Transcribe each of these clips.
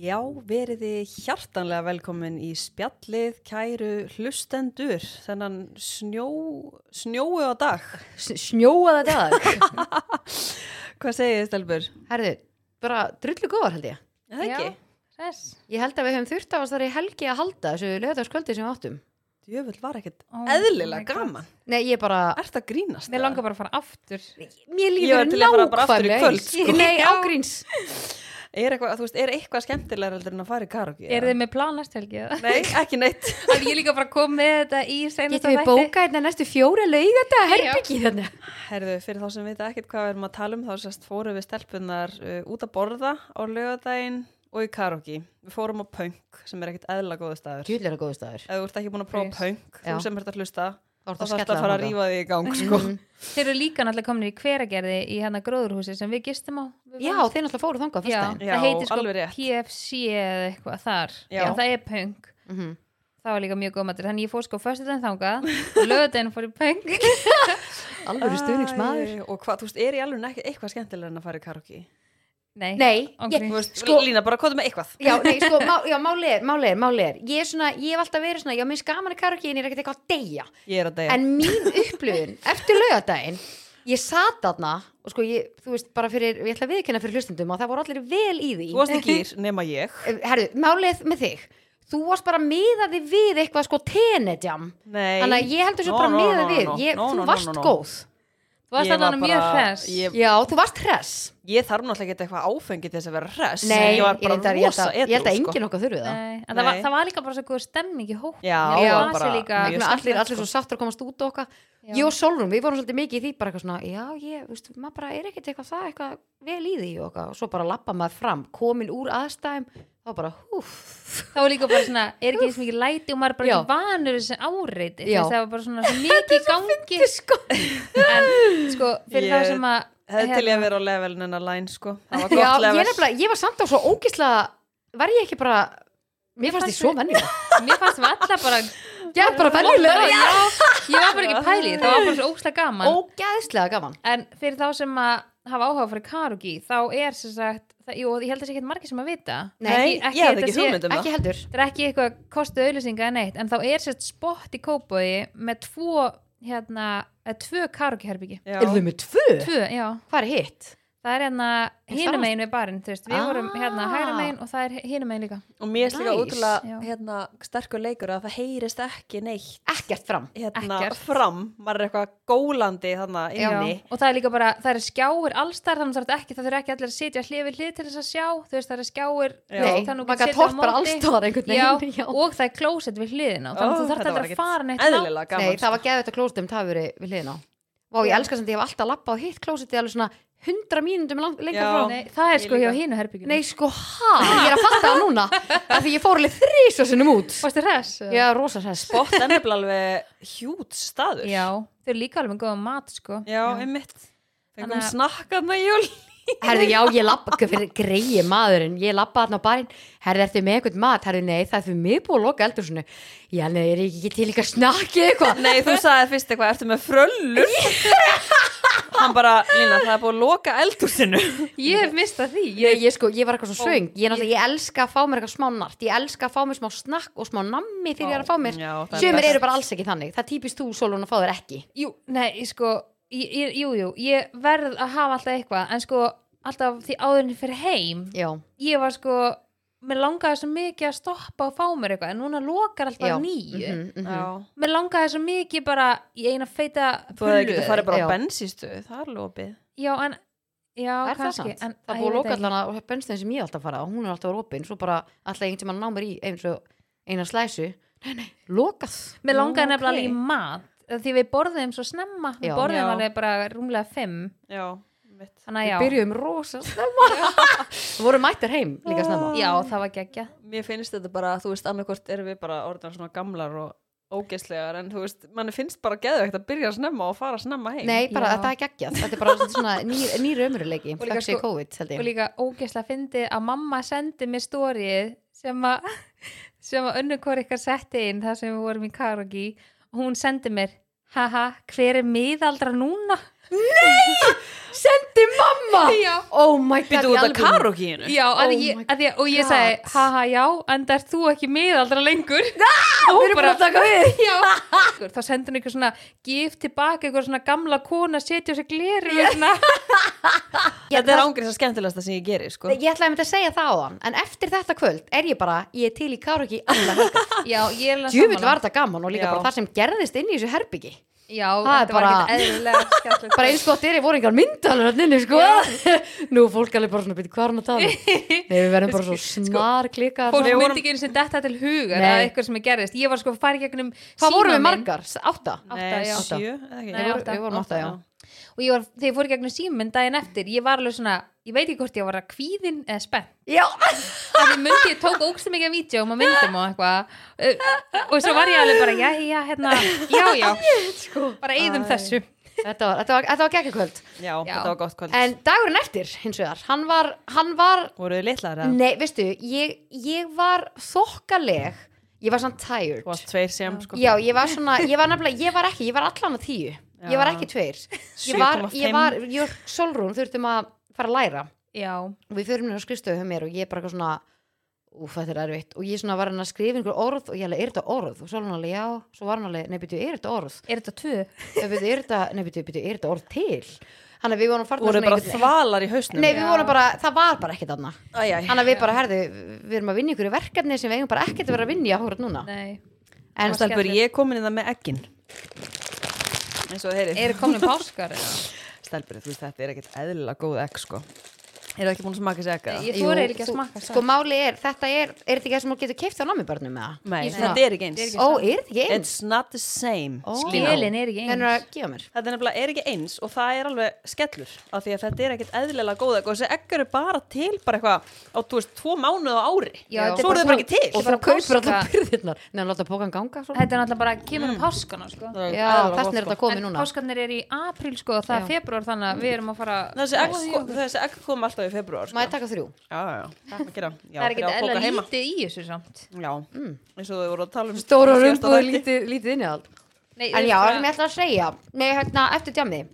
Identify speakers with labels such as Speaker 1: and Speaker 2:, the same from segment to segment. Speaker 1: Já, verið þið hjartanlega velkomin í spjallið, kæru hlustendur, þennan snjó, snjóu á dag.
Speaker 2: snjóaða dag
Speaker 1: Hvað segið þið, Stelbur?
Speaker 2: herðu, bara drullu góðar held ég
Speaker 1: Er Það ekki?
Speaker 3: Þess.
Speaker 2: ég held að við höfum þurft á að þar í helgi að halda þessu lögðarskvöldi sem við áttum
Speaker 1: Jöfull var ekkert
Speaker 3: Oh my
Speaker 1: eðlilega
Speaker 3: God.
Speaker 1: gaman.
Speaker 2: nei, ég bara,
Speaker 1: Ert það grínast?
Speaker 3: Mér langar bara að fara aftur.
Speaker 2: mér
Speaker 1: Ég var
Speaker 2: líður
Speaker 1: til að fara bara aftur í
Speaker 2: nákvæmlega
Speaker 1: kvöld,
Speaker 2: eins.
Speaker 1: sko.
Speaker 2: nei, ágríns
Speaker 1: Er eitthvað, þú veist, er eitthvað skemmtilegar heldur en að fara í karaoke?
Speaker 3: Er
Speaker 1: eða?
Speaker 3: þið með plan næstu helgi? eða?
Speaker 1: Nei, ekki neitt.
Speaker 3: Að ég líka bara kom með þetta í senast
Speaker 2: getum við bókað hérna næstu fjóra lögðardaga herbyggi þannig
Speaker 1: Herðu, fyrir þá sem vita ekkert hvað við erum að tala um, þá sérst fórum við stelpunar uh, út að borða á lögadaginn og í karaoke. Við fórum á punk, sem er ekkert eðlilega góðu staður.
Speaker 2: kjöldlega góðu staður
Speaker 1: Ef þú ert ekki búin að prófa
Speaker 3: Yes.
Speaker 1: punk, þú
Speaker 2: Já.
Speaker 1: sem ert að hlusta,
Speaker 2: þá
Speaker 1: þá
Speaker 2: ertu
Speaker 1: þarf
Speaker 2: skella
Speaker 1: að fara að
Speaker 2: þangað.
Speaker 1: rífa þig í gang, sko.
Speaker 3: Þeir eru líka náttúrulega komin í hveragerði í hérna gróðurhúsi sem við gistum á. Við
Speaker 2: já,
Speaker 3: varum-
Speaker 2: þeir náttúrulega fóru þangað á
Speaker 3: já,
Speaker 2: föstudaginn.
Speaker 1: Já,
Speaker 3: það heitir sko
Speaker 1: alveg rétt.
Speaker 3: PFC eða eitthvað þar.
Speaker 1: Já.
Speaker 3: Já. það er punk.
Speaker 2: Mhm.
Speaker 3: Það var líka mjög góð matur. Þannig ég fór sko föstudaginn þangað, löðudaginn fór í punk.
Speaker 2: alvöru stuðningsmaður
Speaker 1: Æ, og hvað, þú veist, er í alveg ekki eitthvað skemmtilega en að fara í karaoke
Speaker 3: Nei.
Speaker 2: nei,
Speaker 3: Ángríns.
Speaker 2: ég,
Speaker 1: Þú veist,
Speaker 2: Sko-
Speaker 1: Lína, bara kóðu með eitthvað
Speaker 2: Já, nei, sko, má, já, máli er, máli er, máli er Ég er svona, ég hef alltaf verið svona, já, minnst gaman að karaoke en ég er ekkert eitthvað að deyja
Speaker 1: ég er að deyja
Speaker 2: En mín upplöfun eftir laugadaginn Ég sat þarna og sko ég, þú veist, bara fyrir, ég ætla að viðkynna fyrir hlustundum að það voru allir vel í því Eh,
Speaker 1: þú varst ekki ír, nema ég
Speaker 2: Herðu, málið með þig Þú varst bara miðaði við eitthvað sko tenedjam
Speaker 1: Nei.
Speaker 2: Þannig að ég heldur svo
Speaker 1: No,
Speaker 2: bara
Speaker 1: no, no,
Speaker 2: miðaði
Speaker 1: no,
Speaker 2: við
Speaker 1: no,
Speaker 2: ég,
Speaker 1: no,
Speaker 2: Þú
Speaker 1: no, no,
Speaker 2: varst
Speaker 1: no, no.
Speaker 2: góð
Speaker 3: Þú varst
Speaker 1: Ég var
Speaker 3: alveg mjög
Speaker 1: bara-
Speaker 3: hress.
Speaker 1: ég-
Speaker 2: Já, þú varst hress
Speaker 1: ég þarf náttúrulega ekki eitthvað áfengi til þess að vera hress
Speaker 2: Nei,
Speaker 1: ég var bara
Speaker 2: reyndar- ég held
Speaker 1: rosa
Speaker 2: að- ég held að
Speaker 1: edrú, sko.
Speaker 2: enginn okkar þurfi það
Speaker 3: Nei, en það var,
Speaker 1: Nei.
Speaker 3: það var líka bara svo góð stemming í hótt.
Speaker 1: Já,
Speaker 2: var
Speaker 1: bara
Speaker 3: líka,
Speaker 1: mjög
Speaker 2: Svona allir,
Speaker 1: skemmtilegt,
Speaker 2: allir
Speaker 1: sko.
Speaker 2: svo sattur að komast út og okkar
Speaker 3: Já.
Speaker 2: ég og Solrún, við vorum svolítið mikið í því bara eitthvað svona, já ég, veist, maður bara er ekkert eitthvað það eitthvað vel í því og okkar og svo bara lappa maður fram, komin úr aðstæðum þá bara, húf
Speaker 3: það var líka bara svona, er ekki eins mikið læti og maður er bara
Speaker 2: Já.
Speaker 3: ekki vanur þessi áreiti
Speaker 2: Já.
Speaker 3: þess að það var bara svona svo mikið í gangi sko. en sko, fyrir
Speaker 1: Ég
Speaker 3: þá sem að
Speaker 1: hefði til ég að
Speaker 3: hérna,
Speaker 1: vera á levelin en að læn sko það var
Speaker 2: já,
Speaker 1: gott
Speaker 2: ég,
Speaker 1: level
Speaker 2: nefnilega, ég var samt á svo ógislega var ég ekki bara mér fannst ég svo vennilega
Speaker 3: mér fannst við alla bara
Speaker 2: ég er bara vennilega,
Speaker 3: já, ég var bara ekki pæli það var bara svo ókslega gaman
Speaker 2: ógæðslega gaman
Speaker 3: en fyrir þá sem að hafa áhuga fyrir karugi þá er sem sagt það, jú, ég held að sé ekki margir sem að vita
Speaker 2: Nei,
Speaker 1: Nei, ég hefði
Speaker 3: þetta
Speaker 1: ekki
Speaker 3: sé-
Speaker 1: hugmynd um það
Speaker 2: ekki heldur
Speaker 3: þetta er ekki eitthvað kostu auðlýsinga eða neitt en þá er sérst spott í kópaði með tvo hérna, eh, tvö karugiherbyggi
Speaker 2: erum
Speaker 1: Já.
Speaker 2: við með tvö?
Speaker 3: tvö, já
Speaker 2: hvað er hitt?
Speaker 3: Það er hérna hinum megin við barinn, þú veist, við
Speaker 2: Ah.
Speaker 3: vorum hérna hægra megin og það er hinum megin líka.
Speaker 1: og mér er líka
Speaker 2: Nice.
Speaker 1: útrúlega
Speaker 3: Já.
Speaker 1: hérna, sterkur leikur að það heyrist ekki neitt
Speaker 2: ekkert fram
Speaker 1: hérna,
Speaker 3: Ekkert.
Speaker 1: fram maður er eitthvað gólandi þarna inni
Speaker 3: Og það er líka bara, það eru skjáir allstar, þannig þarf ekki, það þurfa ekki allir að sitja hlið við hlið til þess að sjá, þú veist, það eru skjáir,
Speaker 1: Já.
Speaker 3: þú
Speaker 2: Nei,
Speaker 3: veist, þannig
Speaker 2: maður gæti
Speaker 3: setur á
Speaker 2: horft bara
Speaker 3: móti.
Speaker 2: allstóðar einhvern veginn
Speaker 3: Já, og það er klósett við hliðina,
Speaker 1: Ó,
Speaker 3: þannig að þú þarf
Speaker 1: þetta var
Speaker 3: aldrei að
Speaker 1: ekkert
Speaker 3: fara neitt langt.
Speaker 1: eðlilega gaman sko.
Speaker 2: Nei, það var geðvægt að klósitum það hafi verið við hliðina á. Vá, ég elskar sem því ég hef alltaf lappað á hitt klósiti alveg svona 100 mínundum lang- lengra
Speaker 1: Já.
Speaker 2: frá.
Speaker 3: Nei, það
Speaker 1: Ég
Speaker 3: er sko hjá
Speaker 1: líka.
Speaker 3: hínu herbyggjum.
Speaker 2: Nei, sko, hæ? Ég er að fatta það núna. Af því ég fór alveg þrísa sinnum út.
Speaker 3: Fórstu hress?
Speaker 2: Já, rosa sæs.
Speaker 1: Bott er nefnilega alveg hjút staður.
Speaker 3: Já, þau eru líka alveg með góða mat, sko.
Speaker 1: Já, einmitt. Fengum
Speaker 3: Þannig
Speaker 1: Anna...
Speaker 3: að-
Speaker 1: snakkaðna jól.
Speaker 2: Herðu, já, ég lappa, fyrir greið maðurinn, ég lappa þarna á barinn. Herðu, ertu með eitthvað mat? Herðu, nei, það er fyrir mig búið að loka eldur svona. Já, nei, er ég ekki til líka að snakki eitthvað?
Speaker 1: Nei, þú sagði fyrst eitthvað, ertu með fröllur? Hann bara, Lína, það er búið að loka eldhúsinu.
Speaker 3: Ég hef mistað því.
Speaker 2: Ég, ég, sko, ég var eitthvað svo svöng. Ég, náttúrulega- ég elska að fá mér eitthvað smá nart. Ég elska að fá mér smá snakk og smá nammi þegar ég er að fá mér.
Speaker 1: Já, það er
Speaker 2: Sumir
Speaker 1: best.
Speaker 2: eru bara alls ekki þannig. Það er típist þú, Solon, að fá þér ekki.
Speaker 3: Jú, nei, sko ég, ég- Jú, jú, ég verð að hafa alltaf eitthvað En sko, alltaf því áðurinn fyrir heim
Speaker 2: Já,
Speaker 3: Ég var sko Mér langaði svo mikið að stoppa og fá mér eitthvað En núna lokar alltaf
Speaker 2: já.
Speaker 3: nýju
Speaker 2: Mhm, mhm.
Speaker 1: Já.
Speaker 3: Mér langaði svo mikið bara Í eina feita
Speaker 1: Þú hefði ekki
Speaker 3: pullu.
Speaker 1: farið bara
Speaker 2: Já.
Speaker 1: á bensinstöðu, það er lópið.
Speaker 3: Já, en Já,
Speaker 2: Er það
Speaker 3: kannski
Speaker 2: sant?
Speaker 3: en,
Speaker 2: það er
Speaker 3: æ,
Speaker 2: búið að
Speaker 3: ég
Speaker 2: loka
Speaker 3: veit ekki.
Speaker 2: allan að bennstöðin sem ég er alltaf að fara á, hún er alltaf að vera opinn, svo bara alltaf einhvern tímann ná mér í eins og eina slæsu. Nei, nei, lokað.
Speaker 3: Mér
Speaker 1: Nú,
Speaker 3: langaði
Speaker 1: ok.
Speaker 3: nefnilega alveg í mat Því við borðum svo snemma Við
Speaker 2: Já.
Speaker 3: borðum
Speaker 1: Já.
Speaker 3: alveg bara rúmlega fimm
Speaker 1: Já, mitt.
Speaker 3: Þannig
Speaker 2: Við
Speaker 3: að já
Speaker 2: byrjuðum rosa snemma. Við vorum mættir heim líka snemma.
Speaker 3: Já, það var geggja
Speaker 1: Mér finnst þetta bara, þú veist, annarkvort erum við bara orðan svona gamlar og ógeðslegar, en þú veist, manni finnst bara geðvegt að byrja snemma og fara snemma heim.
Speaker 2: Nei, bara
Speaker 3: Já.
Speaker 2: þetta er geggjað. Þetta er bara svolítið svona nýr, nýr ömurleiki.
Speaker 3: líka
Speaker 2: Þakks ég
Speaker 3: sko-
Speaker 2: COVID, held
Speaker 3: og
Speaker 2: ég.
Speaker 3: líka ógeðslega fyndi að mamma sendi mér stórið sem að sem að önnu hvort ykkar setti inn þar sem við vorum í karaoke og hún sendi mér haha, hver er miðaldra núna?
Speaker 2: sendi mamma
Speaker 3: Já.
Speaker 2: oh my god
Speaker 1: Býtu
Speaker 2: í
Speaker 1: út af
Speaker 2: alvöru.
Speaker 1: karokínu
Speaker 3: Já, að
Speaker 2: Oh
Speaker 3: ég,
Speaker 2: my
Speaker 3: að ég, og ég
Speaker 2: God.
Speaker 3: sagði, haha, já, en það er þú ekki miðaldra lengur. Og
Speaker 2: við
Speaker 3: hún
Speaker 2: erum búin að taka við
Speaker 3: Já, þá sendur hún eitthvað svona gif tilbaka, eitthvað svona gamla kona setja á sig hérna. gleri og svona.
Speaker 1: Þetta er ángriðs að skemmtilegasta sem ég geri sko.
Speaker 2: ég ætlaði að mynda að segja það á þann en eftir þetta kvöld er ég bara, ég er til í karaoke alla helga,
Speaker 3: Já, ég er alveg
Speaker 2: djúvill
Speaker 3: sammála.
Speaker 2: var þetta gaman og líka
Speaker 1: Já.
Speaker 2: bara það sem gerðist inn í þessu herbyggi
Speaker 3: Já,
Speaker 2: Það er
Speaker 3: þetta var
Speaker 2: bara-
Speaker 3: ekkert eðlilega skemmtilegt.
Speaker 2: bara eins og þetta er, ég voru engar myndalur hann inni sko, nú er fólk alveg bara svona byrja hvað er hann að tala um?" Nei, við verðum bara svo snar klikkar
Speaker 3: Fólk
Speaker 1: Við vorum-
Speaker 3: myndi ekki eins og þetta til hugar
Speaker 2: Nei.
Speaker 3: að eitthvað sem er gerðist. Ég var sko að fara í gegnum
Speaker 2: hvað vorum við
Speaker 3: símann minn.
Speaker 2: margar, S- átta?
Speaker 1: Nei,
Speaker 3: Átta, já.
Speaker 1: sjö eða ekki?
Speaker 3: Nei,
Speaker 1: Voru-
Speaker 3: átta.
Speaker 2: við vorum átta, já
Speaker 3: og ég var, þegar ég fór í gegnum síminn daginn eftir ég var alveg svona, ég veit ekki hvort ég var að kvíðin eða spennt,
Speaker 2: Já,
Speaker 3: það ég myndi ég tók ógstu mikið að vídjum og myndum og eitthvað Uh, og svo var ég alveg bara, já, já, hérna já, já,
Speaker 2: sko.
Speaker 3: bara eigðum
Speaker 1: Æ.
Speaker 3: þessu
Speaker 2: þetta var, þetta var, þetta var geggakvöld
Speaker 1: Já,
Speaker 3: Já.
Speaker 1: þetta var gott kvöld
Speaker 2: En dagurinn eftir, hins vegar, hann var, hann var
Speaker 1: Voruðu litlar eða?
Speaker 2: nei, veistu, ég, ég var þokkaleg, ég var samt tired.
Speaker 1: Þú varst tveir sem sko
Speaker 2: Já, ég var svona, ég var nefnilega, ég var ekki, ég var allan að tíu, ég var
Speaker 1: Já.
Speaker 2: ekki tveir. Ég var,
Speaker 1: 7,5.
Speaker 2: ég var, ég og Solrún þurftum að fara að læra
Speaker 3: já,
Speaker 2: og við förum hérna á skrifstöðu hjá mér og ég er bara eitthvað svona, úf, þetta er erfitt og ég svona var hann að skrifa einhver orð og ég alveg, er þetta orð? Og Solrún alveg, já, svo var hann alveg, nei, byrju, er þetta orð?
Speaker 3: er þetta tvö?
Speaker 2: Eh, byrju, er þetta, nei, byrju, byrju, er þetta orð til? Þannig að við vorum farnar
Speaker 1: Voruðu
Speaker 2: svona
Speaker 1: bara
Speaker 2: einhvern-
Speaker 1: þvalar í hausnum
Speaker 2: Nei, við
Speaker 3: Já.
Speaker 2: vorum bara, það var bara ekkert annað
Speaker 1: Æjæj
Speaker 2: Þannig að við bara, herðu, við erum að vinna ykkur í verkefni sem við eigum bara ekkert að vera að vinna í að hóra núna
Speaker 3: nei,
Speaker 2: En
Speaker 3: Varstu-
Speaker 1: Stelpur, ég er komin í það með eggin eins og heyri
Speaker 3: eru komin páskar eða?
Speaker 1: Stelpur, þú veist þetta er ekkert eðlilega góð egg sko Er það ekki búin að smaka sér egg? eða?
Speaker 3: ég þú ekki að
Speaker 2: þú-
Speaker 3: smaka
Speaker 2: Sko, máli er, þetta er, er þetta ekki það sem hún getur keift á námibarnum með það?
Speaker 1: Nei,
Speaker 3: ég-
Speaker 1: þetta er ekki
Speaker 3: Þetta er
Speaker 1: eins
Speaker 3: ekki-
Speaker 2: Ó, er þetta ekki eins?
Speaker 1: It's not the same
Speaker 2: Ó.
Speaker 1: skilurðu.
Speaker 3: skilin er ekki
Speaker 2: Þannig
Speaker 3: eins
Speaker 2: að gefa mér
Speaker 1: Þetta er nefnilega er ekki eins og það er alveg skellur af því að þetta er ekkert eðlilega góð egg og þessi egg eru bara til bara eitthvað á, þú veist, tvo mánuð á ári
Speaker 3: Já,
Speaker 1: Svo
Speaker 3: þetta er
Speaker 1: eru
Speaker 3: bara
Speaker 1: þau bara ekki til
Speaker 2: Og
Speaker 3: bara
Speaker 2: þú kaupir
Speaker 3: páska.
Speaker 2: alltaf byrðirnar Nei, hann láta pókan ganga svo
Speaker 3: þetta er náttúrulega bara, kemur
Speaker 1: Mm.
Speaker 3: um páskana sko.
Speaker 1: Það
Speaker 2: Já,
Speaker 1: eðlilega
Speaker 2: þess
Speaker 1: gott,
Speaker 2: er
Speaker 1: sko.
Speaker 2: þetta komið
Speaker 3: en
Speaker 2: núna
Speaker 3: páskarnir er í apríl sko, og það er februar þannig að við erum að fara
Speaker 1: Þessi egg, sko, þessi egg kom alltaf í februar sko.
Speaker 2: Má ég taka þrjú?
Speaker 1: Já, já, já, að gera. já
Speaker 3: það er ekki
Speaker 1: byrja að bóka
Speaker 3: eðla
Speaker 1: heima.
Speaker 3: lítið í þessu samt
Speaker 1: Já, eins og þau voru að tala um
Speaker 2: Mm. Stóra
Speaker 1: í síðasta
Speaker 2: rumbúð,
Speaker 1: þætti.
Speaker 2: lítið, lítið innihald
Speaker 3: Nei,
Speaker 2: En já, það sem
Speaker 3: bara,
Speaker 2: ég ætla að segja Nei, hérna, eftir djamni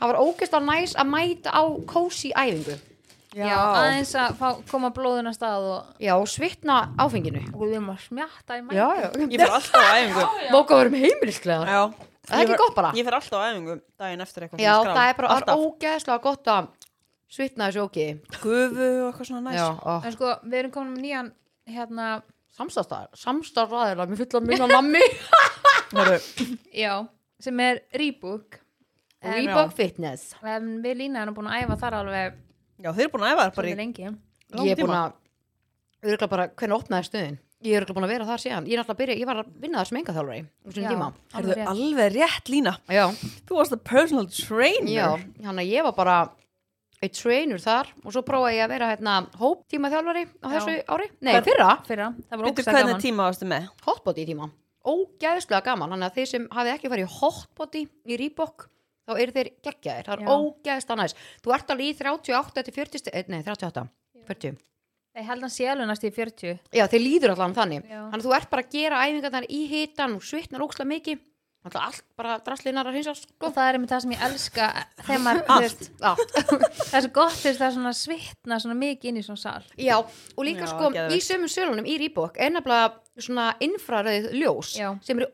Speaker 2: Það var ógæst næs að mæta á kósi æfingu
Speaker 3: já. aðeins að fá, koma blóðuna stað og
Speaker 2: Já, og svitna áfenginu
Speaker 3: og við erum að smjatta í mæn
Speaker 2: Já, já
Speaker 1: Ég fyrir alltaf á æfingu
Speaker 2: Móka verðum heimilislega
Speaker 1: Já
Speaker 2: Það er
Speaker 1: Ég
Speaker 2: ekki
Speaker 1: fer-
Speaker 2: gott bara.
Speaker 1: Ég fyrir alltaf á æfingu daginn eftir eitthvað
Speaker 2: Já,
Speaker 1: svona skram.
Speaker 2: það er bara
Speaker 1: Alltaf
Speaker 2: ógeðslega gott að svitna þessu óki
Speaker 1: gufu og eitthvað svona næst
Speaker 2: Já, ó.
Speaker 3: en sko, við erum komin með nýjan hérna,
Speaker 2: samstarfstæðar, samstarfræðilega mér fulla minna nammi
Speaker 1: Heru,
Speaker 3: já, sem er Rebook En-
Speaker 2: Reebok Fitness
Speaker 3: en við lína erum búin að æfa þar alveg
Speaker 1: Já, þeir eru búin að æfa þér bara
Speaker 3: svolítið
Speaker 1: í
Speaker 3: lengi
Speaker 1: langt
Speaker 2: ég er búin að, örgulega bara hvernig opnaði stöðin ég er örgulega búin að vera þar síðan ég er alltaf að byrja, ég var að vinna þar sem enga þjálfari um sinni
Speaker 3: Já,
Speaker 2: tíma
Speaker 3: alveg rétt.
Speaker 1: alveg rétt lína
Speaker 2: já,
Speaker 1: Þú varst að personal trainer
Speaker 2: já, hann að ég var bara eitt trainer þar og svo prófaði ég að vera hérna hóptíma þjálfari á
Speaker 3: Já.
Speaker 2: þessu ári, nei fyrra
Speaker 3: fyrra, það var
Speaker 1: Veitu
Speaker 3: ógsta gaman
Speaker 1: hvernig tíma varstu með?
Speaker 2: hotbody tíma, ógæðslega gaman þannig að þeir sem hafið ekki farið í hotbody í Reebok, þá eru þeir geggjaðir það
Speaker 3: Já.
Speaker 2: er ógæðslega næst, þú ert alveg í 38 til 40, sti- eh, nei 38 40
Speaker 3: ég held hann sé alveg næst í 40
Speaker 2: Já, þeir líður allan þannig.
Speaker 3: Já.
Speaker 2: Þannig að þú ert bara að gera æfingarnar í hitan og svitnar ókslega mikið. Þannig að allt bara draslinar að hinsa sko.
Speaker 3: og það er einmitt það sem ég elska þegar maður, þú veist,
Speaker 2: Allt.
Speaker 3: það er svo gott þegar það er svona svitna svona mikið inn í svona sal
Speaker 2: Já, og líka
Speaker 1: Já,
Speaker 2: sko
Speaker 1: geðveikt.
Speaker 2: í sömum sölunum í Rýbók er nefnilega svona infraröðið ljós
Speaker 3: Já.
Speaker 2: sem eru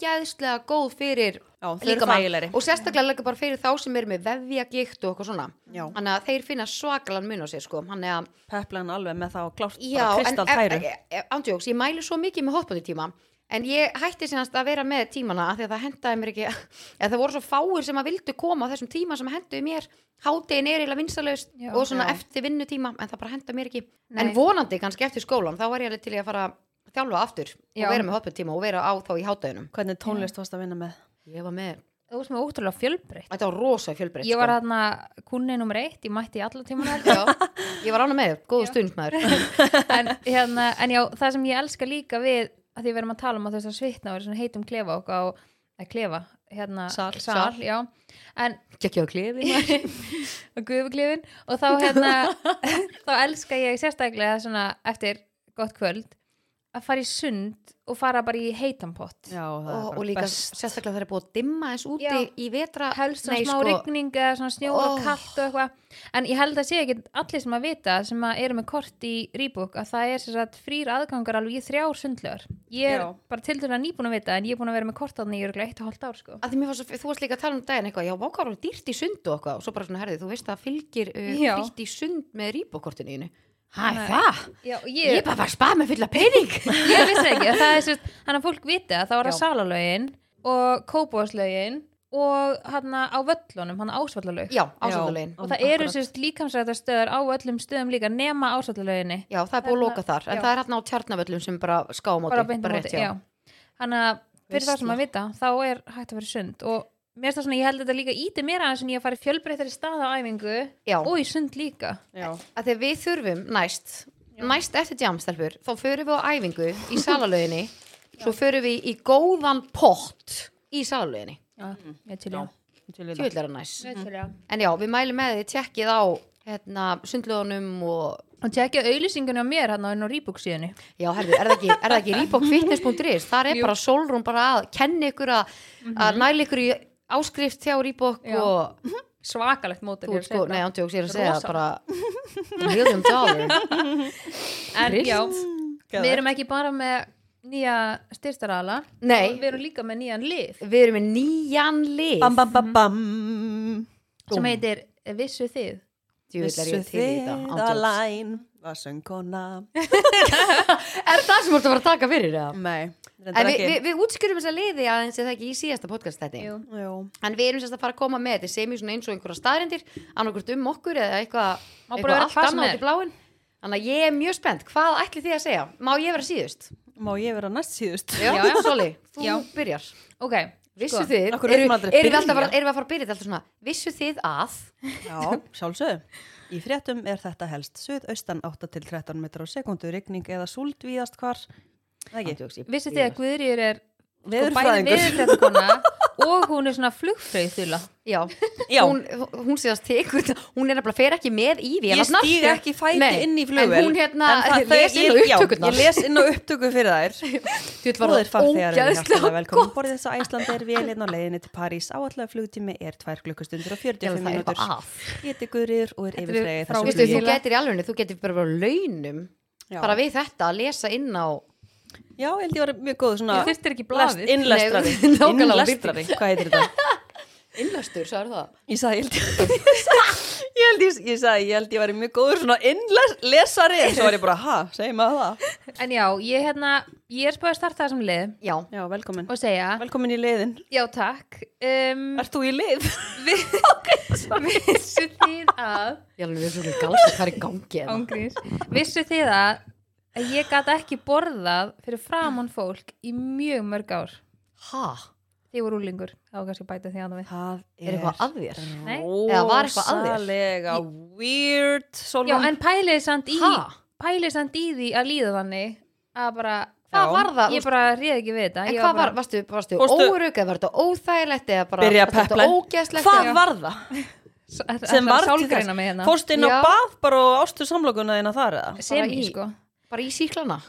Speaker 2: ógæðslega góð fyrir
Speaker 1: Já, þau eru
Speaker 2: líkamann
Speaker 1: þægilegri.
Speaker 2: og sérstaklega líka bara fyrir þá sem eru með vefjagikt og eitthvað svona.
Speaker 1: Já.
Speaker 2: Þannig að þeir finna svakalan mun á sér sko. Þannig að
Speaker 1: Peplan alveg með það og klárt
Speaker 2: Já,
Speaker 1: bara
Speaker 2: en
Speaker 1: kristall tæru
Speaker 2: ándjóks, ég mæli svo mikið með hotbody tíma en ég hætti sínast að vera með tímana af því að það hendaði mér ekki eða það voru svo fáir sem að vildu koma á þessum tíma sem henduði mér, hádegin er eiginlega vinsalaust
Speaker 3: Já.
Speaker 2: og svona
Speaker 3: Já.
Speaker 2: eftir vinnutíma en það bara hendaði mér ekki,
Speaker 3: Nei.
Speaker 2: en vonandi kannski eftir skólan, þá var ég alveg til í að fara að þjálfa aftur
Speaker 3: Já.
Speaker 2: og vera með hotbody tíma og vera á þá í hádeginum
Speaker 1: Hvernig tónlist varst að vinna með?
Speaker 2: ég var með,
Speaker 3: þú veist með ótrúlega fjölbreytt
Speaker 2: þetta var rosa fjölbreytt
Speaker 3: ég var
Speaker 2: sko.
Speaker 3: þarna kunni nummer eitt, ég mætti í alla tímuna held ég.
Speaker 2: Já, ég var ána með, góðu stund maður
Speaker 3: en, hérna, en já, það sem ég elska líka við að því við erum að tala um að þess að svitna og er svona heitum klefa okkar á að klefa, hérna,
Speaker 1: Sal.
Speaker 3: sal já, en
Speaker 2: Gekki á klifi
Speaker 3: og gufuklefin og þá hérna þá elska ég sérstaklega svona eftir gott kvöld að fara í sund og fara bara í heitan pott
Speaker 1: Já, það er
Speaker 2: og,
Speaker 1: bara
Speaker 2: og líka
Speaker 1: best.
Speaker 2: sérstaklega þegar er búið að dimma eins úti
Speaker 3: Já.
Speaker 2: í vetra
Speaker 3: helst svona
Speaker 2: Nei,
Speaker 3: smá
Speaker 2: sko.
Speaker 3: rigning eða svona snjór og
Speaker 2: Oh.
Speaker 3: kallt og eitthvað en ég held að sé ekki allir sem að vita sem að eru með kort í Rebook að það er sem sagt frýr aðgangar alveg í þrjár sundlegar ég er
Speaker 1: Já.
Speaker 3: bara til dæra nýbúin að vita en ég er búin að vera með kort þannig ég er eitt og hálft ár sko
Speaker 2: að því mér var svo, þú varst líka að tala um daginn eitthvað já, vákar alveg dýrt í sund og eitthvað og svo bara svona herðið, þú veist að það fylgir uh,
Speaker 3: Já.
Speaker 2: frítt í sund með rýbokortinu þínu hæ,
Speaker 3: Nei.
Speaker 2: það?
Speaker 3: Já, og
Speaker 2: Ég er
Speaker 3: ég,
Speaker 2: bara að fara að spara með fulla pening
Speaker 3: ég vissi ekki að það er sem sagt þannig að fólk viti að það var
Speaker 2: Já.
Speaker 3: að salalögin og kópáslögin og hann á völlunum, hann ásvallalög
Speaker 2: já, ásöndalegin
Speaker 3: og það eru sem sagt líkamsrættastöðar á öllum stöðum líka nema ásvallalöginni
Speaker 2: já, það er búið að
Speaker 3: Þarna-
Speaker 2: loka þar en
Speaker 3: já.
Speaker 2: það er hérna á tjarnavöllum sem bara skáumóti
Speaker 3: bara beint á móti, já þannig að fyrir
Speaker 2: Veistla.
Speaker 3: það sem að vita þá er hægt að vera sund og mér er það svona, ég held að þetta líka íti mér aðeins en ég að fara í fjölbreyttari stað á æfingu
Speaker 2: já.
Speaker 3: og í sund líka
Speaker 1: Já,
Speaker 2: að þegar við þurfum næst næst eftir jamstelpur, þá förum við á æfingu í salalöginni svo förum við í góðan pott í salalöginni,
Speaker 3: já, ég til Mhm.
Speaker 1: já.
Speaker 3: ég
Speaker 1: til í það.
Speaker 2: tjóðlega næst
Speaker 3: og
Speaker 2: en já, við mælum með því tjekkið á hérna, sundlögunum og
Speaker 3: tekja auðlýsingunni á mér hann á enn á Rebook síðunni
Speaker 2: já, herðu, er það ekki, er það ekki rýbokfitness.is, þar er
Speaker 3: Jú.
Speaker 2: bara sólrún bara að kenna ykkur að, að næla ykkur í áskrift hjá rýbok
Speaker 3: Já.
Speaker 2: og
Speaker 3: svakalegt móti
Speaker 2: þú, sko, nei, ándjóks, ég er að segja
Speaker 3: Rosa.
Speaker 2: bara million dollar
Speaker 3: en já,
Speaker 1: Geðvegt.
Speaker 3: við erum ekki bara með nýja styrstaraðala
Speaker 2: Nei.
Speaker 3: við erum líka með nýjan lið
Speaker 2: við erum með nýjan lið
Speaker 1: Bam, bam, bam, bam.
Speaker 3: sem heitir Vissu þið
Speaker 2: Djöfull er ég til í þetta, án
Speaker 1: að
Speaker 2: djóks.
Speaker 1: læn var söngkona.
Speaker 2: Er það sem þú ert að fara að taka fyrir það?
Speaker 1: Nei,
Speaker 2: En
Speaker 1: reyndar
Speaker 2: við,
Speaker 1: ekki.
Speaker 2: við, við útskýrum þessa liði aðeins eða ekki í síðasta podcast þetta
Speaker 3: Jú.
Speaker 1: Jú.
Speaker 2: En við erum sérst að fara að koma með þetta sem í svona eins og einhverja staðrindir annarkvort um okkur eða eitthvað
Speaker 3: Má bara
Speaker 2: eitthvað
Speaker 3: vera
Speaker 2: allt
Speaker 3: hvað sem
Speaker 2: annað
Speaker 3: er.
Speaker 2: út í bláin Þannig að ég er mjög spennt, hvað ætli þið að segja? Má ég vera síðust?
Speaker 1: Má ég vera næst síðust?
Speaker 2: Já, já, Soli, þú
Speaker 3: Já.
Speaker 2: byrjar
Speaker 3: ok,
Speaker 2: Vissu þið,
Speaker 1: Sko, Af hverju
Speaker 2: eru,
Speaker 1: erum við aldrei að
Speaker 2: erum, við
Speaker 1: byrja?
Speaker 2: alltaf bara, erum við að fara að byrja þetta alltaf svona Vissu þið að
Speaker 1: Já, sjálfsög. Í fréttum er þetta helst suðaustan 8 til 13 metrar á sekundu, rigning eða súld víðast hvar. Það ekki.
Speaker 2: Andjóks, ég
Speaker 3: vissu þið að
Speaker 2: byrjar.
Speaker 3: Guðrýr er sko, bæði
Speaker 1: Veðurfræðingur.
Speaker 3: viðurfræðinguna og hún er svona flugfröð
Speaker 2: Já,
Speaker 1: Já.
Speaker 2: Hún, hún síðast tekur þetta- hún er nefnilega fer ekki með í
Speaker 1: Ég
Speaker 2: vélarnar
Speaker 1: stýr ekki fæti
Speaker 2: Nei,
Speaker 1: inn í flugvel.
Speaker 2: En hún hérna,
Speaker 1: En það-
Speaker 2: les
Speaker 1: það-
Speaker 2: inn á
Speaker 1: ég- já,
Speaker 2: upptökurnar
Speaker 1: Ég les inn á upptöku fyrir þær.
Speaker 2: Þú var
Speaker 1: Góðir
Speaker 2: það
Speaker 1: farþegar eru hjartalega
Speaker 2: ógæðslega
Speaker 1: velkomin borðið þess að Æsland er velinn á leiðinni til París. Áallega flugtími er 2 klukkustundur og
Speaker 2: Já,
Speaker 1: 45
Speaker 2: það er
Speaker 1: mínútur.
Speaker 2: eitthvað að.
Speaker 1: Ég heiti Guðriður og er
Speaker 3: Þetta er
Speaker 1: yfirfræðið
Speaker 3: frá-
Speaker 1: þessum
Speaker 2: Vistu, þú
Speaker 1: flugi.
Speaker 2: getur í alveg, þú getur bara verið á launum
Speaker 1: Já.
Speaker 2: bara við þetta að lesa inn á
Speaker 1: Já, ég held ég var mjög góð svona
Speaker 3: Ég þyrfti ekki blaðið.
Speaker 1: lest- Innlestrari
Speaker 2: Nei, nákvæmlega,
Speaker 1: Innlestrari, hvað heitir þetta?
Speaker 2: innlastur, sagði það
Speaker 1: Ég sagði, ég held ég Ég held ég, ég sagði, ég held ég var mjög góður svona innlesari En svo var ég bara, ha, segi maður það
Speaker 3: En já, ég, hérna, ég er spöðið að starta þessum lið
Speaker 2: Já,
Speaker 1: Já, velkomin
Speaker 3: og segja,
Speaker 1: Velkomin í liðin
Speaker 3: já takk um,
Speaker 1: Ert þú í lið?
Speaker 3: við, Vissu þið að
Speaker 2: ég alveg um við erum svo galsa hvað er í gangi hérna.
Speaker 3: Ángríns Vissu þið að að ég gat ekki borðað fyrir framann fólk í mjög mörg ár
Speaker 2: Ha,
Speaker 3: því ég voru úlingur, þá var kannski að bæta því að við
Speaker 1: Það
Speaker 2: er eitthvað að þér?
Speaker 3: Nei.
Speaker 2: Eða var eitthvað að þér?
Speaker 1: Rosalega weird
Speaker 3: Já,
Speaker 1: Solveig.
Speaker 3: en pælið samt í
Speaker 2: Ha?
Speaker 3: pælið samt í því að líða þannig að bara,
Speaker 2: Hvað
Speaker 1: Já.
Speaker 2: var það?
Speaker 3: ég bara réð ekki við þetta
Speaker 2: En
Speaker 3: Ég
Speaker 2: hvað
Speaker 3: bara-
Speaker 2: var, varstu, varstu
Speaker 1: Fórstu-
Speaker 2: órug eða var þetta óþægilegt eða bara
Speaker 1: Byrja
Speaker 2: var þetta
Speaker 1: pepline.
Speaker 2: ógeðslegt
Speaker 1: Hvað
Speaker 2: eða-
Speaker 1: var það?
Speaker 3: sem
Speaker 1: Sem var til
Speaker 3: sálgreina mig hérna
Speaker 1: Fórst inn á
Speaker 2: Já.
Speaker 1: bað bara og ástu samlokuna þína þar eða?
Speaker 3: sem
Speaker 2: Bara í-
Speaker 3: sko
Speaker 2: Bara í síklana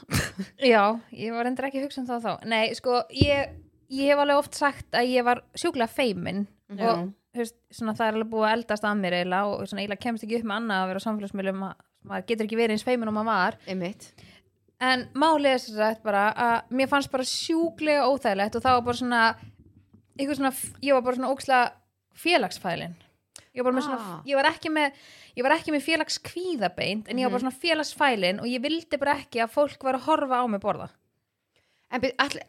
Speaker 3: Já, ég var endur ekki að hugsa um það þá Nei, sko, ég, ég hef alveg oft sagt að ég var sjúklega feimin
Speaker 1: Já.
Speaker 3: og þú veist, svona, það er alveg búið að eldast að mér eiginlega og svona, eiginlega kemst ekki upp með annað að vera á samfélagsmiðlum ma- maður getur ekki verið eins feimin og maður var
Speaker 2: Einmitt
Speaker 3: en málið er sem sagt bara að mér fannst bara sjúklega óþægilegt og það var bara svona, einhver svona ég var bara svona óksla félagsfælin ég var, bara með svona,
Speaker 2: Ah.
Speaker 3: ég var ekki með ég var ekki með félagskvíðabeint en ég
Speaker 2: Mhm.
Speaker 3: var bara svona félagsfælin og ég vildi bara ekki að fólk var að horfa á mig borða
Speaker 2: En byrja, all,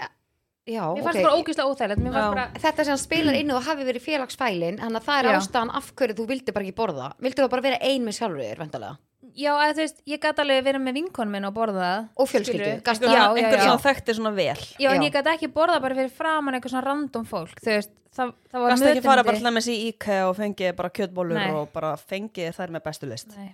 Speaker 2: já,
Speaker 3: Mér
Speaker 2: ok.
Speaker 3: fannst bara ógeðslega óþægilegt Mér
Speaker 1: Já.
Speaker 3: fannst bara
Speaker 2: þetta sem spilar inn og hafi verið félagsfælin þannig að það er
Speaker 3: Já.
Speaker 2: ástæðan af hverju þú vildi bara ekki borða vildi þú bara vera ein með sjálfur þér vendalega
Speaker 3: Já, eða þú veist, ég gæti alveg verið með vinkonum minn og borðað
Speaker 2: og fjölskyldu,
Speaker 3: Skilurðu?
Speaker 2: gast
Speaker 3: Já,
Speaker 2: það
Speaker 3: já,
Speaker 1: Einhver
Speaker 3: já.
Speaker 1: sem þekkti svona vel
Speaker 3: Já, en
Speaker 2: Já.
Speaker 3: ég gæti ekki borðað bara fyrir framan eitthvað svona random fólk Þú veist, það, það var
Speaker 1: Gast ekki fara bara
Speaker 3: mötuneyti.
Speaker 1: til dæmis í IKEA og fengið bara kjötbólur
Speaker 3: Nei.
Speaker 1: og bara fengið þær með bestu list.
Speaker 3: Nei.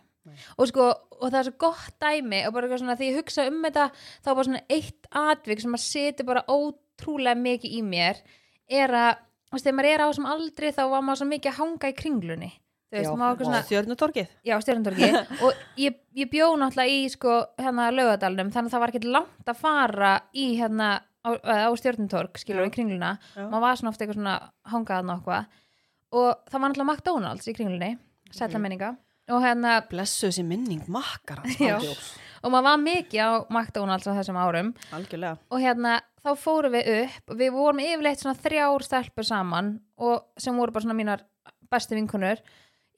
Speaker 3: Og sko, og það er svo gott dæmi og bara eitthvað svona, því ég hugsa um þetta þá er bara svona eitt atvik sem að setja bara ótrúlega mikið í mér er að, þú veist, þegar maður er á þessum aldri þá var maður svo mikið að hanga í kringlunni þú veist,
Speaker 2: Já,
Speaker 3: maður okkur svona
Speaker 1: Stjörnutorkið
Speaker 3: já, stjórnundorgi og ég, ég bjó náttúrulega í sko hérna laugadalnum, þannig að það var ekkert langt að fara í hérna á, eða á stjórnundorg,
Speaker 1: Já.
Speaker 3: skilur í kringluna
Speaker 1: Já.
Speaker 3: maður var svona ofta eitthvað svona hangaðan og eitthvað og það var náttúrulega McDonalds í kringlunni sætla menninga og hérna,
Speaker 1: Blessuð sér minning makkar
Speaker 3: Já. og maður var mikið á McDonalds á þessum árum
Speaker 1: Algjörlega
Speaker 3: og hérna þá fórum við upp við vorum yfirleitt svona þrjár stelpur saman og sem voru bara svona mínar bestu vinkunur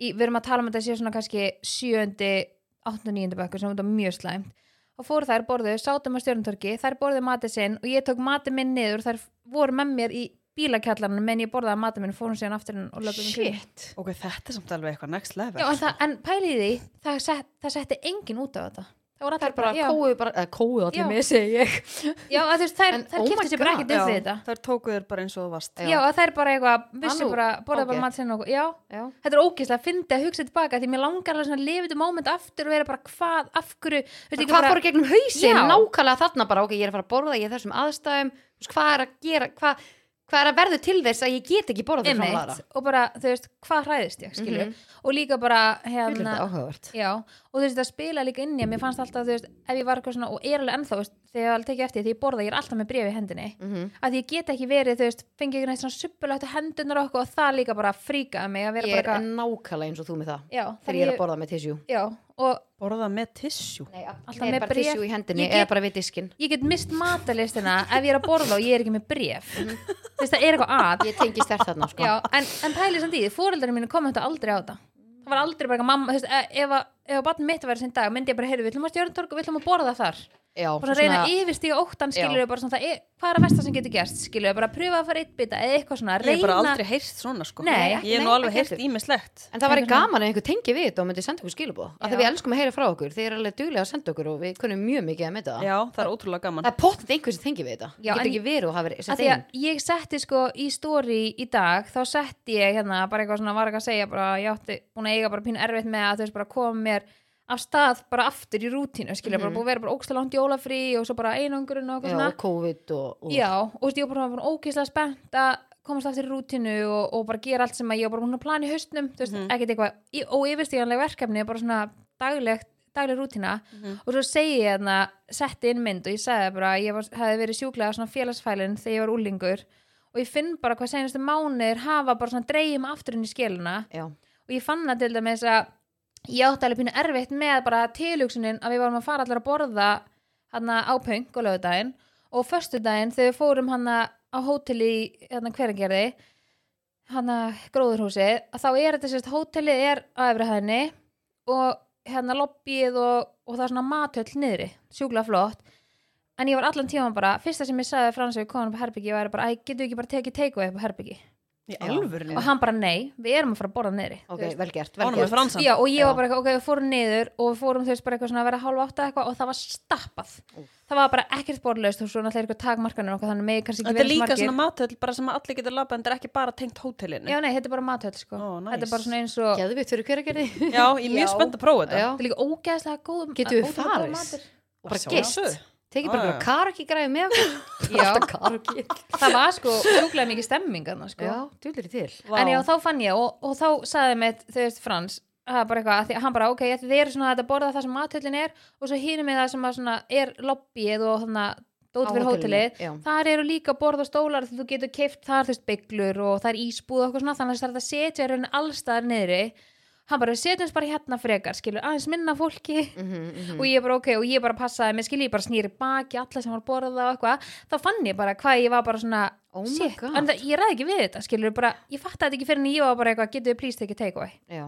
Speaker 3: í, við erum að tala um að þetta sé svona kannski sjöndi, áttundu, níundu bekkur sem þetta var mjög slæmt og fóru þær borðu, sátum á stjórntorki þær borðu matið sinn og ég tók matið minn niður þær voru með mér í bílakjallarinn menn ég borðaði matið minn og fórum síðan aftur inn og löpum í kring.
Speaker 2: Shit.
Speaker 1: Ok, þetta er samt alveg eitthvað next level
Speaker 3: Já, en, það, en pælið í því, það, set, það setti engin út af þetta það voru
Speaker 2: Það
Speaker 3: allir
Speaker 2: er bara
Speaker 3: já,
Speaker 2: kóu, bara, eða kóu
Speaker 3: Já.
Speaker 2: allir með segi ég.
Speaker 3: já, að þú veist, þær,
Speaker 2: En,
Speaker 3: þær
Speaker 2: oh my
Speaker 3: kiptu sér bara
Speaker 2: God,
Speaker 3: ekkert eftir þetta
Speaker 1: Þær tóku þér bara eins og þú varst
Speaker 2: Já.
Speaker 3: Já, að það er bara eitthvað,
Speaker 2: Ah,
Speaker 3: vissi
Speaker 2: nú,
Speaker 3: bara, borða
Speaker 2: ágætt.
Speaker 3: bara maður sinna og já,
Speaker 2: Já.
Speaker 3: þetta er ógeðslega að fyndi að hugsa tilbaka því mér langar alveg svona lifiðu moment aftur og vera bara hvað, af hverju,
Speaker 2: Hvað
Speaker 3: veistu ekki bara,
Speaker 2: fór í gegnum hausin?
Speaker 3: Já.
Speaker 2: Nákvæmlega þarna bara, ok, ég er að fara að borða, ég er í þessum aðstæðum, þú veist, hvað er að gera, hvað, hvað er að verðu til þess að ég get ekki borðað fyrir framvara?
Speaker 3: einmitt, og bara, þú veist, hvað hræðist ég, skilju, og líka bara,
Speaker 2: Fyrir
Speaker 3: hérna,
Speaker 2: Mhm. þetta áhugavert.
Speaker 3: já, og þú veist, það spila líka inn í að mér fannst alltaf, þú veist, ef ég var eitthvað svona, og er alveg ennþá, þú veist, þegar ég alveg tekið eftir því, þegar ég borða, ég er alltaf með bréfi í hendinni,
Speaker 2: Mhm.
Speaker 3: að ég get ekki verið, þú veist, fengi ekki neitt svona suppulögt hendunar okkur og það líka bara fríkaði mig að vera
Speaker 2: Ég er
Speaker 3: bara, eitthvað-
Speaker 2: nákvæmlega eins og þú með það.
Speaker 3: já,
Speaker 2: Þegar ég er að borða með tissjú.
Speaker 3: já, og
Speaker 1: Borða með tissjú
Speaker 2: Nei, alltaf
Speaker 3: ég er
Speaker 2: með
Speaker 3: bara
Speaker 2: bara
Speaker 3: tissjú
Speaker 2: tissjú í hendinni eða bara við diskin.
Speaker 3: ég get mist matalistina ef ég er að borða og ég er ekki með bref þú veist það er eitthvað að
Speaker 2: Ég tengi stert þarna, sko.
Speaker 3: Já, en, en pælið samt í því, fóreldarinn mínu kom þetta aldrei á þetta það var aldrei bara eitthvað mamma þú veist, e- ef, að- ef barn mitt væri sinn dag myndi ég bara, heyrðu, við ætlum að stjórntorku, við ætlum að borða þar
Speaker 2: Já,
Speaker 3: og svona reyna að yfistíga óttan
Speaker 2: Já.
Speaker 3: skilur bara svona, það er, hvað er að versta sem getur gerst skilur bara að pröfa að fara eitt bita eða eitthvað svona
Speaker 1: Ég hef bara
Speaker 3: reyna,
Speaker 1: aldrei heyrst svona sko
Speaker 3: Nei,
Speaker 1: Ég hef
Speaker 2: nei,
Speaker 1: nú alveg
Speaker 2: ekki
Speaker 1: heyrt
Speaker 2: heldur.
Speaker 1: ímislegt
Speaker 2: En það væri gaman að einhver tengi við þetta og myndi senda okkur skilabóð. Af því
Speaker 3: Já.
Speaker 2: við elskum að heyra frá okkur. Þið er alveg duglega að senda okkur og við kunnum mjög mikið að mynda það.
Speaker 1: Já, það er ótrúlega gaman
Speaker 2: Það er pottet einhver sem tengi við þetta.
Speaker 3: Já,
Speaker 2: Já, getur
Speaker 3: en-
Speaker 2: ekki verið og hafa verið
Speaker 3: að
Speaker 2: sem
Speaker 3: því
Speaker 2: þeim.
Speaker 3: að ég setti sko í story í dag þá setti ég hérna bara eitthvað svona var ekki að segja bara ég átti búin að eiga bara pínu erfitt með að þú veist bara koma mér af stað bara aftur í rútínu skilja bara búið að vera bara ógstlega langt jólafrí og svo bara einangurinn og
Speaker 2: Já,
Speaker 3: eitthvað svona
Speaker 2: og COVID og... og-
Speaker 3: já og þú veist ég var bara búin ógæslega spennt að komast aftur í rútínu og, og bara gera allt sem að ég var bara búin að plana í haustnum þú veist ekkert eitthvað í- óyfirstíganleg verkefni bara svona daglegt dagleg rútina
Speaker 1: Mhm.
Speaker 3: og svo segi ég hérna setti inn mynd og ég sagði bara að ég var, hefði verið sjúklega svona félagsfælin þegar ég var úlingur og ég finn bara hvað senastu mánuðir hafa bara svona dregjum aftur inn í skiluna
Speaker 2: Já.
Speaker 3: og ég fann það til dæmis að ég átti alveg pínu erfitt með bara tilugsunin að við varum að fara allar að borða hana á pöng og lögudaginn og föstudaginn þegar við fórum hana á hótel í hana hveragerði hana gróðurhúsi að þá er þetta sérst hótelið er á efri hæðinni og hérna lobbyið og, og það er svona matöll niðri sjúklega flott en ég var allan tíma bara, fyrsta sem ég sagði frans við konum upp á herbyggi var bara, æ, getum við ekki bara tekið teikuð upp á herbyggi
Speaker 1: Í alvörinu
Speaker 3: og hann bara, nei, við erum að fara að borða niðri Þú
Speaker 2: Ok,
Speaker 3: veist,
Speaker 2: vel gert, vel
Speaker 1: Ánum með
Speaker 2: gert.
Speaker 1: fransan
Speaker 3: Já, og ég
Speaker 2: Já.
Speaker 3: var bara eitthvað, ok, við fórum niður og við fórum þú veist bara eitthvað svona að vera hálfa átta eitthvað og það var stappað. Það var bara ekkert borðlaust og svo náttúrulega eitthvað takmarkanir og okkar þannig megi kannski ekki
Speaker 1: Þetta er
Speaker 3: verið
Speaker 1: líka
Speaker 3: margir.
Speaker 1: svona matöll bara sem að allir getur labba en þetta er ekki bara tengt hótelinu
Speaker 3: Já, nei, þetta er bara matöld, sko.
Speaker 1: Ó, nice.
Speaker 3: Þetta er bara svona eins og,
Speaker 2: Geðvitt fyrir hver að gera því.
Speaker 1: Já, ég er mjög
Speaker 2: Já.
Speaker 1: spennt að prófa
Speaker 2: Já.
Speaker 1: þetta
Speaker 3: þetta er líka ógeðslega góð.
Speaker 2: Getum við
Speaker 3: ótrúlega góður
Speaker 2: farið?
Speaker 3: matur.
Speaker 2: Og bara
Speaker 1: Að
Speaker 2: gist.
Speaker 1: sjálfsögðu. Já,
Speaker 2: Tekið bara
Speaker 1: já.
Speaker 2: eitthvað karaki græði með okkur.
Speaker 3: Já.
Speaker 2: Alltaf karaki.
Speaker 3: Það var sko sjúklega mikið stemmingan, sko.
Speaker 2: Já, dullir í til.
Speaker 1: Vá.
Speaker 3: En já, þá fann ég og, og þá sagði mér, þau veist, Frans það er bara eitthvað, af því að hann bara, ok, þið eru svona að þetta borða það sem matöldin er og svo hínum við það sem að svona er lobbyið og þannig að dót
Speaker 2: Á
Speaker 3: fyrir
Speaker 2: hótelinu,
Speaker 3: hótelið,
Speaker 2: já.
Speaker 3: þar eru líka borð og stólar því þú getur keift þar, þú veist, bygglur og það er ísbúð og eitthvað svona, þannig að það er að setja raunin allstaðar niðri, hann bara "Við setjumst bara hérna frekar, skilur, aðeins minna fólki
Speaker 2: Mhm, Mm.
Speaker 3: og ég bara, ok, og ég bara passaði mig, skilur, ég bara snýri baki alla sem var að borða og eitthvað, þá fann ég bara hvað ég var bara svona,
Speaker 2: Oh my
Speaker 3: shit,
Speaker 2: God.
Speaker 3: en það, ég ræði ekki við þetta, skilur, bara, ég fattaði þetta ekki fyrir en ég var bara eitthvað, getur við please tekið takeaway
Speaker 2: Já.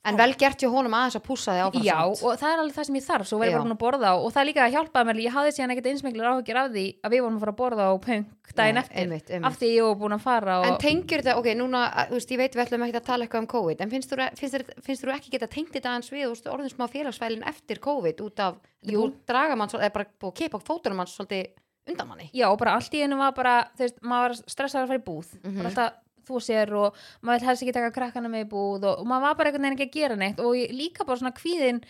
Speaker 2: En vel gert hjá honum aðeins að pússa þig áfram.
Speaker 3: Já,
Speaker 2: samt.
Speaker 3: og það er alveg það sem ég þarf, svo var ég
Speaker 2: Já.
Speaker 3: bara búin að borða og það er líka að hjálpa mér, ég hafði síðan ekkert einsmenglar áhugir af því að við vorum að fara að borða á punk daginn
Speaker 2: Nei,
Speaker 3: eftir,
Speaker 2: einmitt, einmitt.
Speaker 3: af því ég var búin að fara og...
Speaker 2: En tengjur þetta, ok, núna, þú veist, ég veit við ætlum ekki að tala eitthvað um COVID, en finnst þú, finnst þú, finnst þú ekki geta tengt þetta aðeins við, þú veist, orðin smá félagsfælin eftir COVID út af, þetta er búið að draga mann, svolítið- eða bara búið að kepa fótunum mann svolítið undan manni.
Speaker 3: Já, og bara allt í einu var bara, þú veist, maður var stressaður að fara í búð,
Speaker 2: Mhm.
Speaker 3: bara alltaf þú sér og maður vil helst ekki taka krakkana með í búð og, og maður var bara einhvern veginn ekki að gera neitt og ég, líka bara svona kvíðin,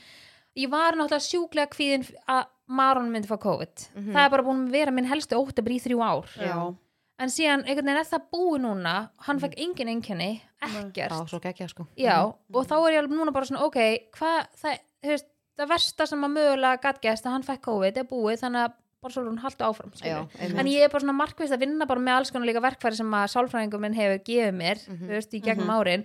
Speaker 3: ég var náttúrulega sjúklega kvíðin
Speaker 2: Mhm.
Speaker 3: f- að Maron myndi fá COVID. Það er bara búin að vera minn helstu óttabri í þrjú ár.
Speaker 1: Já.
Speaker 3: en síðan einhvern veginn er það búið núna
Speaker 2: Mhm.
Speaker 3: hann fekk engin einkenni, ekkert
Speaker 2: á, svo gekkja sko
Speaker 3: já, og þá er ég alveg núna bara svona ok, hvað, það, þú veist það versta sem að mögulega gatt gæst að hann fekk COVID er búið, þannig að bara svolítið hún haldi áfram skilur.
Speaker 2: Já, einmitt.
Speaker 3: en ég er bara svona markvist að vinna bara með alls konar líka verkfæri sem að sálfræðingum minn hefur gefið mér,
Speaker 2: Mhm.
Speaker 3: þú veist, í gegnum árin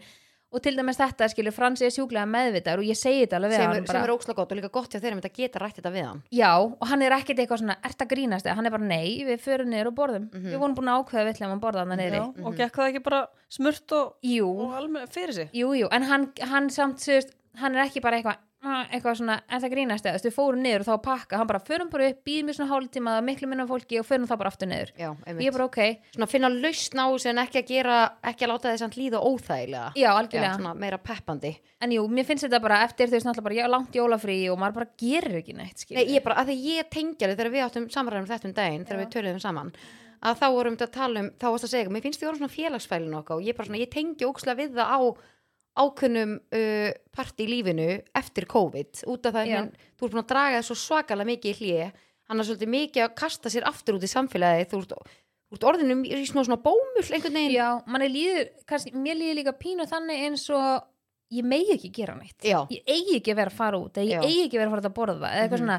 Speaker 3: og til dæmis þetta, skilur, Frans er sjúklega meðvitaður og ég segi þetta alveg við
Speaker 2: sem,
Speaker 3: hann
Speaker 2: er,
Speaker 3: bara-
Speaker 2: sem er ókslega gott og líka gott hjá þeir um þetta geta rætt þetta við hann
Speaker 3: Já, og hann er ekkert eitthvað svona, ert að grínast eða hann er bara nei, við förum niður og borðum
Speaker 2: Mhm.
Speaker 3: við vorum búin að ákveða við ætlum að borða hann niðri
Speaker 1: Já, og gekk það ekki bara smurt og,
Speaker 3: Jú,
Speaker 1: og alveg fyrir sig
Speaker 3: jú, jú, en hann, hann samt sérst, hann er ekki bara eitthvað "Ah," eitthvað svona, ert að grínast eða, þú veist, við fórum niður og þá að pakka, hann bara förum bara upp, býðum við svona hálftíma það er miklu minna af fólki og förum þá bara aftur niður
Speaker 2: já,
Speaker 3: Ég er
Speaker 2: einmitt
Speaker 3: bara ok,
Speaker 2: svona finna lausn á þessu en ekki að gera ekki að láta þess að líða óþægilega
Speaker 3: já,
Speaker 2: já,
Speaker 3: algjörlega
Speaker 2: svona meira peppandi
Speaker 3: En jú, mér finnst þetta bara eftir þau náttúrulega bara já, langt jólafrí og maður bara gerir ekki neitt skilur.
Speaker 2: Nei, ég bara, að því ég tengja þau þegar við áttum samræðum þetta um daginn, þegar við töluðum saman að þá vorum þetta að tala um, þá varst að segja mér finnst þið voru svona félagsfælin okkar og ég bara svona, ég tengja ókslega við það á ákunnum uh, part í lífinu eftir COVID, út af það
Speaker 3: Já.
Speaker 2: menn, þú ert búin að draga það svo svakalega mikið í hlje hann er svolítið mikið að kasta sér aftur út í samfélagi þú ert, þú ert orðinu í svona, svona bómull einhvern veginn
Speaker 3: Já, manni líður, kannski, mér líður líka pínu þannig eins og ég megi ekki gera neitt
Speaker 2: Já.
Speaker 3: ég eigi ekki að vera að fara út eða ég
Speaker 2: Já.
Speaker 3: eigi ekki að vera að fara út að borða eða eitthvað svona,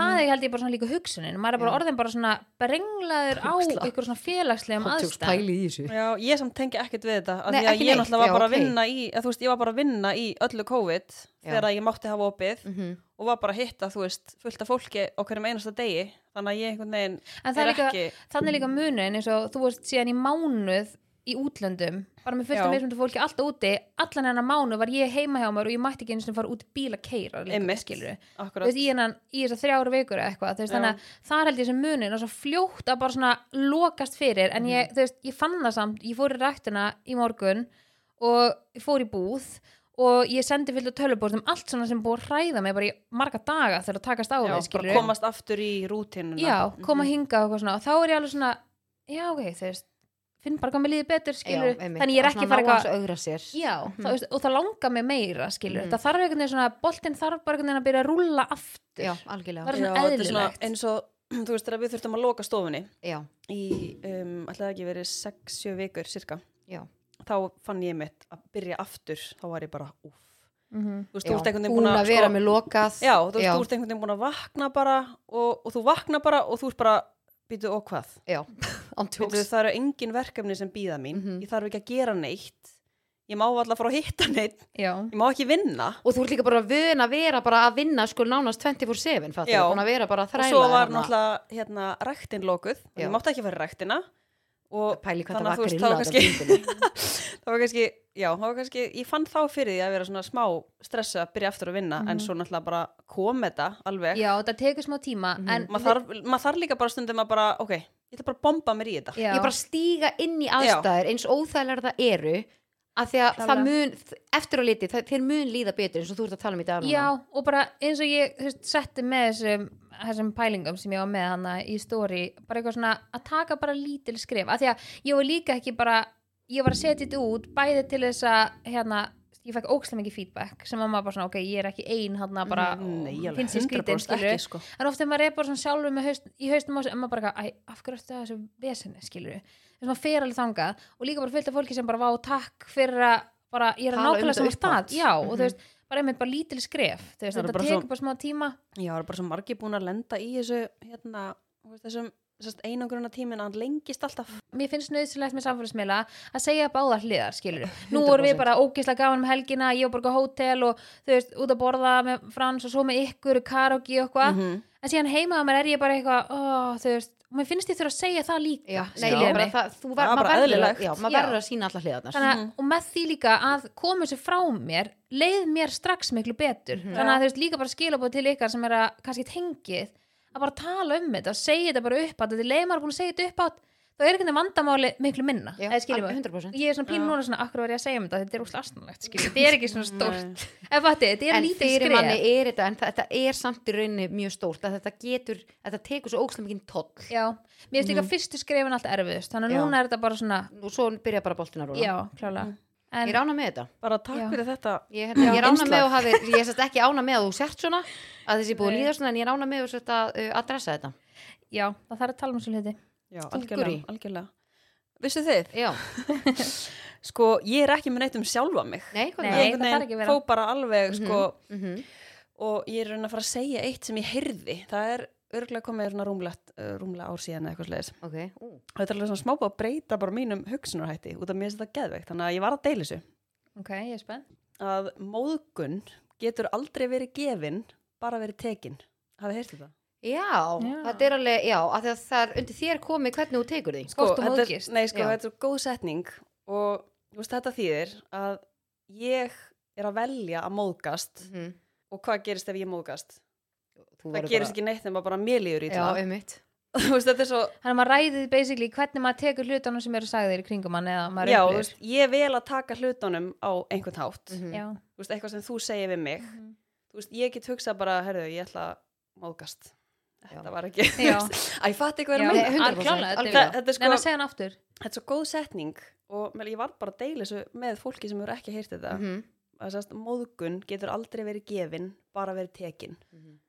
Speaker 3: það er held ég bara svona líka hugsunin maður er bara
Speaker 2: Já.
Speaker 3: orðin bara svona brenglaður á
Speaker 2: Ógeðslega.
Speaker 3: ykkur svona félagslegum aðstæð
Speaker 2: í þessu
Speaker 1: Já, ég samt tengi ekkert við þetta af
Speaker 2: Nei,
Speaker 1: því að
Speaker 2: ekki
Speaker 1: ég
Speaker 2: neitt.
Speaker 1: náttúrulega var
Speaker 2: Já,
Speaker 1: bara að
Speaker 2: ok.
Speaker 1: vinna í að, þú veist, ég var bara að vinna í öllu COVID þegar ég mátti hafa opið
Speaker 3: Mhm.
Speaker 1: og var bara að hitta, þú veist, fullt af fólki á hverjum einasta degi þannig að ég einhvern veginn
Speaker 3: en það er líka,
Speaker 1: ekki
Speaker 3: þannig er líka munin eins og þú veist síðan í mánuð í útlöndum, bara með fullt af
Speaker 1: Já.
Speaker 3: mismundu fólki alltaf úti, allan hennar mánuð var ég heima hjá mér og ég mætti ekki einu sinni fara út í bíl að keira líka,
Speaker 1: Einmitt.
Speaker 3: skilur Þú
Speaker 1: akkurat
Speaker 3: veist, í, hennan, í þess að þrjára vikur eða eitthvað þú veist,
Speaker 1: Já.
Speaker 3: þannig að það held ég sem munin og svo fljótt að bara svona lokast fyrir en
Speaker 1: Mhm.
Speaker 3: ég, þú veist, ég fann það samt, ég fór í ræktina í morgun og ég fór í búð og ég sendi fyllt á tölubóðum allt svona sem búið að hræða mig bara í marga daga þegar að takast á
Speaker 1: Já,
Speaker 3: við
Speaker 1: bara
Speaker 3: skilurðu.
Speaker 1: komast aftur í Mhm. rútinuna
Speaker 3: já, koma hingað og eitthvað svona og þá er ég alveg svona, já ok, þú veist finn bara hvað mér líði betur skilur þannig ég er ekki fara eitthvað
Speaker 2: eitthvað
Speaker 3: Já,
Speaker 1: Mhm.
Speaker 3: mm. það, veist, og það langar mig meira skilur, það þarf einhvern veginn svona boltinn þarf bara einhvern veginn að byrja að rúlla aftur
Speaker 2: Já,
Speaker 3: Það
Speaker 2: algjörlega
Speaker 3: er svona
Speaker 1: Já, þetta er
Speaker 3: eðlilegt.
Speaker 1: eins og, þú veist, þegar við þurftum að loka stofunni
Speaker 2: Já,
Speaker 1: í, um, ætlaði ekki verið 6-7 vikur cirka,
Speaker 2: já,
Speaker 1: þá fann ég mitt að byrja aftur, þá var ég bara úf,
Speaker 3: -hmm.
Speaker 1: þú veist,
Speaker 2: já.
Speaker 1: þú ert einhvern veginn
Speaker 2: Búin
Speaker 1: búin sko
Speaker 2: að vera með lokað
Speaker 1: Já, þú veist, þú ert einhvern veginn búin að vakna bara og, og þú vakna bara og þú ert bara býtu og hvað?
Speaker 2: Já, án
Speaker 1: Býtu,
Speaker 2: tjóks
Speaker 1: það eru engin verkefni sem býða mín
Speaker 2: Mhm.
Speaker 1: ég þarf ekki að gera neitt ég má alltaf fara að hitta neitt
Speaker 3: Já,
Speaker 1: ég má ekki vinna
Speaker 2: Og þú ert líka bara vön að vera bara að vinna sko nánast 24-7 fattar
Speaker 1: Já.
Speaker 2: þú, búin að vera bara að þræla
Speaker 1: og svo
Speaker 2: þér
Speaker 1: var
Speaker 2: þarna.
Speaker 1: náttúrulega hérna ræktin lokuð og
Speaker 2: Já.
Speaker 1: ég mátti ekki fara í ræktina og
Speaker 2: Pæli hvað það
Speaker 1: þannig að
Speaker 2: var
Speaker 1: þú veist,
Speaker 2: grillað
Speaker 1: þá
Speaker 2: þetta
Speaker 1: kannski-
Speaker 2: á bílnum.
Speaker 1: það var kannski, já, það var kannski ég fann þá fyrir því að vera svona smá stressu að byrja aftur að vinna
Speaker 2: Mhm.
Speaker 1: en svo náttúrulega bara kom þetta alveg
Speaker 3: já það tekur smá tíma en
Speaker 1: Mhm. maður þarf, mað þarf líka bara stundum að bara ok, ég ætla bara að bomba mér í þetta
Speaker 3: já,
Speaker 2: Ég bara stíga inn í aðstæður eins óþægilegar það eru að því að það
Speaker 3: Klálega.
Speaker 2: mun, eftir á liti það, þeir mun líða betur eins og þú ert að tala um í dag núna.
Speaker 3: já, og bara eins og ég þú veist, setti með þessum, þessum pælingum sem ég var með hana í stóri bara eitthvað svona að taka bara lítil skrif af því að ég var líka ekki bara ég var að setja þetta út bæði til þess að hérna, ég fekk ógstlega mikið feedback sem að maður bara svona, ok, ég er ekki ein hann að bara,
Speaker 1: Mm, Nei,
Speaker 3: og
Speaker 1: alveg
Speaker 3: finnst ég skrítin
Speaker 1: 100%
Speaker 3: skilur
Speaker 1: ekki, sko.
Speaker 3: en ofta maður er bara svona sjálfur með haust, í haustum á sig en maður bara, eitthvað, æ, af hverju ertu að þessu vesinni skilur þess að maður fer alveg þangað og líka bara fullt af fólki sem bara vá takk fyrir að bara, ég er að
Speaker 2: Tala um
Speaker 3: nákvæmlega
Speaker 2: þetta
Speaker 3: sama
Speaker 2: upphátt. Mhm.
Speaker 3: stað já, og þú veist, bara einmitt bara lítil skref þú veist,
Speaker 1: Það eru
Speaker 3: þetta
Speaker 1: bara
Speaker 3: tekur
Speaker 1: svo-
Speaker 3: bara smá tíma
Speaker 1: Já, það eru bara svo margir búin að lenda í þessu hérna, þú veist, þessum sest, einangruna tímin að hann lengist alltaf
Speaker 3: mér finnst nöðsilegt með samfélagsmiðla að segja báðar hliðar, skilur nú erum við
Speaker 1: 100%.
Speaker 3: bara ógislega gaman um helgina, ég og borga hótel og þú veist, út að borða með frans og svo með ykkur, karaoke
Speaker 2: Mhm.
Speaker 3: og eitthvað
Speaker 1: -hmm.
Speaker 3: en síðan heima á mér er ég bara eitthvað oh, þú veist, og mér finnst ég þurfa að segja það líka
Speaker 2: Já, nei,
Speaker 3: skilurðu
Speaker 2: já, bara
Speaker 3: mig?
Speaker 2: það, þú
Speaker 1: Það
Speaker 2: var,
Speaker 1: var
Speaker 2: maður
Speaker 1: bara
Speaker 2: verður, að-
Speaker 1: eðlilegt.
Speaker 2: já, maður
Speaker 3: Já.
Speaker 2: verður að sína alla hliðarnar.
Speaker 3: þannig, að og með því líka að koma þessu frá mér leið mér strax miklu betur
Speaker 2: Mhm.
Speaker 3: þannig að þú veist líka bara skilabóð til ykkar sem er að kannski tengið að bara tala um þetta og segja þetta bara upp átt því leið maður er búin að segja þetta upp átt þá er ekki þetta vandamáli miklu minna
Speaker 2: Já,
Speaker 3: Eða skilur mig?
Speaker 2: 100%.
Speaker 3: ég er svona pínu núna svona akkur var ég að segja um þetta þetta er úrslega astanlegt þetta er ekki svona stórt
Speaker 1: Mm.
Speaker 3: en fatti, þetta er
Speaker 2: en
Speaker 3: lítið
Speaker 2: fyrir
Speaker 3: skref
Speaker 2: manni er þetta en þetta er samt í rauninni mjög stórt að þetta getur, að þetta tekur svo ógslum mikið tóll
Speaker 3: já, mér finnst líka fyrstu skrefin alltaf erfiðust
Speaker 2: Mhm.
Speaker 3: þannig að
Speaker 2: Já.
Speaker 3: núna er þetta bara svona
Speaker 2: og svo byrja bara boltin að rúla
Speaker 3: já, klálega
Speaker 2: Mhm. ég
Speaker 3: en,
Speaker 2: er ána með þetta
Speaker 1: Bara takk
Speaker 3: Já.
Speaker 1: fyrir þetta
Speaker 2: ég, hérna, ég er ána
Speaker 1: innslag.
Speaker 2: með og hafi, ég er sérst ekki ána með að þú sért svona að þessi búið að
Speaker 3: Nei.
Speaker 2: líða svona en ég er ána með og sérst að uh, adressa þetta
Speaker 3: já, það þarf að tala um svo hluti
Speaker 1: Já,
Speaker 2: Stúlkur í.
Speaker 1: algjörlega, algjörlega vissu þið?
Speaker 2: já,
Speaker 1: Sko, ég er ekki með neitt um sjálfa mig.
Speaker 2: nei, Mhm. hvað
Speaker 1: Ég
Speaker 3: Nei.
Speaker 2: er
Speaker 1: einhvern
Speaker 3: það þarf
Speaker 1: veginn
Speaker 3: ekki að vera. Mhm.
Speaker 1: Fó bara alveg, sko,
Speaker 2: það?
Speaker 1: og ég er raun að fara að segja eitt sem ég heyrði. Það er örglega komið svona rúmlegt, uh, rúmlega ár síðan eða eitthvað sleiðis.
Speaker 2: ok, ú,
Speaker 1: Þetta er alveg svona smá búið að breyta bara mínum hugsunarhætti út af mér sem það geðveikt. Þannig að ég var að deila þessu.
Speaker 3: ok, ég er spennt
Speaker 1: Að móðgun getur aldrei verið gefin, bara verið tekin. Hafið heyrtu það?
Speaker 2: já,
Speaker 3: Já.
Speaker 2: þetta er alveg, já, af því að það er undir þér komið hvernig þú tekur því.
Speaker 1: sko,
Speaker 3: Hvort þú
Speaker 1: þetta er,
Speaker 3: móðgist.
Speaker 1: nei, sko,
Speaker 2: Já.
Speaker 1: þetta er svo góð setning og þú veist, þetta þýðir að ég er að velja að móðgast
Speaker 2: Mhm.
Speaker 1: og hvað gerist ef ég móðgast
Speaker 2: Þú
Speaker 1: það gerist ekki neitt nema bara mér líður í
Speaker 2: Já,
Speaker 1: það
Speaker 2: einmitt.
Speaker 1: þú veist, þetta er svo
Speaker 3: Þannig að maður ræðið basically hvernig maður tekur hlutunum sem eru sagðir í kringum hann eða maður
Speaker 1: já, þú
Speaker 3: upplifir.
Speaker 1: veist, ég vel að taka hlutunum á einhvern hátt
Speaker 2: Mhm.
Speaker 3: Já.
Speaker 1: þú veist, eitthvað sem þú segir við mig
Speaker 3: Mhm.
Speaker 1: þú veist, ég get hugsað bara, herðu, ég ætla að móðgast
Speaker 2: Já.
Speaker 1: þetta var ekki
Speaker 3: Já.
Speaker 1: að ég fatt eitthvað
Speaker 3: Já,
Speaker 1: að
Speaker 2: nei,
Speaker 1: meina
Speaker 2: hund- 100%,
Speaker 3: alklálega, þetta er-
Speaker 2: algjörlega.
Speaker 1: Þetta er sko-
Speaker 3: Nei, en að segja hann aftur
Speaker 1: þetta er svo góð setning og mér- ég var bara að deila þessu með fólki sem eru ekki heyrt þetta
Speaker 2: Mhm.
Speaker 1: að sérst, móðgun getur aldrei verið gefin bara verið tekin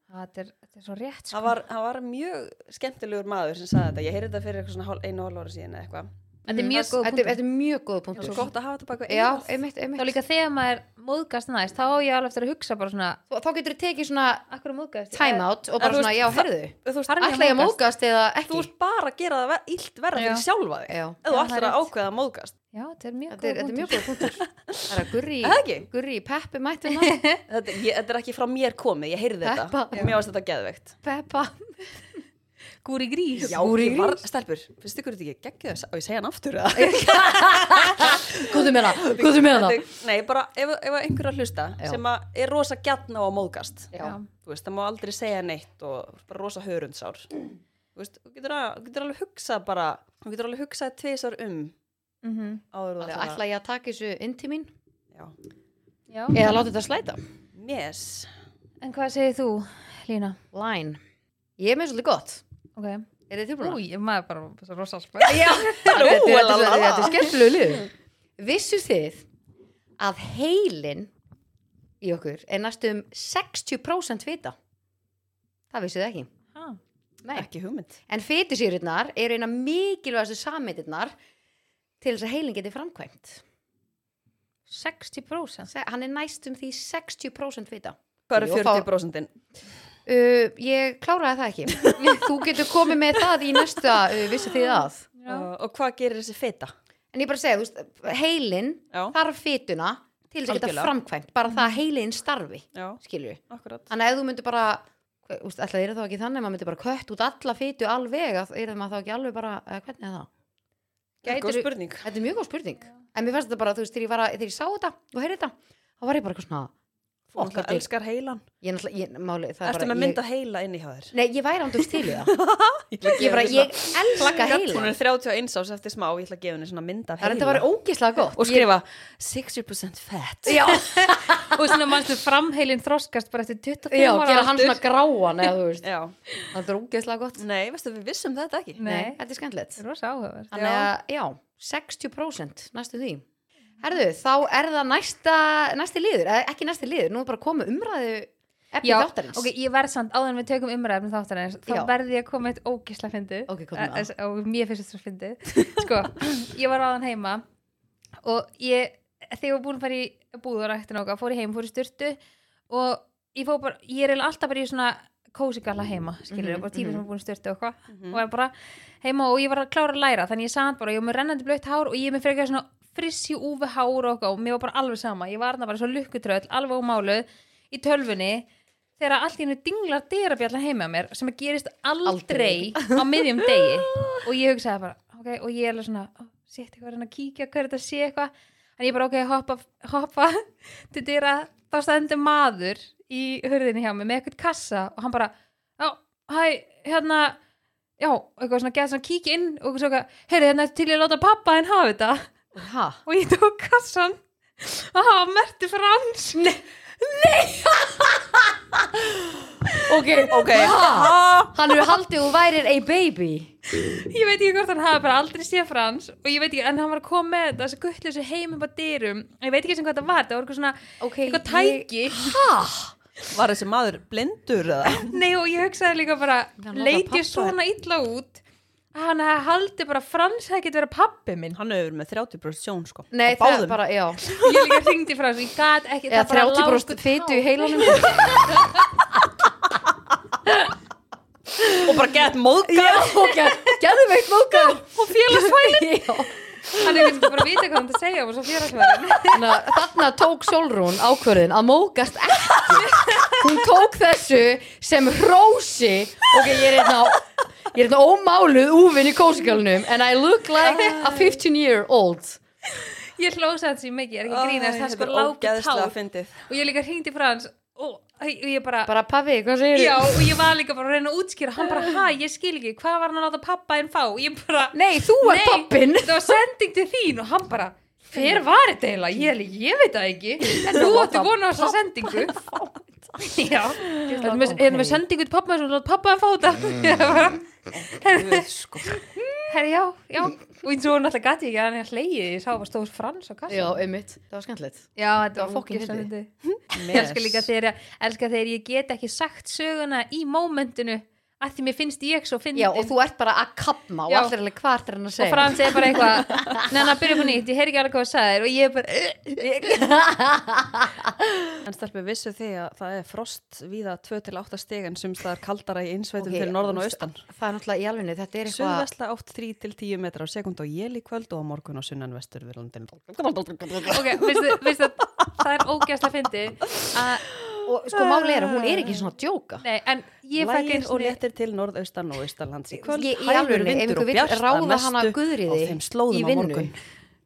Speaker 3: Þetta er, þetta er svo rétt sko.
Speaker 1: það var, það var mjög skemmtilegur maður sem sagði þetta, ég heyrði þetta fyrir eitthvað svona hál- einu og hálf ára síðan eða eitthvað
Speaker 3: Þetta er
Speaker 2: Mhm.
Speaker 3: mjög góð
Speaker 2: Þetta er-
Speaker 3: punktur
Speaker 2: þetta er mjög góð
Speaker 1: Það
Speaker 2: punktur.
Speaker 1: er svo gott að hafa þetta bara
Speaker 2: Já,
Speaker 1: eitthvað
Speaker 2: einmitt, einmitt.
Speaker 3: Þá líka þegar maður móðgast næst þá á ég alveg eftir að hugsa bara svona
Speaker 2: Þá- Þá getur þú tekið svona
Speaker 3: Akkur að móðgast ég?"
Speaker 2: time out og
Speaker 1: En
Speaker 2: bara
Speaker 1: þú
Speaker 2: svona,
Speaker 1: veist,
Speaker 2: já,
Speaker 1: það-
Speaker 2: herðu,
Speaker 1: þú veist,
Speaker 3: Þarf ég að
Speaker 2: ætla ég að
Speaker 3: móðgast?
Speaker 2: móðgast eða
Speaker 1: þú
Speaker 2: ekki?
Speaker 1: ert bara að gera það ver- illt verða
Speaker 3: Já.
Speaker 1: fyrir sjálfa þig ef
Speaker 2: Já,
Speaker 3: Já,
Speaker 1: þú
Speaker 3: það er
Speaker 1: ætlar að
Speaker 3: rétt.
Speaker 1: ákveða að móðgast
Speaker 3: Já, þetta er mjög
Speaker 2: þetta er,
Speaker 3: góð
Speaker 2: þetta er mjög
Speaker 3: punktur
Speaker 2: góð punktur. Það er að gurri,
Speaker 1: Er það ekki?
Speaker 2: gurri peppi mættum það.
Speaker 1: þetta, ég, þetta er ekki frá mér komið, ég heyrði þetta
Speaker 2: Peppa.
Speaker 1: og mér varst þetta geðveikt
Speaker 2: Peppa.
Speaker 3: Gúri grís
Speaker 1: Já, ég var, stelpur, finnst ykkur þetta ekki geggjöð og ég segja hann aftur eða?
Speaker 2: Góðu með það, góðu með það.
Speaker 1: Þetta- Nei, bara ef, ef einhver er að hlusta
Speaker 2: Já.
Speaker 1: sem að er rosa gjarn á að móðgast
Speaker 2: Já,
Speaker 1: þú veist, það má aldrei segja neitt og bara rosa hörundsár þú veist, þú getur, að, þú getur alveg hugsað bara þú getur alveg hugsað tvisar um
Speaker 3: Mhm.
Speaker 1: áður
Speaker 2: Alveg,
Speaker 1: það
Speaker 2: ætla ég að taka þessu inn til mín
Speaker 1: já,
Speaker 3: Já.
Speaker 2: eða láta þetta slæta?
Speaker 1: mes
Speaker 3: En hvað segir þú, Lína?
Speaker 2: Line. Ég er með svolítið gott.
Speaker 3: Ok
Speaker 2: Er þið tilbúin?
Speaker 3: Új, ég maður bara svo rosa spöð
Speaker 2: Já, þetta er- þetta er-
Speaker 1: la, la, la.
Speaker 2: þetta er skemmtilegu lið. Vissu þið að heilin í okkur er næstum 60% fita? Það vissu þið ekki. Nei.
Speaker 1: ekki hugmynd
Speaker 2: En fitusýrurnar eru eina mikilvægastu samyndirnar til þess að heilin geti framkvæmt.
Speaker 3: 60%
Speaker 2: Se- Hann er næstum því 60% fita.
Speaker 1: hvað eru
Speaker 2: Jú,
Speaker 1: 40%?
Speaker 2: Uh, ég kláraði það ekki. Þú getur komið með það í næsta uh, vissu þið að.
Speaker 1: Uh, og hvað gerir þessi feta?
Speaker 2: En ég bara segja, þú veist, heilin
Speaker 1: Já.
Speaker 2: þarf fituna til þess að geta
Speaker 1: Algjörlega.
Speaker 2: framkvæmt. Bara það að heilin starfi,
Speaker 1: já,
Speaker 2: skilju.
Speaker 1: akkurat
Speaker 2: Þannig að ef þú myndir bara, hve- þú veist, alltaf er það ekki þannig að maður myndir bara kött út alla fitu alveg, er það maður þá ekki alveg bara, eða hvernig er það?
Speaker 1: gæti
Speaker 2: Gætirðu-
Speaker 1: spurning
Speaker 2: Þetta er mjög góð spurning. En mér fannst þetta bara, þú veist, þegar ég, var að, þegar ég sá þetta og heyrði þetta, þá var ég bara eitthvað svona,
Speaker 1: þú náttúrulega
Speaker 2: þetta er-
Speaker 1: elskar heilan
Speaker 2: ég náttúrulega, ég, máli, það er
Speaker 1: ertu
Speaker 2: bara...
Speaker 1: með
Speaker 2: ég-
Speaker 1: mynd af heila inni hjá þér?
Speaker 2: Nei, ég væri ándur til í það.
Speaker 1: ég,
Speaker 2: Ég bara, ég elska
Speaker 1: hún
Speaker 2: heila.
Speaker 1: er 31 ás eftir smá ég ætla að gefa henni svona mynd af
Speaker 2: Það er
Speaker 1: heila
Speaker 2: þetta var ógislega gott.
Speaker 1: og skrifa 60% fat
Speaker 2: Já,
Speaker 3: Og svona mannstu framheilin þroskast bara eftir 25
Speaker 2: já,
Speaker 3: ára
Speaker 2: gera hann
Speaker 3: aldur.
Speaker 2: svona gráan eða þú veist.
Speaker 1: já,
Speaker 2: Það er ógeðslega gott.
Speaker 1: nei, veistu við vissum þetta ekki
Speaker 3: Nei,
Speaker 2: þetta er skemmtilegt.
Speaker 3: þetta er rosa áhugaverð
Speaker 2: Þannig að, já, 60% næstu því. Herðu, þá er það næsta, næsti liður, eða ekki næsti liður, nú er bara komið umræðu efni
Speaker 3: Já,
Speaker 2: þáttarins.
Speaker 3: ok, ég verð samt áður en við tökum umræðum þáttarins þá
Speaker 2: Já.
Speaker 3: verði ég að koma með eitt ógisla fyndi
Speaker 2: Ok, komdu með það.
Speaker 3: eh, og mér finnst þetta svo fyndi sko, ég var áðan heima og ég, þegar ég var búin að fara í búður eftir nóga, fór ég heim, fór í styrtu og ég fór bara, ég er eiginlega alltaf bara í svona kósigalla heima, skilur
Speaker 2: Mhm,
Speaker 3: bara tíma sem er búin að styrtu og hvað
Speaker 1: Mhm.
Speaker 3: og er bara heima og ég var að klára að læra þannig ég saði bara, ég var með rennandi blöitt hár og ég er með frekar svona frissi úfi hár og, eitthvað og mér var bara alveg sama, ég var þarna bara svo lukkutröll alveg ómáluð í tölfunni þegar allt í hennu dinglar dyrabjallan heima á mér sem gerist aldrei, á miðjum degi og ég hugsaði bara, ok, og ég er alveg svona oh, sétt eitthvað, reyna að kíkja, hver þetta sé eitthvað en ég bara, ok, hoppa, hoppa til dyra, þá stendur maður í hurðinni hjá mig með eitthvað kassa og hann bara, já, hæ hérna, já, eitthvað svona gæði svona kíkja inn og svo eitthvað, heyrðu hérna ertu til ég að láta pappa henn hafa þetta
Speaker 2: Ha?
Speaker 3: og ég tók kassan að hafa merti frans Nei,
Speaker 2: Ok,
Speaker 1: ok,
Speaker 2: Ha?
Speaker 1: ha?
Speaker 2: Hann hefur haldið og værir a baby.
Speaker 3: ég veit ekki hvort hann hafa bara aldrei séð frans og ég veit ekki, en hann var að koma með þetta þessi guttlösu heimum á dyrum ég veit ekki sem hvað það var, það var eitthvað svona
Speaker 2: Ok,
Speaker 3: eitthvað tæki
Speaker 2: Ha?
Speaker 1: Var þessi maður blindur eða?
Speaker 3: Nei og ég hugsaði líka bara
Speaker 2: Hann láta
Speaker 3: leit
Speaker 2: pabba-
Speaker 3: ég svona illa út hann haldi bara frans að geta verið pappi minn
Speaker 1: Hann hefur verið með 30% sjón sko
Speaker 2: Nei,
Speaker 1: Á
Speaker 2: það
Speaker 1: báðum.
Speaker 2: bara, já
Speaker 3: ég líka ringdi frans, ég gat ekki
Speaker 2: Eða
Speaker 3: það bara
Speaker 2: 30
Speaker 3: lá
Speaker 2: brúst
Speaker 3: einhver
Speaker 2: fytu í
Speaker 3: tár.
Speaker 2: heilanum
Speaker 1: Og bara gett móðgað
Speaker 2: Gæðum eitt móka
Speaker 3: og félagsfælin hann er kannski bara að vita hvað hann það segja og svo félagsfælin
Speaker 2: Þarna tók Solrún ákvörðin að mókast ekki Hún tók þessu sem hrósi Ok, ég er einna Ég er einna ómáluð úvinn í kósikálunum And I look like a 15 year old
Speaker 3: ég hlósa þessi mikið, ég er ekki að grínast það
Speaker 1: Þetta
Speaker 3: sko
Speaker 1: er
Speaker 3: lágu
Speaker 1: ógeðslega
Speaker 3: tár
Speaker 1: fyndið
Speaker 3: og ég líka hringdi frans og, og ég bara
Speaker 2: Bara pabbi, hvað segir
Speaker 3: Já, og ég var líka bara að reyna að útskýra hann bara, hæ, ég skil ekki, hvað var hann að láta pappa en fá ég bara,
Speaker 2: Nei, þú er pappin
Speaker 3: þetta var sending til þín og hann bara, hver var þetta eiginlega ég, er líka, ég veit það ekki, en þú áttu vona á þessa sendingu já, þetta er með-
Speaker 2: ok.
Speaker 3: hérna með sendingu til pappa sem láta pappa en fá þetta Ég bara,
Speaker 1: Guð, sko.
Speaker 3: herri, já, já og eins og náttúrulega gati ekki að hann hleyið ég sá bara stóð frans og kassa
Speaker 2: Já, einmitt, það var skemmtilegt
Speaker 3: já, þetta
Speaker 2: var fucking
Speaker 3: ógeðslega
Speaker 2: fyndið.
Speaker 3: fyndið. Ég
Speaker 1: Mes.
Speaker 3: elska líka þegar, elska þegar ég get ekki sagt söguna í mómentinu að því mér finnst ég svo fyndin
Speaker 2: Já, og þú ert bara að kapma og
Speaker 3: Já.
Speaker 2: allir er alveg hvað ertu hann að
Speaker 3: og
Speaker 2: segja
Speaker 3: Frans er bara eitthvað neina, byrja upp á nýtt, ég heyr ekki alveg hvað það sagðir og ég er bara
Speaker 1: En stelpur vissu því að það er frost víða 2-8 stegan sem það er kaldara í innsveitum
Speaker 2: Ok,
Speaker 1: til norðan og
Speaker 2: þú veist,
Speaker 1: austan.
Speaker 2: Það er náttúrulega í alvegni, þetta er eitthvað
Speaker 1: Suðvestla átt 3-10 metrar á sekund og jél í kvöld og á morgun á sunnan vestur við landin.
Speaker 3: ok, veistu, veistu, það er ógæslega fyndi
Speaker 2: Og sko máli er að hún er ekki svona að djóka
Speaker 3: nei, en ég fæk
Speaker 1: Lægir
Speaker 3: eins
Speaker 1: og léttir til norðaustan og austanlands í kvöld,
Speaker 2: Ég- í
Speaker 1: hægur
Speaker 2: alvörunni, ef
Speaker 1: vindur
Speaker 2: einhver
Speaker 1: og
Speaker 2: vill
Speaker 1: bjart
Speaker 2: ráða
Speaker 1: að
Speaker 2: hana
Speaker 1: mestu
Speaker 2: Guðríði
Speaker 1: á þeim
Speaker 2: í
Speaker 1: slóðum á
Speaker 2: vinnu.
Speaker 1: morgun.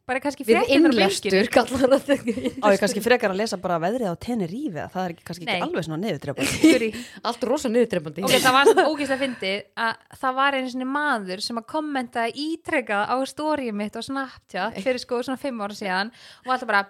Speaker 3: bara kannski
Speaker 2: Við
Speaker 3: fréttirnar á bylgjunni.
Speaker 2: innlestur kallar það
Speaker 1: Á ég kannski frekar að lesa bara veðrið á Tenerife, að það er ekki, kannski
Speaker 3: Nei.
Speaker 1: ekki alveg svona neðutrepa.
Speaker 3: Guri.
Speaker 2: Allt rosa niðurdrefandi
Speaker 3: ok, það var ógæslega fyndi að það var einu sinni maður sem að kommenta ítrekkað á stórið mitt og Snapchat fyrir sko svona fimm ára síðan og alltaf bara,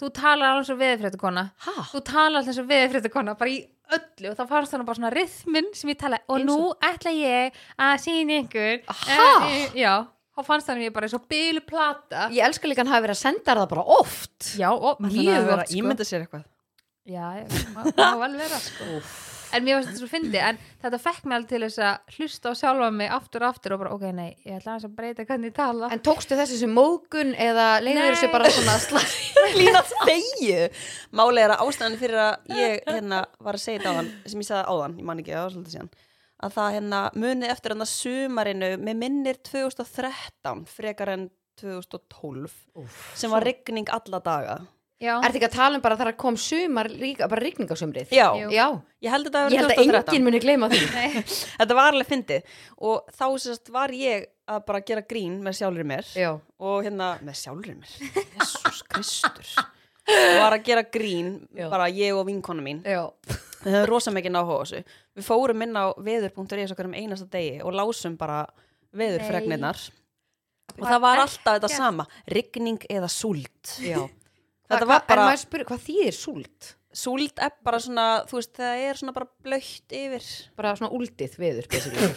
Speaker 3: þú talar alveg svo veðfréttakona
Speaker 2: Ha?
Speaker 3: þú tala alltaf eins og veðurfréttakonna bara í öllu og þá fannst hann bara svona rithminn sem ég tala og
Speaker 2: Eins
Speaker 3: nú ætla ég að sína ykkur
Speaker 2: Ha?
Speaker 3: Eh, já, þá fannst hann mér bara eins og bylu plata
Speaker 2: Ég elska líka hann hafi verið að senda þér það bara oft
Speaker 3: já, og mjög oft sko
Speaker 1: Ímynda sér eitthvað.
Speaker 3: já, ég- má má vel vera sko en mér varst þetta svo fyndi en þetta fekk mig alveg til þess að hlusta á sjálfa mig aftur og aftur og bara ok, nei, ég ætla aðeins að breyta hvernig ég tala
Speaker 2: En tókstu þessi sem mógun eða leiður þessu
Speaker 3: Nei.
Speaker 2: bara svona slæ
Speaker 1: lína þegju Máli er að ástæðan fyrir að ég hérna var að segja þetta áðan sem ég segði áðan, ég man ekki að svolítið síðan að það hérna muni eftir hann að sumarinu með minnir 2013 frekar en 2012 sem var rigning alla daga
Speaker 3: já,
Speaker 2: Ertu ekki að tala um bara þar að kom sumar líka bara rigningasumrið?
Speaker 1: Já,
Speaker 3: Jú.
Speaker 2: Já,
Speaker 1: ég held þetta að
Speaker 2: ég held
Speaker 1: vera
Speaker 2: að
Speaker 1: 2013
Speaker 2: enginn muni gleyma því
Speaker 3: nei,
Speaker 1: Þetta var alveg fyndið og þá sérst var ég að bara gera grín með sjálfur mér
Speaker 2: Já,
Speaker 1: og hérna með sjálfur mér Jésús Kristur var að gera grín
Speaker 2: Já.
Speaker 1: bara ég og vinkona mín
Speaker 2: já
Speaker 1: við höfum rosa mikið náhuga á þessu við fórum inn á veður.is okkur um einasta degi og lásum bara veðurfregnirnar og það var alltaf þetta sama rigning eða súld
Speaker 2: Já.
Speaker 1: þetta var bara,
Speaker 2: En maður spyrir, hvað þýðir súlt?
Speaker 1: súld er bara svona þú veist, það er svona bara blöytt yfir
Speaker 2: Bara svona úldið veður, basically.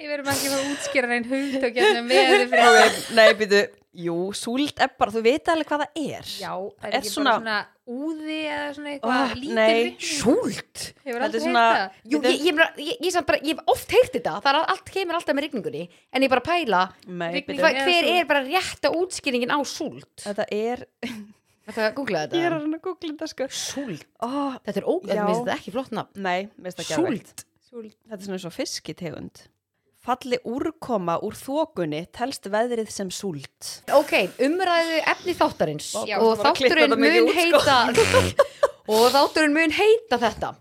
Speaker 3: ég verðum ekki að fara að útskýra hérna neinn hugtökja sem veðurfrétt
Speaker 1: Ok, nei, býtu, jú, súld er bara þú veit alveg hvað það er
Speaker 3: Já, er
Speaker 1: Er
Speaker 3: ekki
Speaker 1: svona-
Speaker 3: bara svona úði eða svona eitthvað
Speaker 1: Ah,
Speaker 3: lítið
Speaker 1: nei.
Speaker 3: rigning?
Speaker 2: Súlt?
Speaker 3: Ég hefur
Speaker 1: Þetta
Speaker 3: aldrei
Speaker 1: er
Speaker 3: svona...
Speaker 1: svona-
Speaker 3: það
Speaker 2: Jú, ég, ég, meina, ég, ég, samt bara, ég hef oft heyrt þetta, það er al- allt kemur alltaf með rigningunni, en ég bara pæla,
Speaker 1: nei, býtu,
Speaker 3: Rigning-
Speaker 2: hva,
Speaker 3: eða
Speaker 2: hver
Speaker 3: súld.
Speaker 2: er bara rétta útskýringin á súlt?
Speaker 1: þetta er
Speaker 2: Þetta googlaði
Speaker 1: ég er
Speaker 2: þetta.
Speaker 1: að reyna að googla þetta sko
Speaker 2: Súlt?
Speaker 1: oh,
Speaker 2: Þetta er ógæð,
Speaker 1: Já.
Speaker 2: mér finnst þetta ekki flott nafn.
Speaker 1: nei, veist það ekki
Speaker 2: Súlt?
Speaker 3: Súld.
Speaker 1: þetta er svona eins og fiskitegund falli úrkoma úr þokunni telst veðrið sem súld
Speaker 2: Ok, umræðu efni þáttarins
Speaker 3: Já,
Speaker 2: og
Speaker 1: þú bara klippir
Speaker 2: þátturinn
Speaker 1: þetta mikið
Speaker 2: mun
Speaker 1: út, sko.
Speaker 2: heita og þátturinn mun heita þetta.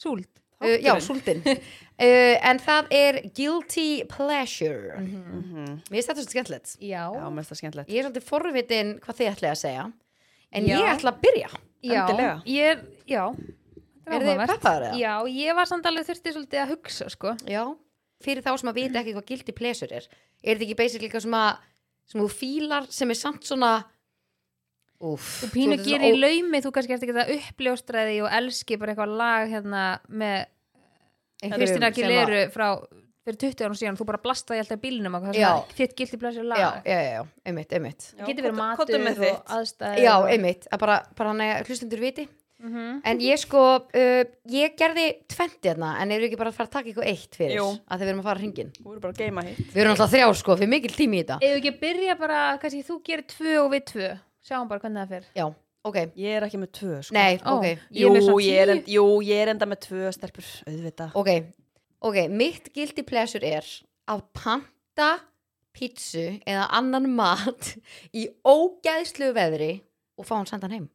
Speaker 3: Súld.
Speaker 2: Uh, já,
Speaker 1: Þátturinn?
Speaker 2: súltinn. Uh, en það er guilty pleasure.
Speaker 3: Mhm.
Speaker 2: Mér finnst þetta svolítið skemmtilegt.
Speaker 3: Já.
Speaker 1: Mhm. Já, mér finnst það skemmtilegt.
Speaker 2: Ég er svolítið forvitin hvað þið ætlaði að segja En
Speaker 3: Já.
Speaker 2: ég ætla að byrja
Speaker 3: Já.
Speaker 1: Endilega.
Speaker 3: Ég er, já. Þetta
Speaker 2: Er þið
Speaker 3: áhugavert.
Speaker 2: peppaðar eða?
Speaker 3: Já, ég var samt alveg þurfti svolítið að hugsa, sko.
Speaker 2: Já Fyrir þá sem að vita ekki hvað gildi plesur er Er þetta ekki basically eitthvað sem að sem þú fílar sem er samt svona Úf
Speaker 3: Þú pínu að gera í laumi, þú kannski ert ekki það uppljóstraði og elski bara eitthvað lag hérna með Kristina Aguileru frá fyrir 20 árum síðan, þú bara blastaði alltaf í bílinum og hvað
Speaker 2: Já.
Speaker 3: sem að þitt gildi blæsir lag.
Speaker 2: Já, já, já, já, einmitt, einmitt
Speaker 3: Það getur verið
Speaker 1: Kottu-
Speaker 3: matur
Speaker 1: kottu með
Speaker 3: og
Speaker 1: þitt.
Speaker 3: aðstæður.
Speaker 2: Já,
Speaker 3: og- Mhm.
Speaker 2: einmitt, að bara, bara hann að hlustundur viti En ég sko, uh, ég gerði tventi þarna, en eru ekki bara að fara að taka eitthvað eitt fyrir
Speaker 1: Jú.
Speaker 2: þess, að þið verum að fara að ringin.
Speaker 1: Þú eru bara að geima hitt
Speaker 2: Við erum alltaf þrjá sko, fyrir mikil tími í þetta.
Speaker 3: Ef við ekki að byrja bara, kannski þú gerir tvö og við tvö Sjáum bara hvernig það fer
Speaker 2: Já, ok.
Speaker 1: Ég er ekki með tvö sko
Speaker 2: Nei,
Speaker 3: Ó.
Speaker 2: ok.
Speaker 3: Ég er
Speaker 1: Jú,
Speaker 3: með svona
Speaker 1: ég er,
Speaker 3: tíu.
Speaker 1: en, jú, ég er enda með tvö stelpur auðvita
Speaker 2: Ok, ok, mitt guilty pleasure er að panta pítsu eða annan mat í ógæðslu veðri og fá hann sendan heim.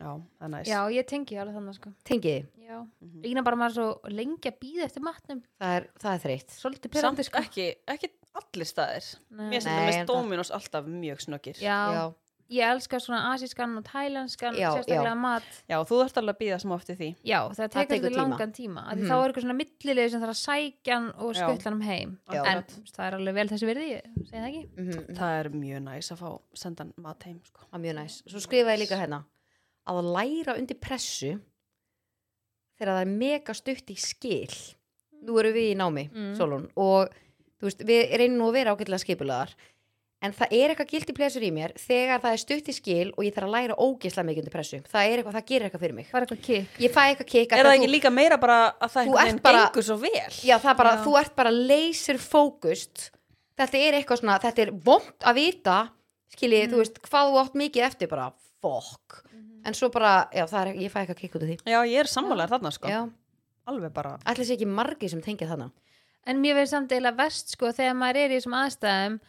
Speaker 1: Já, það er næst
Speaker 3: Já, ég tengi alveg þannig sko
Speaker 2: Tengiði,
Speaker 3: Já,
Speaker 2: Mhm.
Speaker 3: lína bara maður svo lengi að býða eftir matnum
Speaker 2: það er, það er þreytt.
Speaker 3: Svolítið
Speaker 1: Samt
Speaker 3: perandi sko
Speaker 1: ekki, ekki allir staðir
Speaker 3: Nei.
Speaker 1: Mér sem
Speaker 2: Nei,
Speaker 1: það
Speaker 2: en
Speaker 1: með
Speaker 2: það-
Speaker 1: Dominos alltaf mjög snöggir
Speaker 3: Já,
Speaker 2: Já,
Speaker 3: ég elska svona asískan og tælanskan
Speaker 2: Já,
Speaker 3: Sérstaklega
Speaker 2: já.
Speaker 3: mat
Speaker 1: Já, þú þarft alveg að býða smá eftir því
Speaker 3: Já, það tekur
Speaker 2: tekur
Speaker 3: svolítið
Speaker 2: tíma.
Speaker 3: langan tíma af Því
Speaker 2: Mhm.
Speaker 3: þá er eitthvað svona millilegu sem þarf að sækja hann og
Speaker 1: Já.
Speaker 3: skuttla hann um heim
Speaker 2: Já.
Speaker 3: En það er alveg vel þessi virði, ég segi það ekki
Speaker 2: mm
Speaker 1: Það er mjög næs að fá sendan mat heim sko.
Speaker 2: það er mjög næs. Svo skrifaði ég líka hérna að læra undir pressu þegar það er mega stutt í skil. Nú erum við í námi,
Speaker 3: Mm.
Speaker 2: Solon, og þú veist, við reynum nú að vera ágætlega skipulaðar. En það er eitthvað guilty pleasure í mér þegar það er stutt í skil og ég þarf að læra ógeðslega mikið undir pressu. Það er eitthvað, það gerir eitthvað fyrir mig.
Speaker 3: Bara eitthvað kikk
Speaker 2: Ég fæ eitthvað kika.
Speaker 1: Er það ekki líka meira bara að það
Speaker 2: Þú
Speaker 1: einhvern
Speaker 2: ert
Speaker 1: veginn
Speaker 2: bara-
Speaker 1: gengur svo vel
Speaker 2: Já, það er bara,
Speaker 3: Já.
Speaker 2: þú ert bara laser focused Þetta er eitthvað svona, þetta er vond að vita Skiljið,
Speaker 3: Mhm.
Speaker 2: þú veist, hvað þú átt mikið eftir bara, fokk En svo bara, já, það er, ég fæ eitthvað kikk út af því
Speaker 1: Já, ég er sammálaðar þarna sko
Speaker 2: Já,
Speaker 1: Alveg bara
Speaker 2: ætli sé ekki margir sem tengja þannig
Speaker 3: En mér verður samt eiginlega verst sko þegar maður er í þessum aðstæðum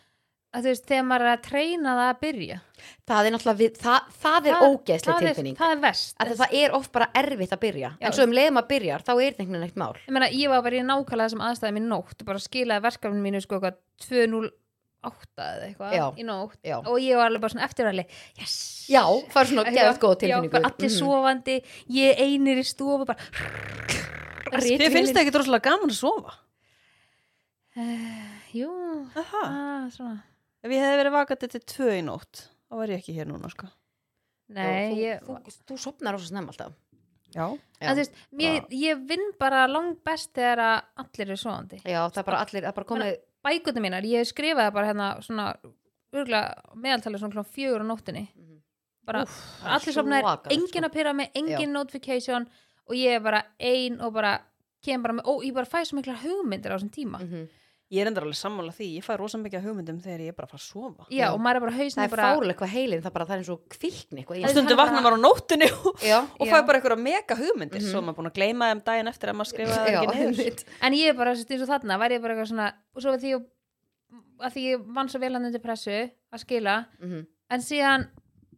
Speaker 3: að þú veist, þegar maður er að treyna það að byrja
Speaker 2: Það er náttúrulega, við, það, það er ógeðsli
Speaker 3: það
Speaker 2: tilfinning
Speaker 3: er, það er verst
Speaker 2: Af því að Það er oft bara erfitt að byrja
Speaker 3: Já.
Speaker 2: En svo um leiðum að byrjar, þá er þetta einhvern veginn eitt mál
Speaker 3: ég meina, ég var bara í nákvæmlega þessum aðstæðum í nótt og bara skilaði verkefninu mínu sko eitthvað 208
Speaker 2: Já,
Speaker 3: eða eitthvað í nótt
Speaker 2: já.
Speaker 3: og ég var alveg bara svona eftirvæli yes!
Speaker 2: Já, það er svona
Speaker 3: Eitthvað,
Speaker 2: geðað góð
Speaker 3: já,
Speaker 2: tilfinningu
Speaker 3: bara allir
Speaker 2: Mhm.
Speaker 3: sofandi, ég einir í stofu bara
Speaker 1: Þið finnst það ekki droslega gaman að sofa
Speaker 3: Eh, jú,
Speaker 1: Aha.
Speaker 3: ah, svona
Speaker 1: Ef ég hefði verið vakandi til tvö í nótt þá var ég ekki hér núna sko
Speaker 3: nei,
Speaker 2: Þú-
Speaker 3: ég
Speaker 2: þú, þú, þú sopnar rosa snemma alltaf
Speaker 1: Já,
Speaker 2: Já. Ah.
Speaker 3: En þú veist, mér, ég vinn bara langt best þegar að allir eru svoandi.
Speaker 2: Já, það er bara allir, það er bara komið
Speaker 3: Bækundum mínar, ég skrifaði bara hérna svona, örgulega meðaltalið svona klón fjögur á nóttinni.
Speaker 2: Mhm.
Speaker 3: Bara
Speaker 2: það er
Speaker 3: allir sofnaðir,
Speaker 2: svakalegt,
Speaker 3: engin að pyrra mig, engin notification og ég er bara ein og bara kem bara með, ó, ég bara fæ svo mikla hugmyndir á þessum tíma.
Speaker 2: Mhm.
Speaker 1: ég er endur alveg sammála því Ég fæ rosa mikið af hugmyndum þegar ég er bara að fara að sofa
Speaker 3: Já, og maður er bara hausnir
Speaker 2: það er
Speaker 3: bara,
Speaker 2: fárlega hvað heilin það, bara, það er eins og kvikni eitthvað í
Speaker 1: Og
Speaker 3: Það er
Speaker 2: þessu.
Speaker 1: stundu
Speaker 3: hann
Speaker 1: vakna
Speaker 3: bara-
Speaker 1: maður á nóttinu og
Speaker 2: já,
Speaker 1: og
Speaker 3: Já.
Speaker 1: fæ bara einhverja mega hugmyndir
Speaker 2: Mhm.
Speaker 1: Svo er maður búin að gleyma þeim daginn eftir að maður skrifa það
Speaker 2: já,
Speaker 1: ekki niður
Speaker 2: einmitt.
Speaker 3: en ég er bara þú veist, eins og þarna, var ég bara eitthvað svona, og svo að því ég, að því ég vann svo vel hann undir pressu að skila,
Speaker 2: Mhm.
Speaker 3: en síðan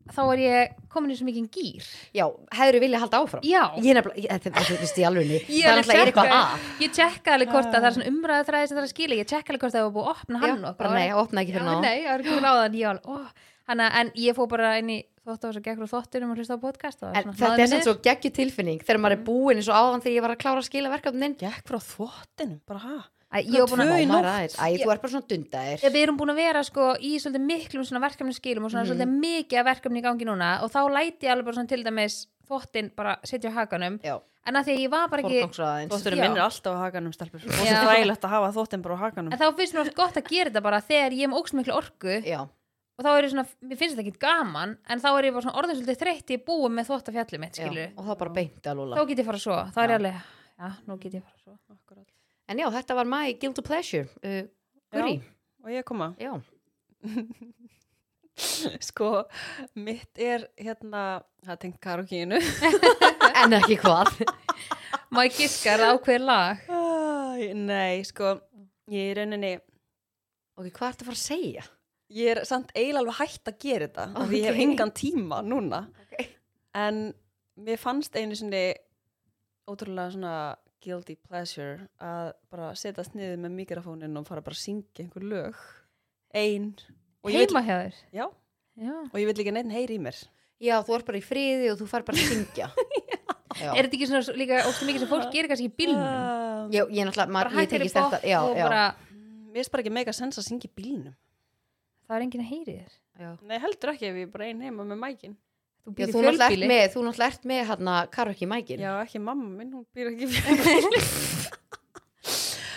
Speaker 3: þá er ég komin í svo mikið gýr.
Speaker 2: já, hefur vilja halda áfram
Speaker 3: Já.
Speaker 2: ég er nefnilega, ég- þetta þetta veist ég alveg niður það er
Speaker 3: Ég alveg
Speaker 2: alltaf er eitthvað
Speaker 3: sekkaði.
Speaker 2: að
Speaker 3: Ég tjekka alveg hvort að það er svona umræðu þræði sem það er að skila, ég tjekka alveg hvort það var búið að opna hann
Speaker 2: Ah. já,
Speaker 3: og
Speaker 2: bara nei, opna ekki fyrir
Speaker 3: Já,
Speaker 2: ná
Speaker 3: nei, ég var ekki fyrir áðan, ég var alveg, ó, hana, en ég fór bara inn í þóttafs og gekkur og þóttunum og hlusta á podcast og
Speaker 2: en þetta er sem svo geggju tilfinning þegar maður er
Speaker 3: Mhm.
Speaker 2: búin eins og áðan þegar ég var að klára að skila verkefnin
Speaker 1: Gekk frá þvottinum, bara ha
Speaker 3: að ég var búin
Speaker 1: Tvö
Speaker 3: að,
Speaker 1: í
Speaker 2: Má maður
Speaker 1: nótt.
Speaker 2: aðeins. Æ, þú er bara svona dundaðir
Speaker 3: Ég- við erum búin að vera sko í svolítið miklum svona verkefni skilum og
Speaker 2: Mhm.
Speaker 3: svona svolítið mikið af verkefni í gangi núna og þá læti ég alveg bara svona til dæmis þóttin bara sitja á hakanum
Speaker 2: já,
Speaker 3: en að því að ég var bara ekki
Speaker 2: forgangsraðins
Speaker 1: Þvotturinn
Speaker 3: Já.
Speaker 1: minnir alltaf á hakanum stelpur Og
Speaker 3: Já.
Speaker 1: svo þægilegt að hafa þvottin bara á hakanum
Speaker 3: en þá finnst mér oft gott að gera þetta bara þegar ég er með ógst miklu orku
Speaker 2: já,
Speaker 3: og þá er ég svona, mér finnst þetta ekki gaman en þá er ég bara svona orðin svolítið þreytt ég búið með þótt af fjallið mitt,
Speaker 2: já,
Speaker 3: skilur
Speaker 2: og það bara beint að
Speaker 3: þá
Speaker 2: lúla
Speaker 3: get ég fara svo, þá
Speaker 2: Já.
Speaker 3: er ég alveg já, nú get ég fara svo
Speaker 1: Akkúrat.
Speaker 2: en já, þetta var my guilty pleasure uh, Guri,
Speaker 1: Og ég koma
Speaker 2: já,
Speaker 1: Sko, mitt er hérna, það er tengt karokínu
Speaker 2: en ekki hvað
Speaker 3: má ég giska, er það ákveðið lag
Speaker 1: Æ, Nei, sko, ég er rauninni
Speaker 2: ok, hvað ertu að fara að segja?
Speaker 1: Ég er samt eiginlega alveg hægt að gera þetta af því ég hef
Speaker 2: Ókei.
Speaker 1: engan tíma núna
Speaker 2: Ok.
Speaker 1: en mér fannst einu sinni ótrúlega svona guilty pleasure að bara setjast niður með mikrofónin og fara bara að syngja einhver lög ein og ég
Speaker 3: heima hjá þér
Speaker 1: vil, já,
Speaker 3: já.
Speaker 1: og ég vil ekki neitt heyri í mér
Speaker 2: Já, þú ert bara í friði og þú fær bara að syngja. já.
Speaker 3: er þetta ekki svona svo- líka ógst mikið sem fólk gerir kannski í bílnum
Speaker 1: Ah,
Speaker 2: Já, ég náttúrulega, maður,
Speaker 3: bara
Speaker 2: Ah. ég
Speaker 3: hættir í
Speaker 2: tekist
Speaker 3: bótt
Speaker 2: þetta, já,
Speaker 3: og
Speaker 2: já,
Speaker 3: bara
Speaker 1: Mér finnst bara ekki mega sens að syngja í bílnum
Speaker 3: það er enginn að heyri þér
Speaker 2: já.
Speaker 1: Nei, heldur ekki ef ég er bara ein heima með mækin
Speaker 3: þú
Speaker 2: Já,
Speaker 3: býr í
Speaker 2: þú náttúrulega ert
Speaker 3: fjölbíli
Speaker 2: með, þú náttúrulega ert með hérna karaoke mækin.
Speaker 1: Já, ekki mamma minn, hún býr ekki fyrir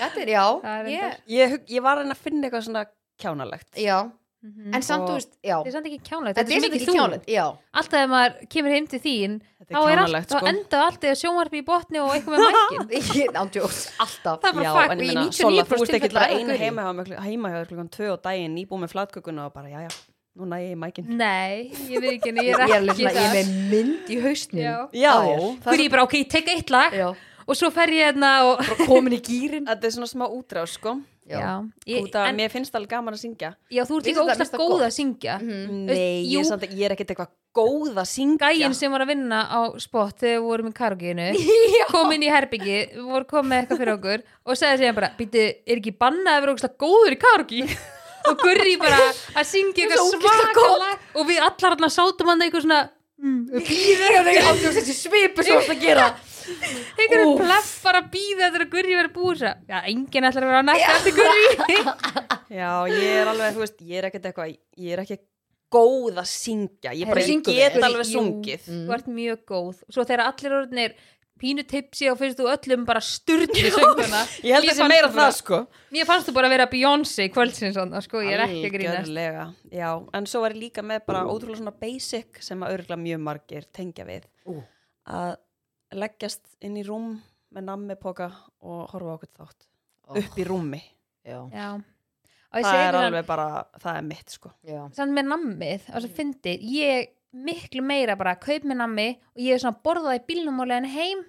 Speaker 2: Þetta er, já,
Speaker 3: Það er
Speaker 2: ég,
Speaker 3: reyndar.
Speaker 1: ég, hug- ég var að reyna að finna eitthvað svona kjánalegt
Speaker 2: já, en samt,
Speaker 3: Mm. Og-
Speaker 2: þú veist, já
Speaker 3: Mhm. Þetta er samt ekki kjánlegt,
Speaker 2: þetta er
Speaker 3: svo
Speaker 2: samt
Speaker 3: mikið
Speaker 2: ekki
Speaker 3: þú
Speaker 2: kjánlegt, já
Speaker 3: Alltaf ef maður kemur heim til þín
Speaker 1: Þetta
Speaker 3: þá,
Speaker 1: er
Speaker 3: er
Speaker 1: kjánalegt
Speaker 3: allt, þá
Speaker 1: sko
Speaker 3: endað alltaf í sjónvarpi í botni og eitthvað með mækin
Speaker 2: Nándjóks, alltaf
Speaker 3: Það er bara
Speaker 1: Já,
Speaker 3: fuck,
Speaker 1: en
Speaker 3: og
Speaker 1: ég
Speaker 3: í
Speaker 1: meina,
Speaker 3: 99%
Speaker 1: Sola, þú ert ekki
Speaker 3: tilfella
Speaker 1: bara
Speaker 3: er það
Speaker 1: einu
Speaker 3: gaurinn.
Speaker 1: heima hjá mér kl- heima hjá þér klukkan 2 á daginn, nýbúið með flatkökuna og bara, já, já, núna ég í mækin.
Speaker 3: Nei, ég veit ekki,
Speaker 2: Ég
Speaker 3: ég
Speaker 2: er
Speaker 3: er
Speaker 2: alveg
Speaker 3: ekki
Speaker 2: svona, ég er með mynd í hausnum
Speaker 3: Já.
Speaker 1: Já,
Speaker 2: á þér.
Speaker 1: það
Speaker 3: Hver
Speaker 1: er
Speaker 3: ég bara, ok, ég tek eitt lag
Speaker 2: Já,
Speaker 3: og svo fer ég hérna og
Speaker 2: bara komin í gýrin
Speaker 1: þetta er svona smá útrás, sko.
Speaker 2: Já,
Speaker 3: ég,
Speaker 1: Út af,
Speaker 3: en,
Speaker 1: mér finnst það alveg gaman að syngja.
Speaker 3: já þú ert
Speaker 2: Mér finnst
Speaker 3: líka
Speaker 2: það- mér
Speaker 3: ógstast
Speaker 2: finnst það
Speaker 3: góð
Speaker 2: gott.
Speaker 3: að syngja
Speaker 2: Mhm.
Speaker 1: Nei,
Speaker 3: jú.
Speaker 1: ég er, samt, ekki- ég er ekkert eitthvað góð að syngja.
Speaker 3: Gæinn sem var að vinna á spott þegar við vorum í karginu kom inn í herbyggi, við vorum komið með eitthvað fyrir okkur og sagði síðan bara, býtu, er ekki bannað að vera ógstast góður í kargi og Gurri bara að
Speaker 2: Það
Speaker 3: syngja
Speaker 2: er svo
Speaker 3: eitthvað
Speaker 2: ógeðslega gott.
Speaker 3: svakala og við allar allar sátum hann eitthvað svona mm,
Speaker 2: Býður ekki að það er ándjóks hérna þessi svipu sem þú ert að gera
Speaker 3: einhverjum
Speaker 2: Úff.
Speaker 3: pleff bara að býða eftir að Gurri verið búið svo, já, enginn ætlar að vera að næsta eftir Gurri
Speaker 1: Já, ég er alveg, þú veist, ég er ekkert eitthvað, ég er ekki góð að syngja. Ég bara,
Speaker 2: Heyrðu,
Speaker 1: ég
Speaker 2: syngur
Speaker 1: get
Speaker 2: vel.
Speaker 1: alveg
Speaker 3: Jú.
Speaker 1: sungið.
Speaker 2: Mm.
Speaker 3: þú ert mjög góð og svo þegar allir orðinir pínu tipsi og finnst þú öllum bara styrni sönguna
Speaker 1: Ég held þessi meira það, sko.
Speaker 3: mér fannst þú bara að vera Beyoncé kvöldsins þarna, sko, ég er ekki að grínast
Speaker 1: Algjörlega, já, en svo var ég líka með bara ótrúlega svona basic sem að örgulega mjög margir tengja við
Speaker 2: Ú.
Speaker 1: að leggjast inn í rúm með nammipoka og horfa á okkur þátt
Speaker 3: Oh.
Speaker 2: Ó.
Speaker 1: upp í rúmi,
Speaker 2: Já,
Speaker 3: já og ég
Speaker 1: það
Speaker 3: segi
Speaker 1: er
Speaker 3: þér
Speaker 1: alveg bara það er mitt sko
Speaker 2: já
Speaker 3: samt með nammið og svo fyndi ég miklu meira bara kaup með nammi og ég er svona að borða það í bílnum og leiðin heim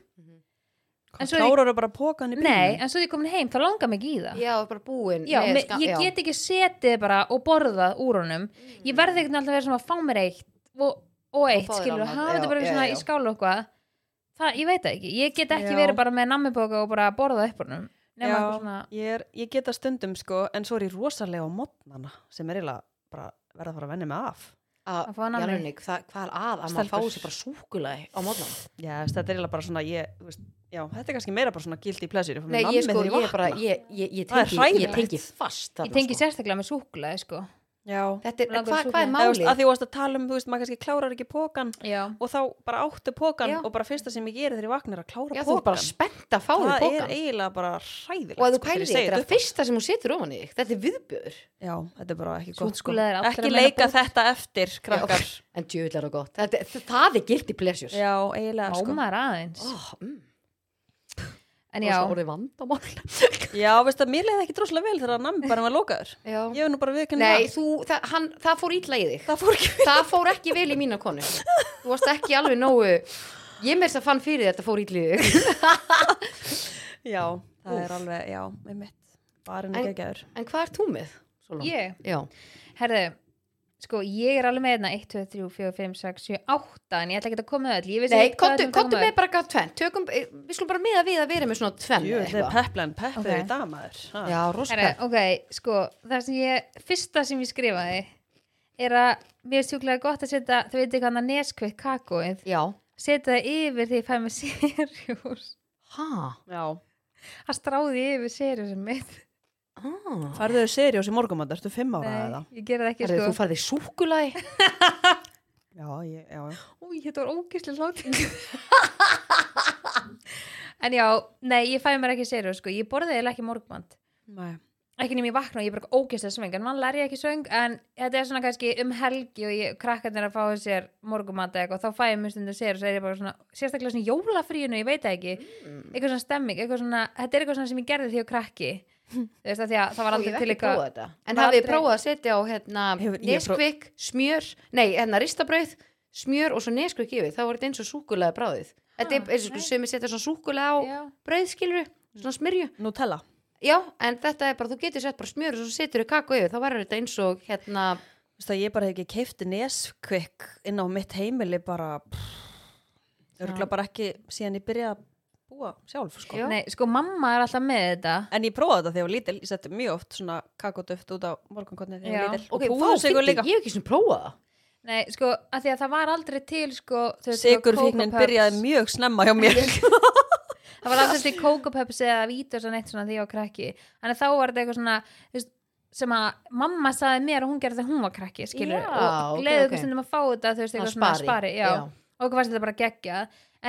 Speaker 1: Hvað,
Speaker 3: En svo er-
Speaker 1: klárar þú bara pokan í
Speaker 3: nei,
Speaker 1: bílnum?
Speaker 3: en svo því komin heim, þá langar mig ekki í það
Speaker 2: Já, bara búin
Speaker 3: Já,
Speaker 2: með
Speaker 3: með,
Speaker 2: skam-
Speaker 3: ég
Speaker 2: já.
Speaker 3: get ekki setið bara og borðað úr honum ég verði ekkert alltaf að vera svona að fá mér eitt og, og eitt,
Speaker 2: fá þér
Speaker 3: skilur,
Speaker 2: annað,
Speaker 3: hafa
Speaker 2: já,
Speaker 3: þetta bara
Speaker 2: já,
Speaker 3: svona
Speaker 2: já.
Speaker 3: í skála og eitthvað það, ég veit það ekki, ég get ekki
Speaker 1: Já.
Speaker 3: verið bara með nammiboka og bara borðað upp honum nema
Speaker 1: Já.
Speaker 3: eitthvað svona,
Speaker 1: ég, er, ég geta stundum sko en svo er ég rosalega á mótnana sem er eiginlega bara verða að fara að venni mig af
Speaker 2: að
Speaker 3: Að fá nammi.
Speaker 2: Jarnik, það, hvað er að að maður
Speaker 1: Stelpur.
Speaker 2: fái sér bara súkulagi á mótnum
Speaker 1: já, þess, þetta er eiginlega bara svona ég, þú veist, já, þetta er kannski meira bara svona guilty pleasure
Speaker 2: Nei, ég sko, ég er bara, ég, ég, ég,
Speaker 1: Það er
Speaker 2: tengi, ég
Speaker 1: hræðilegt.
Speaker 2: tengi fast
Speaker 3: ég tengi
Speaker 2: sér
Speaker 3: sérstaklega með súkulaði sko.
Speaker 1: já,
Speaker 2: Þetta er, hvað
Speaker 3: Langar
Speaker 2: hva er
Speaker 3: súkkulaði.
Speaker 1: Eða, þú veist,
Speaker 2: málið?
Speaker 1: að því þú varst að tala um, þú veist, maður kannski klárar ekki pókan
Speaker 3: já,
Speaker 1: og þá bara áttu pókan
Speaker 2: Já.
Speaker 1: og bara fyrsta sem ég gerir þegar ég vaknar er að klára
Speaker 2: Já, þú er
Speaker 1: pókan
Speaker 2: bara spennt að fá þér
Speaker 1: það er
Speaker 2: pókan
Speaker 1: eiginlega bara hræðilegt
Speaker 2: og að
Speaker 1: sko,
Speaker 2: þú
Speaker 1: þegar ég
Speaker 2: pælir þig,
Speaker 1: segi
Speaker 2: þetta er
Speaker 1: þetta
Speaker 2: að
Speaker 1: upp.
Speaker 2: fyrsta sem hún setur ofan í þig þetta er viðbjöður,
Speaker 1: já, þetta er bara ekki gott sko.
Speaker 3: Súkkulaði er allra
Speaker 1: ekki
Speaker 3: meina
Speaker 1: leika
Speaker 3: bót.
Speaker 1: þetta eftir krakkar já,
Speaker 2: en djöðlar og gott þetta, er- það er guilty pleasures
Speaker 1: eiginlega sko.
Speaker 3: ámar aðeins
Speaker 2: oh, mm,
Speaker 3: en já,
Speaker 2: það er orðið vandamál sko.
Speaker 1: já, veist það, mér leiði ekki droslega vel þegar namn bara var lokaður ég
Speaker 2: já.
Speaker 1: hef nú bara viðkynna
Speaker 2: Nei, þú, það, hann, það fór ítla í þig
Speaker 1: það fór ekki
Speaker 2: það fór ekki vel í mína konu þú varst ekki alveg nógu ég með þess að fann fyrir þér að þetta fór ítla í þig
Speaker 1: já, það
Speaker 2: Úff.
Speaker 1: er alveg, já, með mitt bara en
Speaker 2: En-
Speaker 1: ekki að gæður
Speaker 2: en hvað er þú með? Sólon?
Speaker 3: ég
Speaker 2: Já,
Speaker 3: herðu, sko, ég er alveg með hérna 1, 2, 3, 4, 5, 6, 7, 8 en ég ætla ekki að koma með öll, ég vissi
Speaker 2: Nei,
Speaker 3: ekki hvað
Speaker 2: komdu,
Speaker 3: öllum
Speaker 2: komdu
Speaker 3: taka
Speaker 2: með bara gaf tvenn Tökum, eh, Við skulum bara miða við að vera með svona tvenn
Speaker 1: jú,
Speaker 2: eða
Speaker 1: þetta er
Speaker 2: eitthvað.
Speaker 1: peplan, pepp er
Speaker 3: Ok.
Speaker 1: í damaður
Speaker 2: Sko. Já, roska
Speaker 3: Herra, ok, sko, það sem ég fyrsta sem ég skrifaði er að mér er sjúklega gott að setja þú veitir hvað hann að neskveitt kakóið
Speaker 2: Já,
Speaker 3: setja það yfir því ég fæ með serjós
Speaker 2: hæ
Speaker 1: já,
Speaker 3: að stráði yfir serjósum mitt
Speaker 2: ah.
Speaker 1: farðu þau seriós í morgumandar, ertu fimm ára eða?
Speaker 3: ég gera það ekki
Speaker 2: Herri,
Speaker 3: sko
Speaker 2: Þú farði súkulagi
Speaker 1: Já, ég, já, já.
Speaker 3: Új, þetta var ógislega hlátt en já, nei, ég fæ mér ekki serjós sko, ég borðið eða ekki morgmand
Speaker 1: Nei.
Speaker 3: ekki nefnum ég vakna og ég er bara ógeðslega svöng en mann lær ég ekki svöng en þetta er svona kannski um helgi og ég, krakkarnir að fá sér morgumata eitthvað þá fæ ég mjög stundum sér og svo er ég bara svona sérstaklega svona í jólafríinu, ég veit það ekki
Speaker 2: Mm.
Speaker 3: eitthvað svona stemming, eitthvað svona þetta er eitthvað svona sem ég gerði því ég var krakki þú veist það því að það var aldrei til eitthvað
Speaker 2: eitthvað En
Speaker 3: Var
Speaker 2: hafið þið
Speaker 3: aldrei-
Speaker 2: prófað að setja á hérna,
Speaker 1: Hefur- ég pró-
Speaker 2: neskvik, smjör Nei, hérna ristabrauð, smjör og svo neskvik yfir Það var þetta eins og súkulagi bráðið Þetta er eins og
Speaker 3: nei.
Speaker 2: sem ég setja svona súkulagi á
Speaker 3: Já.
Speaker 2: brauð skilur Svona smyrju
Speaker 1: Nutella
Speaker 2: Já, en þetta er bara, þú getur sett bara smjör og svo setur þau kakku yfir Þá var þetta eins og hérna
Speaker 1: Veistu að ég bara hef ekki keift neskvikk inn á mitt heimili bara örgulega bara ekki síðan ég byrja að búa sjálf sko.
Speaker 2: Já.
Speaker 3: Nei, sko mamma er alltaf með þetta
Speaker 1: En ég prófaði þetta þegar ég var lítil, ég setti mjög oft svona kakóduft út á morgunkotni þegar ég
Speaker 3: Já.
Speaker 1: var lítil og
Speaker 2: Ok, vá,
Speaker 1: púðursykur
Speaker 2: fyndi,
Speaker 1: líka.
Speaker 2: ég hef ekki svona prófað það
Speaker 3: Nei, sko, að því að það var aldrei til sko, þú veist, það var
Speaker 1: Sigurfíknin
Speaker 3: Coco Puffs.
Speaker 1: byrjaði mjög snemma hjá mér.
Speaker 3: það var alltaf til Coco Pups eða Vítos og neitt svona því ég var krakki þannig að þá var þetta eitthvað svona þú veist, sem að mamma saði mér að hún gerði þegar hún var krakki skilur,
Speaker 2: Já,
Speaker 3: og
Speaker 2: ok,
Speaker 3: gleðið
Speaker 2: ok.
Speaker 3: okay. stundum að fá þetta þú veist,
Speaker 2: Svona
Speaker 3: eitthvað svona
Speaker 2: spari,
Speaker 3: spari já.
Speaker 2: já.
Speaker 3: og hvað fannst þetta bara geggja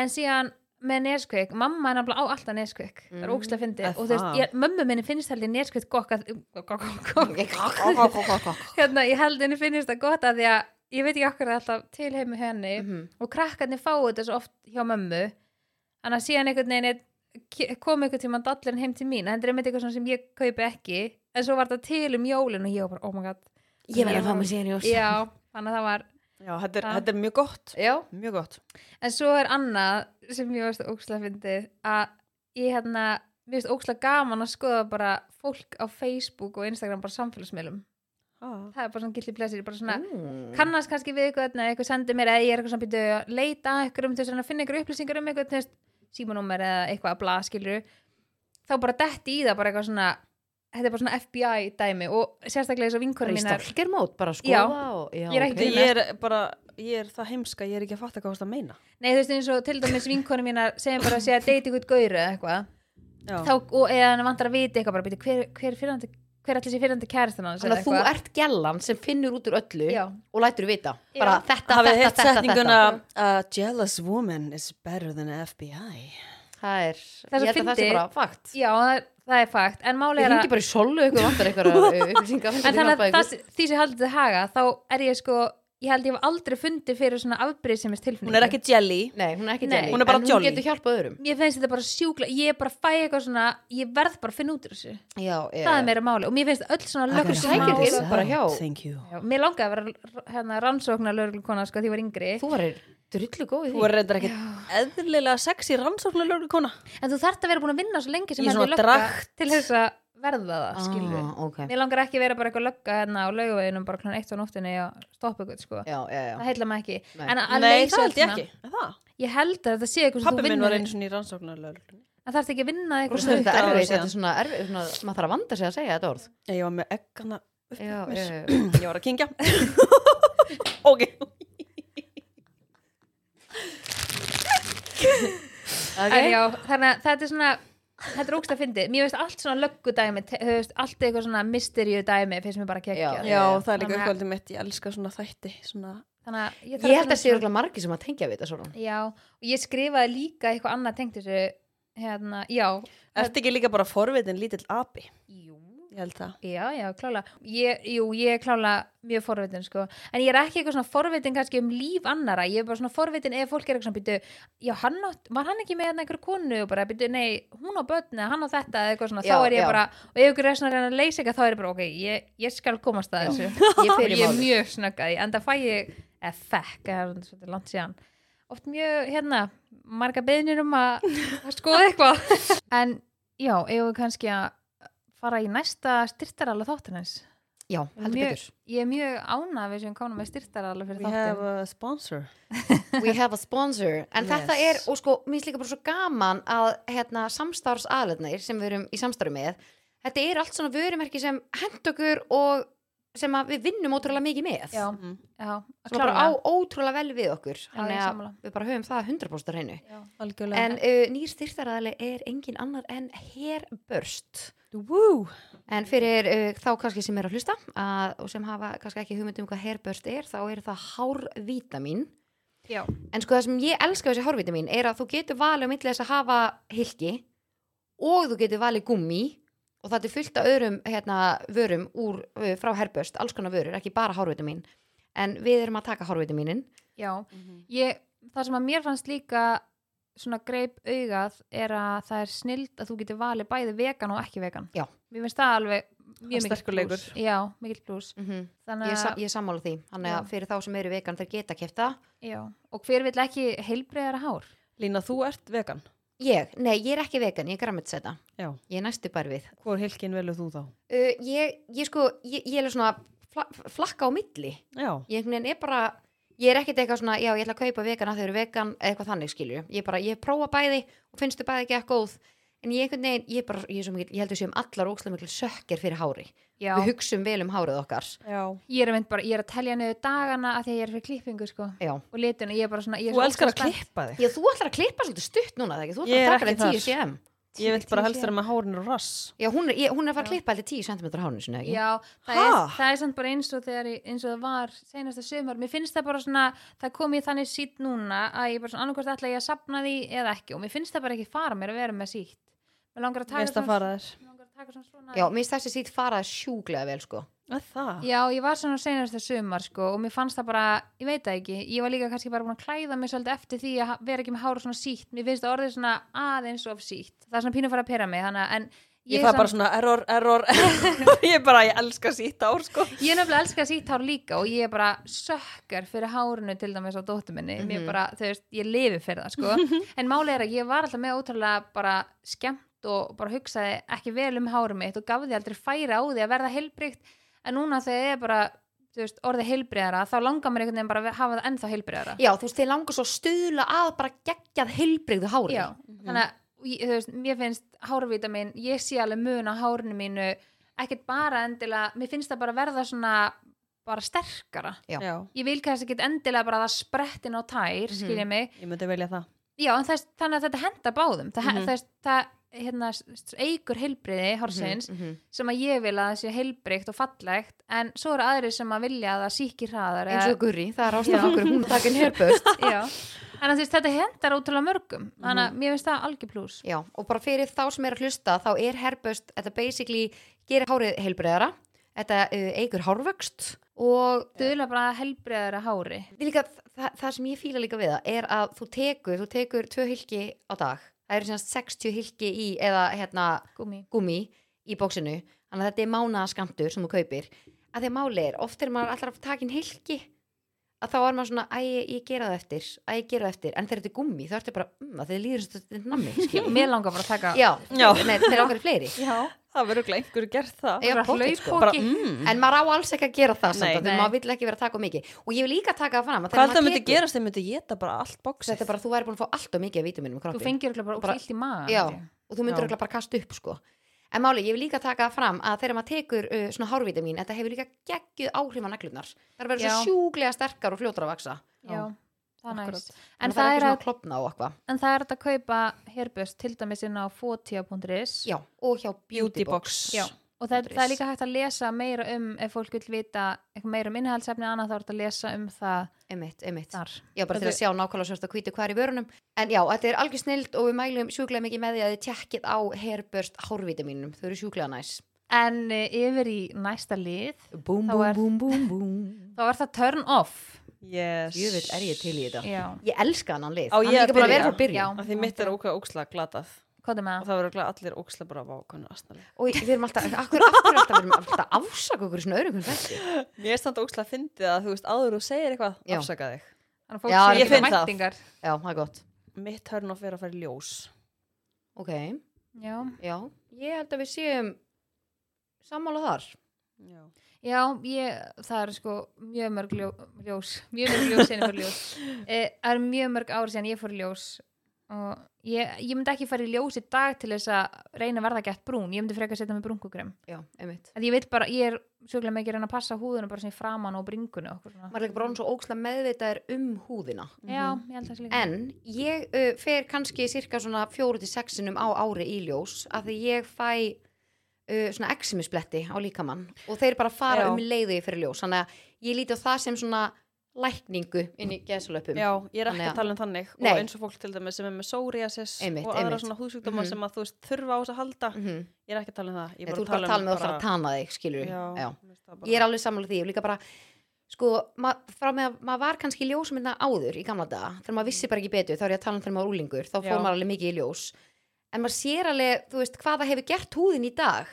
Speaker 3: en síðan með neskvik, mamma er nefnilega á alltaf neskvik það er
Speaker 2: Mm.
Speaker 3: ógstlega fyndið
Speaker 1: Er
Speaker 3: og þú veist,
Speaker 1: það?
Speaker 3: ég, mömmu minni finnst held ég neskvik gokk að- gokk, gokk, gokk,
Speaker 2: Mhm.
Speaker 3: hérna, ég held henni finnst það gott að því að ég veit ekki okkur alltaf til heimi henni
Speaker 2: Mhm.
Speaker 3: og krakkarnir fáu þetta svo oft hjá mömmu þannig að síðan einhvern veginn er- ke- kom einhvern tímann dallurinn heim til mín þetta er einmitt eitthvað svona sem ég kaupi ekki en svo var þetta til um jólin og ég var bara, oh my god
Speaker 2: Ég verð að fá mér síðan jós
Speaker 3: já, þannig að það var
Speaker 1: Já, þetta er,
Speaker 3: Já.
Speaker 1: þetta er mjög gott.
Speaker 3: já.
Speaker 1: Mjög gott.
Speaker 3: en svo er annað sem ég veist ókslega fyndið að ég hérna, mér veist ókslega gaman að skoða bara fólk á Facebook og Instagram bara samfélagsmiðlum
Speaker 1: Ah.
Speaker 3: það er bara svona gildi plesir, bara svona
Speaker 2: Mm.
Speaker 3: kannast kannski við eitthvað eða eitthvað sendir mér eða ég er eitthvað svona býtu að leita að eitthvað um þess að finna eitthvað upplýsingar um eitthvað þú veist, símanúmer eða eitthvað að bla skilur þá bara detti í það bara eitthvað svona þetta er bara svona FBI dæmi og sérstaklega eins og
Speaker 2: Bara
Speaker 3: vinkurinn
Speaker 2: í
Speaker 3: mínar
Speaker 2: stalker mót, bara að
Speaker 3: Já.
Speaker 2: skoða og já,
Speaker 3: Ég er
Speaker 1: Nei,
Speaker 3: ekki-
Speaker 1: ég er bara, ég er það heimska, ég er ekki að fatta hvað það meina.
Speaker 3: nei þú veist eins og til dæmis vinkurinn mínar segjum bara að segja að deiti eitthvað gauru eða eitthvað
Speaker 1: Já.
Speaker 3: þá, og eða hann vantar að vita eitthvað bara býtu hver, hver, fyrrandi, hver allir sé fyrrandi kærastan hans
Speaker 2: Þannig að þú ert gellan sem finnur út úr öllu
Speaker 3: Já.
Speaker 2: og lætur vita bara
Speaker 3: Já.
Speaker 2: þetta,
Speaker 1: Hafið
Speaker 2: þetta,
Speaker 1: heilt
Speaker 2: þetta,
Speaker 1: setninguna a jealous woman is better than a FBI.
Speaker 2: þetta Það er,
Speaker 3: er svo
Speaker 2: ég held að það sé
Speaker 3: fyndið.
Speaker 2: bara fakt
Speaker 3: já það er, það er fakt en máli
Speaker 2: Ég
Speaker 3: er að
Speaker 2: hengi bara í solu ykkur vantar ykkur upplýsingar
Speaker 3: en þannig að það, því sem haldið þið haga þá er ég sko, ég held ég hef aldrei fundið fyrir svona afbrýðsemist tilfinningu
Speaker 1: Hún er ekki jelly.
Speaker 2: Nei, hún er ekki
Speaker 3: Nei.
Speaker 2: jelly
Speaker 1: Hún er bara
Speaker 2: En
Speaker 1: jolly.
Speaker 2: Hún getur hjálpað öðrum
Speaker 3: mér finnst þetta bara sjúkla, ég er bara að fæ eitthvað svona ég verð bara að finna út úr þessu
Speaker 2: Já, ég
Speaker 3: það er meira máli og mér finnst öll svona
Speaker 2: Akkur
Speaker 3: lögur
Speaker 2: sækir þig inn bara hjá-
Speaker 1: Thank you.
Speaker 3: mér langaði að vera hérna, rannsóknar lögurkona sko því ég var yngri
Speaker 2: Þú varir drullu góð í
Speaker 1: Þú
Speaker 2: því
Speaker 1: er reyndar ekkert eðlilega sexy rannsóknarlögur kona.
Speaker 3: en þú þarft að vera búin að vinna svo lengi
Speaker 1: Í
Speaker 3: sem
Speaker 1: svona
Speaker 3: henni lögga
Speaker 1: drakt.
Speaker 3: til þess að verða það, skilur
Speaker 2: ah, okay.
Speaker 3: mér langar ekki að vera bara eitthvað lögga hérna á laugaveginum bara klána eitt á nóttinni og stoppa eitthvað sko
Speaker 2: Já, já, já
Speaker 3: það heila maður ekki
Speaker 2: Nei.
Speaker 3: En að- að
Speaker 1: Nei,
Speaker 3: leysa
Speaker 1: það held ég
Speaker 3: öll svona-
Speaker 1: ekki. Er Það?
Speaker 3: ég held að þetta sé eitthvað sem
Speaker 1: Pappi
Speaker 3: þú
Speaker 1: minn var
Speaker 3: vinnur
Speaker 1: einu sinni í rannsóknarlögur.
Speaker 3: Það þarf ekki að vinna
Speaker 2: Þú
Speaker 3: eitthvað
Speaker 2: veist þetta
Speaker 1: hundrað ára
Speaker 2: er erfið,
Speaker 1: síðan.
Speaker 2: þetta er svona erfið, svona, maður þarf að vanda sig að segja þetta orð
Speaker 1: Ég var með eggana.
Speaker 2: Já, já, já.
Speaker 1: Ég var að kingja. ok.
Speaker 3: En
Speaker 2: Okay.
Speaker 3: já, þannig að þetta er svona þetta er ógst að fyndi, mér veist allt svona löggudæmi, te- þú veist allt eitthvað svona mysteríu dæmi finnst mér bara að
Speaker 2: Já.
Speaker 3: kekja
Speaker 1: Já, það er líka
Speaker 3: Þannig að-
Speaker 1: uppáhaldið mitt. Ég elska svona þætti. Svona...
Speaker 3: þannig að ég, þarf
Speaker 2: Ég held
Speaker 3: finna
Speaker 2: að sé
Speaker 3: svona-
Speaker 2: örugglega margir sem að tengja við þetta svona
Speaker 3: já, og ég skrifaði líka eitthvað annað tengt þessu hérna, já,
Speaker 1: Ertu ekki líka bara forvitin lítill api?
Speaker 3: jú
Speaker 1: Ég held það.
Speaker 3: Já, já, klála. Ég, jú, ég er klála mjög forvitin, sko. En ég er ekki eitthvað svona forvitin kannski um líf annara. Ég er bara svona forvitin ef fólk er eitthvað svona, býtu, já, hann átt, var hann ekki með hérna einhver konu og bara, býtu, nei, hún á börn eða hann á þetta eða eitthvað svona.
Speaker 2: Já,
Speaker 3: þá er ég
Speaker 2: já.
Speaker 3: bara, og ef ykkur er svona að reyna að leysa eitthvað, þá er ég bara, ok, ég, ég skal komast að þessu.
Speaker 2: Ég fer í
Speaker 3: Ég er
Speaker 2: málið.
Speaker 3: mjög snöggaði, en það fæ ég, eða fekk, það er svolítið langt síðan. Oft mjög, hérna, marga beðnir um að að skoða eitthvað. en já, eigum við kannski að fara í næsta styrtarala þáttanins
Speaker 2: Já, heldur
Speaker 3: mjög,
Speaker 2: betur
Speaker 3: ég er mjög ánað við sem komum með styrtarala fyrir
Speaker 1: We have
Speaker 3: þáttin
Speaker 1: a sponsor.
Speaker 2: We have a sponsor En
Speaker 1: Yes.
Speaker 2: þetta er, og sko, mér finnst líka bara svo gaman að hérna, samstarfsaðlefnir sem við erum í samstarfi með Þetta er allt svona vörumerki sem hend okkur og sem að við vinnum ótrúlega mikið með
Speaker 3: já,
Speaker 1: Mm.
Speaker 3: já, að
Speaker 2: Sem bara
Speaker 3: klára
Speaker 2: á ótrúlega vel við okkur Þannig
Speaker 3: ég
Speaker 2: að
Speaker 3: sammála.
Speaker 2: við bara höfum það 100% á hreinu
Speaker 3: Já.
Speaker 1: Algjörlega.
Speaker 2: En uh, nýr styrtaraðali er engin annar en Hairbörst
Speaker 1: Woo!
Speaker 2: En fyrir uh, þá kannski sem er að hlusta að, og sem hafa kannski ekki hugmynd um hvað Hairbörst er þá er það hárvítamín
Speaker 3: já,
Speaker 2: En sko það sem ég elska við þessi hárviti mín er að þú getur valið á milli þess að hafa hilki og þú getur valið gummi og það er fullt af öðrum hérna, vörum úr, uh, frá herböst, alls konar vörur, ekki bara hárviti mín. En við erum að taka hárviti mínin.
Speaker 3: já.
Speaker 1: Mm-hmm.
Speaker 3: Ég, það sem að mér fannst líka svona greip augað er að það er snild að þú getur valið bæði vegan og ekki vegan
Speaker 2: Já.
Speaker 3: mér finnst það alveg mjög
Speaker 1: er
Speaker 3: mikill
Speaker 1: sterkur leikur.
Speaker 3: plús. já, mikill pluss
Speaker 2: Ég,
Speaker 3: Mhm. þannig
Speaker 2: sa-
Speaker 3: að,
Speaker 2: ég sammála því. Þannig
Speaker 3: Já.
Speaker 2: að fyrir þá sem eru vegan þeir geta kefta.
Speaker 3: já, og hver vill ekki heilbreyðara hár
Speaker 1: Lína, þú ert vegan.
Speaker 2: Ég, nei, ég er ekki vegan, ég er grammetsetta.
Speaker 1: Já.
Speaker 2: Ég er næstu bara við.
Speaker 1: Hvor hilkin velur þú þá?
Speaker 2: Uh, ég, ég sko, ég, ég er svona fla, flakka á milli.
Speaker 1: Já.
Speaker 2: ég einhvern veginn er bara ég er ekkert eitthvað svona, já ég ætla að kaupa vegan að þau eru vegan eða eitthvað þannig skilju, ég er bara, ég prófa bæði og finnst þau bæði ekki eitthvað góð en ég einhvern veginn, ég er bara, ég, er svo mikil, ég heldur séum allar ókslega mikil sökkir fyrir hári
Speaker 3: já,
Speaker 2: við hugsum vel um hárið okkar
Speaker 1: Já.
Speaker 3: ég er, einmitt bara, ég er að telja niður dagana að því að ég er fyrir klippingu sko.
Speaker 2: já.
Speaker 3: og lituna, ég er bara svona ég er
Speaker 1: Þú
Speaker 3: svo
Speaker 1: elskar að
Speaker 3: ógeðslega spennt.
Speaker 1: klippa þig.
Speaker 2: já, þú ætlar að klippa svolítið stutt núna, eða ekki? þú
Speaker 1: Ég
Speaker 2: ætlar
Speaker 1: er
Speaker 2: að taka
Speaker 1: ekki þar.
Speaker 2: þeim 10 cm
Speaker 1: Ég vil bara helst vera með hárinu rass.
Speaker 2: Já, hún er, ég, hún er að fara að klippa alltaf 10 cm hárinu sinni, ekki?
Speaker 3: Já, það
Speaker 1: Ha?
Speaker 3: er, það er samt bara eins og, þegar, ég- eins og það var senasta sumar. Mér finnst það bara svona, það kom ég þannig sítt núna að ég bara svona annarkvæmst ætla ég að sapna því eða ekki og mér finnst það bara ekki fara mér að vera með sítt. Mér langar að
Speaker 1: Mér
Speaker 3: taka
Speaker 1: finnst að fara þér.
Speaker 3: Mig langar að taka svona svona.
Speaker 2: Já, mér finnst þessi sít fara sjúklega vel, sko.
Speaker 1: Að það?
Speaker 3: Já, ég var svona senasta sumar sko og mér fannst það bara, ég veit það ekki, ég var líka kannski bara búin að klæða mig svolítið eftir því að ha- vera ekki með hára svona sítt. Mér finnst það orðið svona aðeins of sítt. Það er svona pínu að fara að pera mig, þannig að en
Speaker 1: Ég,
Speaker 3: er
Speaker 1: fæ
Speaker 3: samt-
Speaker 1: bara svona error, error, error. ég bara, ég elska sítt ár, sko.
Speaker 3: Ég er nefnilega elska sítt hár líka og ég er bara sökkar fyrir hárinu til dæmis á dóttu minni. Mm Mér bara, þú veist, ég lifi fyrir það, sko. en málið er að ég var alltaf með ótrúlega bara skemmt og bara hugsaði ekki vel um hárum mitt og gaf því aldrei færi á því að verða heilbrygt. En núna þegar ég er bara, þú veist, orðið heilbriðara, þá langar mér einhvern veginn bara að hafa það ennþá heilbriðara.
Speaker 2: Já, þú veist, þeir langar svo að stuðla að bara geggjað heilbrigðu hári.
Speaker 3: Já,
Speaker 1: Mhm. Mm-hmm.
Speaker 3: þannig að ég- þú veist, mér finnst hárvita mín, ég sé alveg mun á hárinu mínu, ekkert bara endilega, mér finnst það bara verða svona bara sterkara.
Speaker 2: Já.
Speaker 3: ég vil kannski ekki endilega bara að það sprettin á tær,
Speaker 2: Mhm.
Speaker 3: skilja mig
Speaker 1: Ég myndi velja það.
Speaker 3: já, en þess, þannig að þetta henda báðum það, mm
Speaker 1: Mhm.
Speaker 3: þess, það hérna, s- s- eigur heilbriði hársins
Speaker 2: Mhm, mhm.
Speaker 3: sem að ég vil að það sé heilbrikt og fallegt en svo eru aðrir sem að vilja að það síkir hraðar
Speaker 2: Eins og Guri, það er ástæðan okkur, hún er takin herbust.
Speaker 3: já. þannig að þess, þetta hendar ótrúlega mörgum þannig að mér finnst það algjör pluss
Speaker 2: Mhm. Já, og bara fyrir þá sem er að hlusta, þá er herbust, þetta basically gerir hárið heilbrigðara, þetta uh, eigur hárvöxt og
Speaker 3: duðlega bara heilbriðara hári
Speaker 2: Ég líka, það, það sem ég fíla líka við það er að þú tekur, þú tekur tvö hilki á dag, það eru semst 60 hilki í eða hérna
Speaker 3: gumi
Speaker 2: gumi í bóksinu, þannig að þetta er mánaðaskamtur sem þú kaupir, að því að máli er oft er maður alltaf að taka inn hilki að þá er maður svona, æ, ég, ég gera það eftir æ, ég gera það eftir, en þegar þetta er gumi þá ertu bara, mm, að þeir líður eins og þetta er nammi skilur.
Speaker 3: mér langar bara að taka
Speaker 2: já,
Speaker 1: Já.
Speaker 2: Nei, þeir ákveður fleiri
Speaker 3: já.
Speaker 1: Það verður glæð einhverju gert það.
Speaker 2: Já,
Speaker 3: bara
Speaker 2: pottþétt,
Speaker 3: hlaup
Speaker 2: sko.
Speaker 3: og-
Speaker 1: bara,
Speaker 3: ok.
Speaker 1: mm.
Speaker 2: en maður á alls ekki að gera það
Speaker 1: Nei.
Speaker 2: samt, nei,
Speaker 3: Nei.
Speaker 2: maður vill ekki vera að taka of mikið og ég vil líka taka það fram að
Speaker 1: Hvað
Speaker 2: þegar
Speaker 1: það
Speaker 2: maður
Speaker 1: myndi
Speaker 2: tekur-
Speaker 1: gerast, þeir myndi geta bara allt bóksið.
Speaker 2: þetta er bara, þú væri búin að fá allt og mikið af vítaminum í
Speaker 3: þú
Speaker 2: kroppin
Speaker 3: fengir örugglega bara
Speaker 2: Bara-
Speaker 3: útlíkt í maður
Speaker 2: Já, og þú myndur
Speaker 1: Já.
Speaker 2: örugglega bara kasta upp sko. En máli, ég vil líka taka fram að þegar maður tekur uh, svona hárvitamin, þetta hefur líka geggjuð áhrif á neglunar. Það er að vera svo
Speaker 3: Já.
Speaker 2: sjúklega sterkar og fljótar að vaksa.
Speaker 3: já. það er næst
Speaker 1: Akkurat.
Speaker 3: en það er
Speaker 2: ekki
Speaker 3: að
Speaker 2: svona klopna á okkur.
Speaker 3: En það er hægt að kaupa hairbust til dæmis inn á fotia.is
Speaker 2: Já, og hjá
Speaker 1: beauty
Speaker 2: Beautybox.
Speaker 1: box.
Speaker 3: Já. og það,
Speaker 2: Punktur
Speaker 3: það er
Speaker 2: is.
Speaker 3: líka hægt að lesa meira um ef fólk vil vita eitthvað meira um innhaldsefni annað þá er þetta að lesa um það
Speaker 2: Einmitt, einmitt.
Speaker 3: þar.
Speaker 2: Já, bara til að
Speaker 1: Þetta-
Speaker 2: sjá nákvæmlega svörst að hvíti hvað er í vörunum. En já, þetta er algjör snild og við mælum sjúklega mikið með því að þið tjekkið á hairburst hárvitaminum. Þau eru sjúklega næs.
Speaker 3: En eh, yfir í næsta lið
Speaker 2: Búm,
Speaker 3: Þá
Speaker 2: búm,
Speaker 3: er-
Speaker 2: búm, búm, búm.
Speaker 3: þá er það turn off
Speaker 1: Yes.
Speaker 2: Jöfull er ég til í þetta.
Speaker 3: Já,
Speaker 2: Ég elska hann lið.
Speaker 1: Á
Speaker 2: Hann
Speaker 1: ég
Speaker 2: er
Speaker 1: að
Speaker 2: líka búin að
Speaker 1: byrja?
Speaker 2: vera frá byrjun.
Speaker 3: Já.
Speaker 1: Af Því mitt er ókvæða óksla glatað.
Speaker 3: hvað er
Speaker 1: Og
Speaker 3: með það?
Speaker 1: það verður glæð allir óksla bara vákvæðinu astnali.
Speaker 2: og við erum alltaf, akkur, akkur alltaf við erum alltaf að afsaka okkur í svona öðru hvernig þessi
Speaker 1: Mér er standa óksla að fyndi að þú veist áður og segir eitthvað,
Speaker 2: Já.
Speaker 1: afsaka þig.
Speaker 3: Þannig að fólk
Speaker 2: Já,
Speaker 3: sé
Speaker 2: ég
Speaker 3: ekki
Speaker 1: finn það.
Speaker 3: mætingar.
Speaker 2: já, það er gott
Speaker 1: Mitt hörn of er að fara í ljós.
Speaker 2: ok,
Speaker 3: Já.
Speaker 2: já, ég held að við séum sammála þar
Speaker 1: Já.
Speaker 3: Já, ég, það er sko mjög mörg ljó, ljós, mjög mörg ljós sinni fyrir ljós. Eh, Það er mjög mörg ár síðan ég fór í ljós og ég, ég myndi ekki fara í ljós í dag til þess að reyna að verða gett brún, ég myndi frekar setja með brúnkugrem.
Speaker 2: já, einmitt
Speaker 3: að ég veit bara, ég er sjúklega mikið að reyna að passa húðuna bara svona í framan og bringunu og okkur svona.
Speaker 2: maður er ekki bara orðinn svo óksla meðvitaður um húðina
Speaker 3: Já,
Speaker 1: Mhm.
Speaker 3: ég held það sé líka.
Speaker 2: en ég uh, fer kannski cirka svona fjóru til sexinum á ári í ljós af því ég fæ uh, svona eximisbletti á líkamann og þeir bara fara
Speaker 1: Já.
Speaker 2: um leiði fyrir ljós þannig að ég líti á það sem svona lækningu inn í gesalöpum
Speaker 1: Já, ég er ekki
Speaker 2: Þannig að-
Speaker 1: að tala um þannig
Speaker 2: Nei.
Speaker 1: og eins og fólk til dæmis sem er með psoriasis
Speaker 2: Einmitt,
Speaker 1: og aðra
Speaker 2: einmitt.
Speaker 1: svona húðsjúkdóma
Speaker 2: Mhm.
Speaker 1: sem að þú veist þurfa á þess að halda
Speaker 2: mm -hmm.
Speaker 1: ég er ekki að tala um það ég
Speaker 2: Nei, þú ert bara að tala með það að tana þig, skilur
Speaker 1: já,
Speaker 2: Já.
Speaker 1: mér finnst það bara-
Speaker 2: Ég er alveg sammála því, ég er líka bara sko, ma frá með að maður var kannski í ljósmynda áður í gamla daga, þegar maður vissi bara ekki betur þá er ég að tala um þegar maður var úlingur, þá fór
Speaker 1: Já.
Speaker 2: maður alveg mikið í ljós en maður sér alveg, þú veist, hvað það hefur gert húðin í dag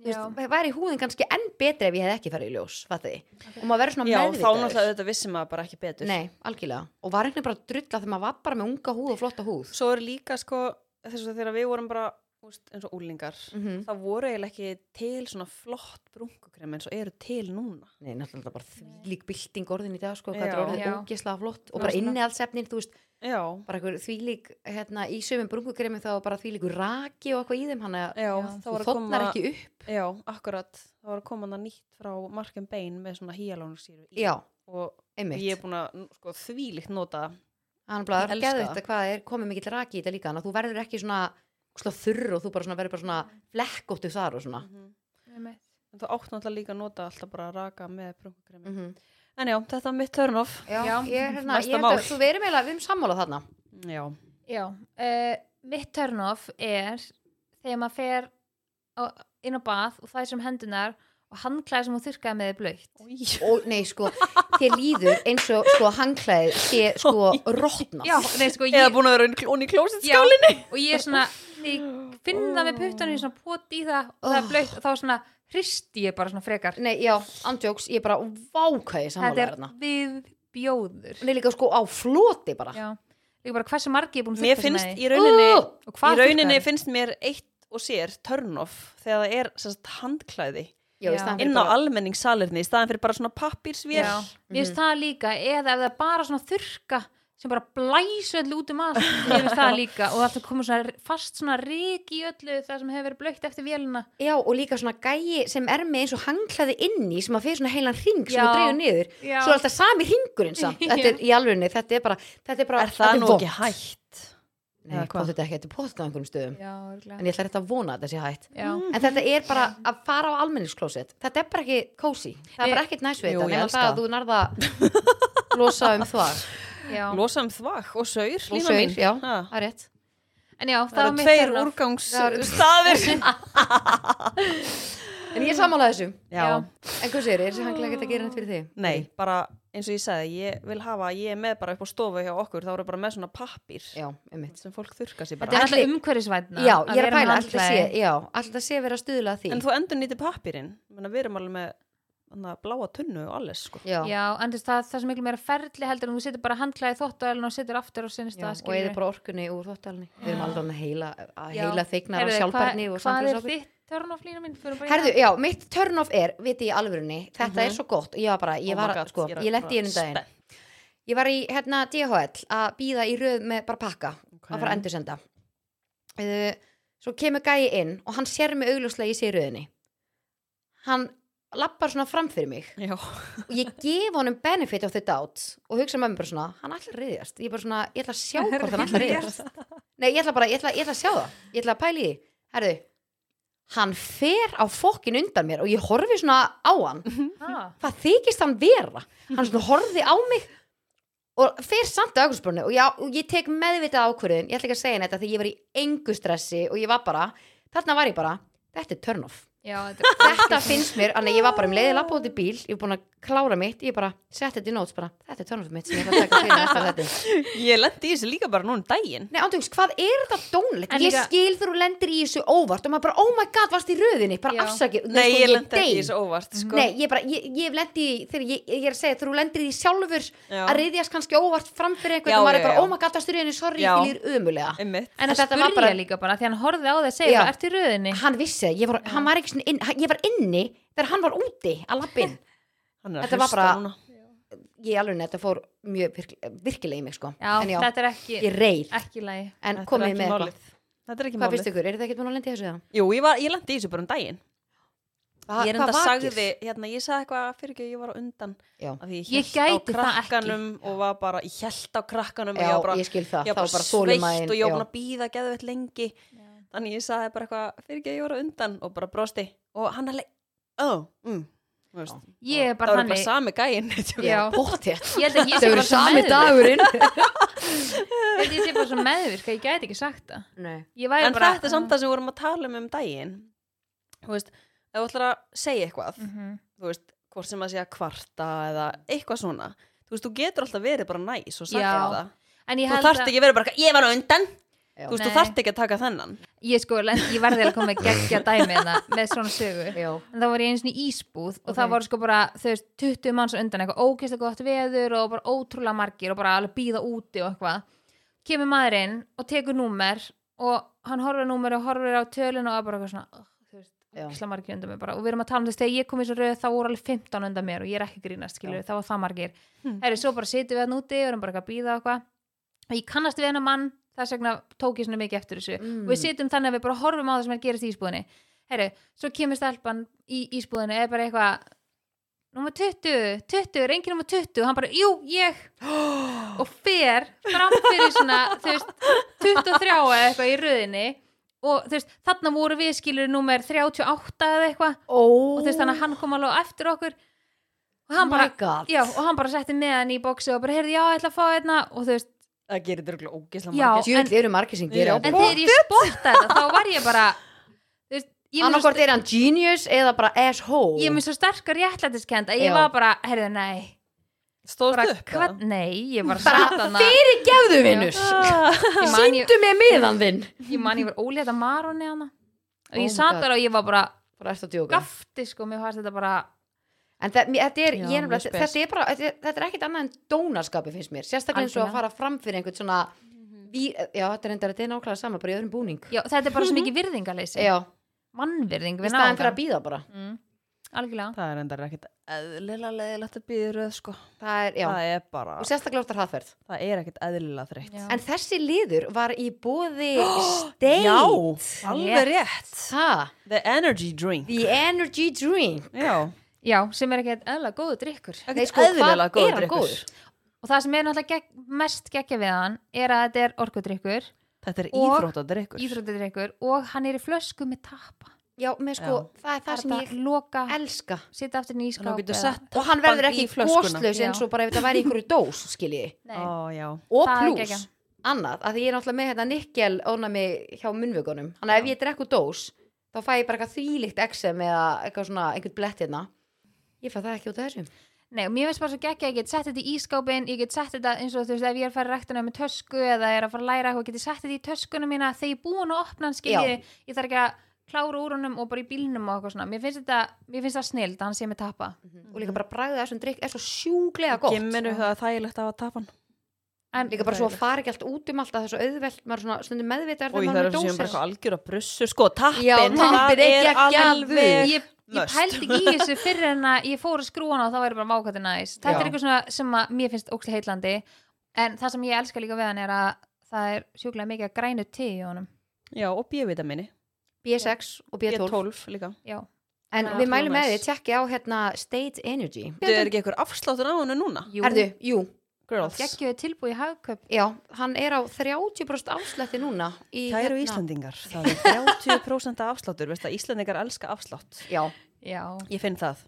Speaker 2: þú veist, væri húðin kannski enn betri ef ég hef ekki farið í ljós fattu þið, og maður verður svona
Speaker 1: já, þá náttúrulega
Speaker 2: meðvitaður
Speaker 1: auðvitað vissi maður bara ekki betur
Speaker 2: Nei, algjörlega, og var einhvern veginn bara að drulla þegar maður var bara með unga húð og flotta húð
Speaker 1: svo er líka sko þess að þegar við vorum bara úst, eins og úlingar
Speaker 2: Mhm.
Speaker 1: það voru eiginlega ekki til svona flott brunkukrem eins og eru til núna
Speaker 2: Nei, náttúrulega bara þvílík bylting orðin í dag sko, hvað þetta
Speaker 1: Já.
Speaker 2: er orðið
Speaker 3: Já.
Speaker 2: ógislega flott
Speaker 1: Svona-
Speaker 2: og bara innihaldsefnin, þú veist
Speaker 1: já,
Speaker 2: bara einhver þvílík, hérna, í sömum brungugremi þá var bara þvílíkur raki og eitthvað í þeim hann að
Speaker 1: já,
Speaker 3: Já,
Speaker 1: Eh, þá
Speaker 2: þú
Speaker 1: var að
Speaker 2: þotnar
Speaker 1: koma
Speaker 2: ekki upp
Speaker 1: já, akkurat, þá var að koma það nýtt frá Marken Bain með svona híalónsýru
Speaker 2: já,
Speaker 1: og
Speaker 2: einmitt,
Speaker 1: ég er búin að sko, þvílíkt nota það.
Speaker 2: hann bara
Speaker 1: Ég elska
Speaker 2: geðvitt
Speaker 1: það.
Speaker 2: að hvað er komið mikill raki í þetta líka þannig að þú verður ekki svona óksla þurr og þú bara svona verður bara svona flekkóttu þar og
Speaker 1: Ah.
Speaker 2: svona
Speaker 1: Mhm. En þú átt náttúrulega líka að nota alltaf bara raka með brúnkukremi.
Speaker 2: mm -hmm.
Speaker 1: En já, þetta er mitt turn off.
Speaker 2: Já,
Speaker 3: Já.
Speaker 2: ég er hérna,
Speaker 1: Næsta
Speaker 2: ég er þetta,
Speaker 1: mál.
Speaker 2: þú verður meila, við erum sammála þarna
Speaker 1: Já.
Speaker 3: Já, uh, mitt turn-off er þegar maður fer á, inn á bað og það er sem hendunar og handklæði sem hún þurrkaði með er blöitt.
Speaker 2: og nei, sko, þér líður eins og sko hangklæðið sé sko rótna
Speaker 3: Já, nei, sko, ég,
Speaker 1: Eða búin að vera onni í klósett sko.
Speaker 3: já,
Speaker 1: skál.
Speaker 3: og ég er svona, ég finn það með puttanum, ég er svona poti í það og það er blöitt og þá svona hristi ég bara svona frekar.
Speaker 2: Nei, já, andjóks, ég er bara vákaði
Speaker 3: Þetta
Speaker 2: sammála
Speaker 3: er
Speaker 2: þarna
Speaker 3: við bjóður.
Speaker 2: Nei, líka sko á floti bara
Speaker 3: Já, líka bara hversu margi ég er búin að
Speaker 1: Mér
Speaker 3: þurrka
Speaker 1: finnst í
Speaker 3: svona
Speaker 1: rauninni...
Speaker 2: Ú!
Speaker 3: og
Speaker 1: í
Speaker 3: hvað
Speaker 1: rauninni
Speaker 3: þurrkaði?
Speaker 1: finnst mér eitt og sér turn off þegar það er sem sagt, handklæði
Speaker 2: Já, í
Speaker 3: Já.
Speaker 2: staðan fyrir
Speaker 1: inn á
Speaker 2: bara-
Speaker 1: almenningssalirni í staðan fyrir bara svona pappirsvél
Speaker 3: Já, mér finnst það líka eða ef það er bara svona þurrka sem bara blæsu öll út um allt mér finnst það líka og það komur svona fast svona rík í öllu það sem hefur verið blökt eftir vélina
Speaker 2: Já, og líka svona gæi sem er með eins og hanglaði inni sem að fyrir svona heilan ring sem
Speaker 3: Já.
Speaker 2: að dreigur niður
Speaker 3: Já.
Speaker 2: svo er alltaf sami ringurinn samt þetta er í alvegni, þetta er bara þetta er, bara,
Speaker 1: er það
Speaker 2: þetta
Speaker 1: nú ekki hægt
Speaker 2: Nei,
Speaker 1: eða hvað?
Speaker 2: pottet ekki, þetta er pottet á einhverjum stöðum
Speaker 3: Já,
Speaker 2: en ég ætla rétt að vona að þetta sé hægt
Speaker 3: Já.
Speaker 2: en þetta er bara að fara á almenningsklósett þetta er bara ekki kósi, það
Speaker 3: Nei.
Speaker 2: er bara ekkert næs við
Speaker 1: Jú,
Speaker 2: þetta
Speaker 1: ég
Speaker 2: nema
Speaker 1: elska
Speaker 2: það að
Speaker 1: það.
Speaker 2: þú nærða losa um þvag
Speaker 3: Já.
Speaker 1: losa um þvag og saur,
Speaker 2: og
Speaker 1: lína mín
Speaker 2: saur, já,
Speaker 1: Ha.
Speaker 2: það er rétt
Speaker 3: en já,
Speaker 1: það
Speaker 3: var
Speaker 1: eru
Speaker 3: mitt hérna.
Speaker 1: tveir
Speaker 3: turn off. Það eru-
Speaker 1: úrgangsstaðir
Speaker 2: en ég er sammála þessu,
Speaker 1: já,
Speaker 3: Já.
Speaker 2: en hvað segir, er þessi hanglega ekki að gera nætt fyrir þig?
Speaker 1: nei, bara eins og ég sagði ég vil hafa, ég er með bara upp á stofu hjá okkur þá eru bara með svona pappir
Speaker 2: Já, einmitt.
Speaker 1: sem fólk þurka sér
Speaker 3: þetta
Speaker 1: bara
Speaker 3: er
Speaker 2: Ætli-
Speaker 3: alltaf umhverfisvætna
Speaker 2: Já, ég er að pæla, alltaf sé, já, alltaf sé vera að stuðla að því.
Speaker 1: en þú endur nýti pappirinn Menna, við erum alveg með hana, bláa tunnu og alles sko.
Speaker 2: já,
Speaker 3: Já, en þú veist, það, það er svo miklu meira ferli heldur en þú setur bara handklæði þótt og og setur aftur og sinnist
Speaker 2: já,
Speaker 3: það
Speaker 2: og eða bara orkunni úr þóttalni. Við erum aldrei að heila, að
Speaker 3: Já.
Speaker 2: heila þegnar af sjálfbærni og
Speaker 3: Hvað er
Speaker 2: samfélagsábyrgð.
Speaker 3: þitt törn of lína mín? Förum bara í
Speaker 2: Herðu,
Speaker 3: það.
Speaker 2: já, mitt turn off er, viti í alvörunni, þetta er svo gott. Ég var bara,
Speaker 1: Mhm.
Speaker 2: ég
Speaker 1: Oh my
Speaker 2: var,
Speaker 1: God,
Speaker 2: sko,
Speaker 1: ég er
Speaker 2: ég lendi í
Speaker 1: bara
Speaker 2: einu daginn.
Speaker 1: spennt.
Speaker 2: Ég var í, hérna, DHL að býða í röð með bara pakka,
Speaker 1: Ok.
Speaker 2: að fara að endursenda. Uh, svo kemur gæi inn og hann sér mig augljóslega í sér röðinni. Hann lappar svona fram fyrir mig
Speaker 1: já,
Speaker 2: og ég gef honum benefit of the doubt og hugsa með mér bara svona, hann ætlar að reyðjast ég er bara svona, ég ætla að sjá hvort hann ætlar að reyðjast nei, ég ætla bara, ég ætla, ég ætla að sjá það ég ætla að pæla í því, herðu hann fer á fokkin undan mér og ég horfi svona á hann
Speaker 3: Ha.
Speaker 2: hvað þykist hann vera hann svona horfi á mig og fer samt að augnspurnu og, já- og ég tek meðvitað ákvörðin, ég ætla ekki að segja henni þetta því ég var í engu stressi og ég var bara þarna var ég bara, þetta er turn off
Speaker 3: Já, þetta er-
Speaker 2: þetta finnst mér, þannig að ég var bara um leiði lappa út í bíl, ég var búin að klára mitt ég bara sett þetta í nóts bara, þetta er törnum mitt sem ég ætla að taka fyrir næsta þetta
Speaker 1: ég lendi í þessu líka bara núna um daginn
Speaker 2: Nei, ándjóks, hvað er þetta dónlegt?
Speaker 3: En
Speaker 2: Ég
Speaker 3: líka-
Speaker 2: skil þegar þú lendir í þessu óvart og maður bara, oh my god, varst í röðinni bara
Speaker 3: Já.
Speaker 2: afsakið, Nei,
Speaker 1: Nei,
Speaker 2: sko,
Speaker 1: ég lendi ekki í
Speaker 2: dey.
Speaker 1: þessu óvart sko.
Speaker 2: Nei, ég bara, ég, ég lendi í, þegar ég, ég er að segja, þegar þú lendir í því sjálfur
Speaker 1: Já.
Speaker 2: að reyðjast kannski óvart framfyrir
Speaker 1: Já,
Speaker 2: eitthvað og maður
Speaker 1: já,
Speaker 2: er bara,
Speaker 1: já.
Speaker 2: oh my god, varst í röðinni, sorry,
Speaker 1: Já.
Speaker 2: ég líður umulega
Speaker 1: Einmitt.
Speaker 3: En
Speaker 2: En
Speaker 3: að
Speaker 2: þetta var
Speaker 3: spurja
Speaker 2: bara-
Speaker 3: líka bara, því hann horfði á þig að segja,
Speaker 2: Já.
Speaker 3: ertu í röðinni?
Speaker 2: Hann vissi, ég var, hann var ekki svona inn, hann- ég var inni þegar hann var úti að lappin
Speaker 1: Hann er að
Speaker 2: Þetta var
Speaker 1: hlusta
Speaker 2: bara-
Speaker 1: núna.
Speaker 2: ég alveg nefnir þetta fór mjög virk, virkilega í mig sko
Speaker 3: Já,
Speaker 2: en já,
Speaker 3: þetta er ekki,
Speaker 2: ég reyð
Speaker 3: ekki lægi.
Speaker 2: en
Speaker 1: Þetta er
Speaker 2: komið
Speaker 1: ekki
Speaker 2: með
Speaker 1: málið.
Speaker 2: eitthvað
Speaker 1: Þetta er ekki
Speaker 2: hvað finnst
Speaker 1: málið
Speaker 2: ykkur, eru þið ekkert búin að lendi þessu það?
Speaker 1: Jú, ég, var, ég lendi í þessu bara um daginn
Speaker 2: Hva,
Speaker 1: Ég er enda sagði, hérna, ég sagði eitthvað fyrir ekki, ég var á undan
Speaker 2: Já.
Speaker 1: Af því
Speaker 3: Ég
Speaker 1: hélt
Speaker 3: gæti
Speaker 1: á
Speaker 3: það ekki.
Speaker 1: krakkanum og var bara, ég held á krakkanum
Speaker 2: já,
Speaker 1: og ég var bara,
Speaker 2: ég skil það,
Speaker 1: ég var
Speaker 2: þá bara
Speaker 1: bara sveitt
Speaker 2: þólimæðin
Speaker 1: og ég var búin að býða geðveitt lengi Þannig ég sagði bara eitthvað fyrir ekki, ég var á undan og bara brosti og hann alveg, oh, mm þú veist.
Speaker 3: Ég
Speaker 1: Það
Speaker 3: er bara
Speaker 1: var bara
Speaker 3: þannig,
Speaker 1: sami gæinn
Speaker 3: Já.
Speaker 2: bóttið
Speaker 3: ég held að ég
Speaker 2: það
Speaker 3: sé
Speaker 2: eru
Speaker 3: bara svo
Speaker 2: sami
Speaker 3: meðvirk.
Speaker 2: dagurinn
Speaker 3: Ég held að ég sé bara svo meðvirk að ég gæti ekki sagt það.
Speaker 2: Nei.
Speaker 3: Ég væri
Speaker 1: En
Speaker 3: bara...
Speaker 1: þetta er samt það sem við vorum að tala um um daginn Þú veist, ef þú ætlar að segja eitthvað
Speaker 3: Mhm.
Speaker 1: þú veist, hvort sem að segja kvarta eða eitthvað svona þú veist, þú getur alltaf verið bara næs og sagt
Speaker 3: Já,
Speaker 1: það
Speaker 3: En ég
Speaker 1: þú
Speaker 3: held
Speaker 1: þarft ekki verið bara, eitthvað, ég var á undan
Speaker 2: Já.
Speaker 1: þú veist, þú
Speaker 3: Nei.
Speaker 1: þarft ekki að taka þennan
Speaker 3: Ég sko, lent, ég verði að koma að gegja dæmi hérna með svona sögu.
Speaker 2: Já.
Speaker 3: En þá var ég eins og í ísbúð og það
Speaker 2: Ok.
Speaker 3: voru sko bara, þau veist, 20 manns á undan eitthvað, ógeðslega gott veður og bara ótrúlega margir og bara alveg býða úti og eitthvað. Kemur maðurinn og tekur númer og hann horfir á númer og horfir á tölun og er bara eitthvað svona, "Ugh," þú veist,
Speaker 2: Já.
Speaker 3: ógeðslega margir undan mér bara. Og við erum að tala um þess, þegar ég kom í svo röð þá voru alveg 15 undan mér og ég er ekki að grínast, skilur, þá var það margir.
Speaker 2: Hm.
Speaker 1: Hmm.
Speaker 3: Herri, svo bara sitjum við hann úti og erum bara eitthvað að býða og eitthvað. Og ég kannast við hennar mann, þess vegna tók ég svona mikið eftir þessu
Speaker 2: Mm.
Speaker 3: og við sitjum þannig að við bara horfum á það sem er að gerast í ísbúðinni herru, svo kemur stelpan í ísbúðinni eða bara eitthvað nummer 20, 20, reyngi nummer 20 og hann bara, jú, ég og fer fram fyrir svona, þú veist 23 eða eitthvað í röðinni og þú veist, þarna voru við skilur númer 38 eða eitthvað
Speaker 2: oh,
Speaker 3: og þú veist, þannig að hann kom alveg á eftir okkur og hann bara,
Speaker 2: god
Speaker 3: já, og hann bara setti með hann í bóksi og bara, heyrði, já, ég ætla að fá hérna og þú veist,
Speaker 1: það gerir þetta ógislega
Speaker 3: Já,
Speaker 1: margir
Speaker 2: Djúvill eru margir sem
Speaker 1: Já,
Speaker 2: gera
Speaker 3: en þegar ég sporta þetta, þá var ég bara þú veist, ég er með svo-
Speaker 2: annarkort er hann genius eða bara asshole
Speaker 3: ég er með svo sterkar réttlætiskend að ég
Speaker 2: Já.
Speaker 3: var bara, heyrðu, nei bara,
Speaker 1: stóðst upp
Speaker 3: hvað, nei, ég bara
Speaker 2: Bara,
Speaker 3: satt þarna-
Speaker 2: fyrir gefðu vinnus
Speaker 1: eða?
Speaker 3: Ég man ég-
Speaker 2: sýndu mig miðan þinn
Speaker 3: ég man ég var ólétt að marunni hana og
Speaker 2: Oh
Speaker 3: ég
Speaker 2: my
Speaker 3: satt
Speaker 2: God.
Speaker 3: þar og ég var bara
Speaker 2: bara eftir að djóka
Speaker 3: gafti sko, mér fannst þetta bara
Speaker 2: en það- mér- þetta
Speaker 1: Já,
Speaker 2: er, ég er nefnilega,
Speaker 1: mjög spes.
Speaker 2: þetta er bara þetta er- þetta er ekkit annað en dónaskapi finnst mér sérstaklega eins og að
Speaker 3: Algjörlega. Mhm.
Speaker 2: fara fram fyrir einhvern svona ví, já þetta er enda þetta er nákvæmlega sama bara í öðrum búning
Speaker 3: já, þetta er bara svo mikið virðingaleysi
Speaker 2: Mhm. já,
Speaker 3: mannvirðing
Speaker 2: í
Speaker 3: við
Speaker 2: staðan fyrir
Speaker 3: náðum
Speaker 2: að býða bara
Speaker 3: mm, algjörlega
Speaker 1: það er endar ekkit eðlilega leðilegt að býða röð sko
Speaker 2: það er, já,
Speaker 1: það er bara,
Speaker 2: og sérstaklega ofta hraðferð
Speaker 1: það er ekkit eðlilega þreytt
Speaker 3: Já.
Speaker 2: en þessi liður var í bóði
Speaker 1: já,
Speaker 2: stein
Speaker 1: alveg rétt
Speaker 2: það,
Speaker 1: the energy drink
Speaker 2: the energy drink
Speaker 1: já,
Speaker 3: já, sem er ekkert eðla góðu drikkur
Speaker 2: Nei,
Speaker 1: ekkit
Speaker 2: sko, hvað
Speaker 1: eðlilega
Speaker 2: er
Speaker 1: góð
Speaker 2: hann
Speaker 1: drikkur
Speaker 2: góður?
Speaker 3: og það sem er náttúrulega gegg, mest geggja við hann er að þetta er orkudrykkur
Speaker 1: þetta er
Speaker 3: Og-
Speaker 1: íþróttadrikkur
Speaker 3: íþróttudrykkur og hann er í flösku með tappa
Speaker 2: já, með sko, það er það sem ég
Speaker 3: loka,
Speaker 2: elska
Speaker 3: sitja aftur inn
Speaker 1: þannig að
Speaker 3: í skáp
Speaker 1: þú getur
Speaker 3: eða-
Speaker 1: sett
Speaker 2: og hann verður
Speaker 1: tappan
Speaker 2: ekki
Speaker 1: í flöskuna.
Speaker 2: góslaus eins
Speaker 3: Já.
Speaker 2: og bara ef þetta væri í einhverju dós skiljiði
Speaker 3: Nei.
Speaker 1: Ó, já.
Speaker 2: og
Speaker 3: Það er
Speaker 2: pluss
Speaker 3: geggjað.
Speaker 2: annað, að því ég er náttúrulega með hérna nikkel ónami hjá munnvökunum þannig að ef ég drekku dós þá fæ ég bara eitthvað þvílíkt exem eða eitthvað svona einhvern blett hérna ég fæ það ekki út af þessum
Speaker 3: Nei, og mér finnst bara svo geggja, ég get sett þetta í ískápin, ég get sett þetta eins og þú veist, ef ég er að fara í ræktuna með tösku eða er að fara að læra eitthvað, get ég sett þetta í töskuna mína þegar ég er búin að opna hann skilji, ég þarf ekki að klára úr honum og bara í bílnum og eitthvað svona. Mér finnst þetta, mér finnst það snild að hann sé með tappa.
Speaker 2: og líka bara bragðið þessum drikk er svo sjúglega gott
Speaker 1: gimminu það er þægilegt að hafa tapan
Speaker 3: En
Speaker 2: líka bara svo að fara ekki allt út um allt að það er svo auðvelt maður er svona stundum meðvitaður
Speaker 1: og
Speaker 2: þegar
Speaker 1: það
Speaker 2: maður
Speaker 1: er
Speaker 2: er
Speaker 1: sem bara
Speaker 2: dósir
Speaker 1: eitthvað algjör að brussu sko, tappin,
Speaker 2: Já,
Speaker 1: það
Speaker 2: tappið er
Speaker 1: er
Speaker 2: geggjaður.
Speaker 1: alveg
Speaker 3: ég, ég
Speaker 1: must.
Speaker 3: pældi ekki í þessu fyrir en að ég fór að skrúa hana og þá væri bara mákvæði næs.
Speaker 2: Já.
Speaker 3: Þetta er eitthvað svona sem að mér finnst ókslega heitlandi, en það sem ég elska líka við hann er að það er sjúklega mikið að grænu te í honum.
Speaker 1: já, og B-vitamini,
Speaker 2: B6 og B12
Speaker 1: B12 líka
Speaker 3: Já.
Speaker 2: en
Speaker 3: Já,
Speaker 2: við mælum
Speaker 1: nice.
Speaker 2: með því, tjekki á hérna State Energy
Speaker 1: Þetta er ekki eitthvað afsláttur á hennu núna
Speaker 3: Jú,
Speaker 2: Erðu, jú,
Speaker 1: Girls,
Speaker 3: geggjuðu tilbúið í hagköp
Speaker 2: já, hann er á 30% afslætti núna í hérna.
Speaker 1: kæru Íslandingar það er 30% afsláttur veist að Íslandingar elska afslátt
Speaker 2: Já,
Speaker 3: Já,
Speaker 1: ég finn það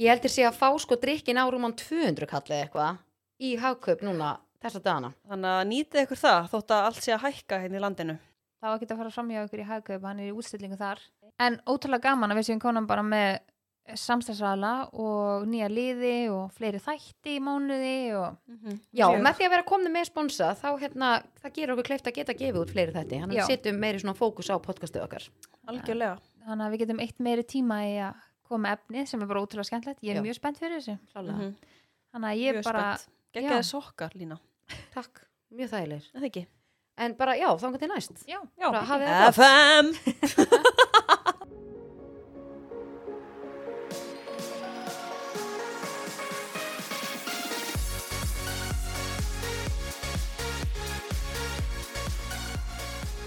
Speaker 2: Ég heldur sé að fá sko drikkin á rúman 200 kallið eitthvað í hagkaup núna þessa dagana.
Speaker 1: þannig að nýtið ykkur það þótt að allt sé að hækka hérna í landinu
Speaker 3: það var ekki að fara fram hjá ykkur í hagkaup hann er í útstillingu þar en ótrúlega gaman að við séum konum bara með samstagsraðla og nýja liði og fleiri þætti í mánuði og
Speaker 2: Já,
Speaker 1: Mjög.
Speaker 2: með því að vera komni með sponsa þá hérna, það gerur okkur kleift að geta gefið út fleiri þætti. Þannig
Speaker 3: Já.
Speaker 2: að við setjum meiri svona fókus á podcastið okkar.
Speaker 1: algjörlega
Speaker 3: þannig að við getum eitt meiri tíma í að koma með efnið sem er bara ótrúlega skemmtilegt ég er
Speaker 2: Já.
Speaker 3: mjög spennt fyrir þessu
Speaker 2: Klálega.
Speaker 1: Mhm.
Speaker 3: þannig að ég
Speaker 1: mjög
Speaker 3: bara
Speaker 1: spennt
Speaker 3: já.
Speaker 1: geggjaði sokkar lína
Speaker 2: Takk, mjög þægilegir.
Speaker 1: Er það ekki
Speaker 2: En bara já, þangar til næst.
Speaker 3: já,
Speaker 1: Já.
Speaker 2: Bara hafið það gott.
Speaker 1: FM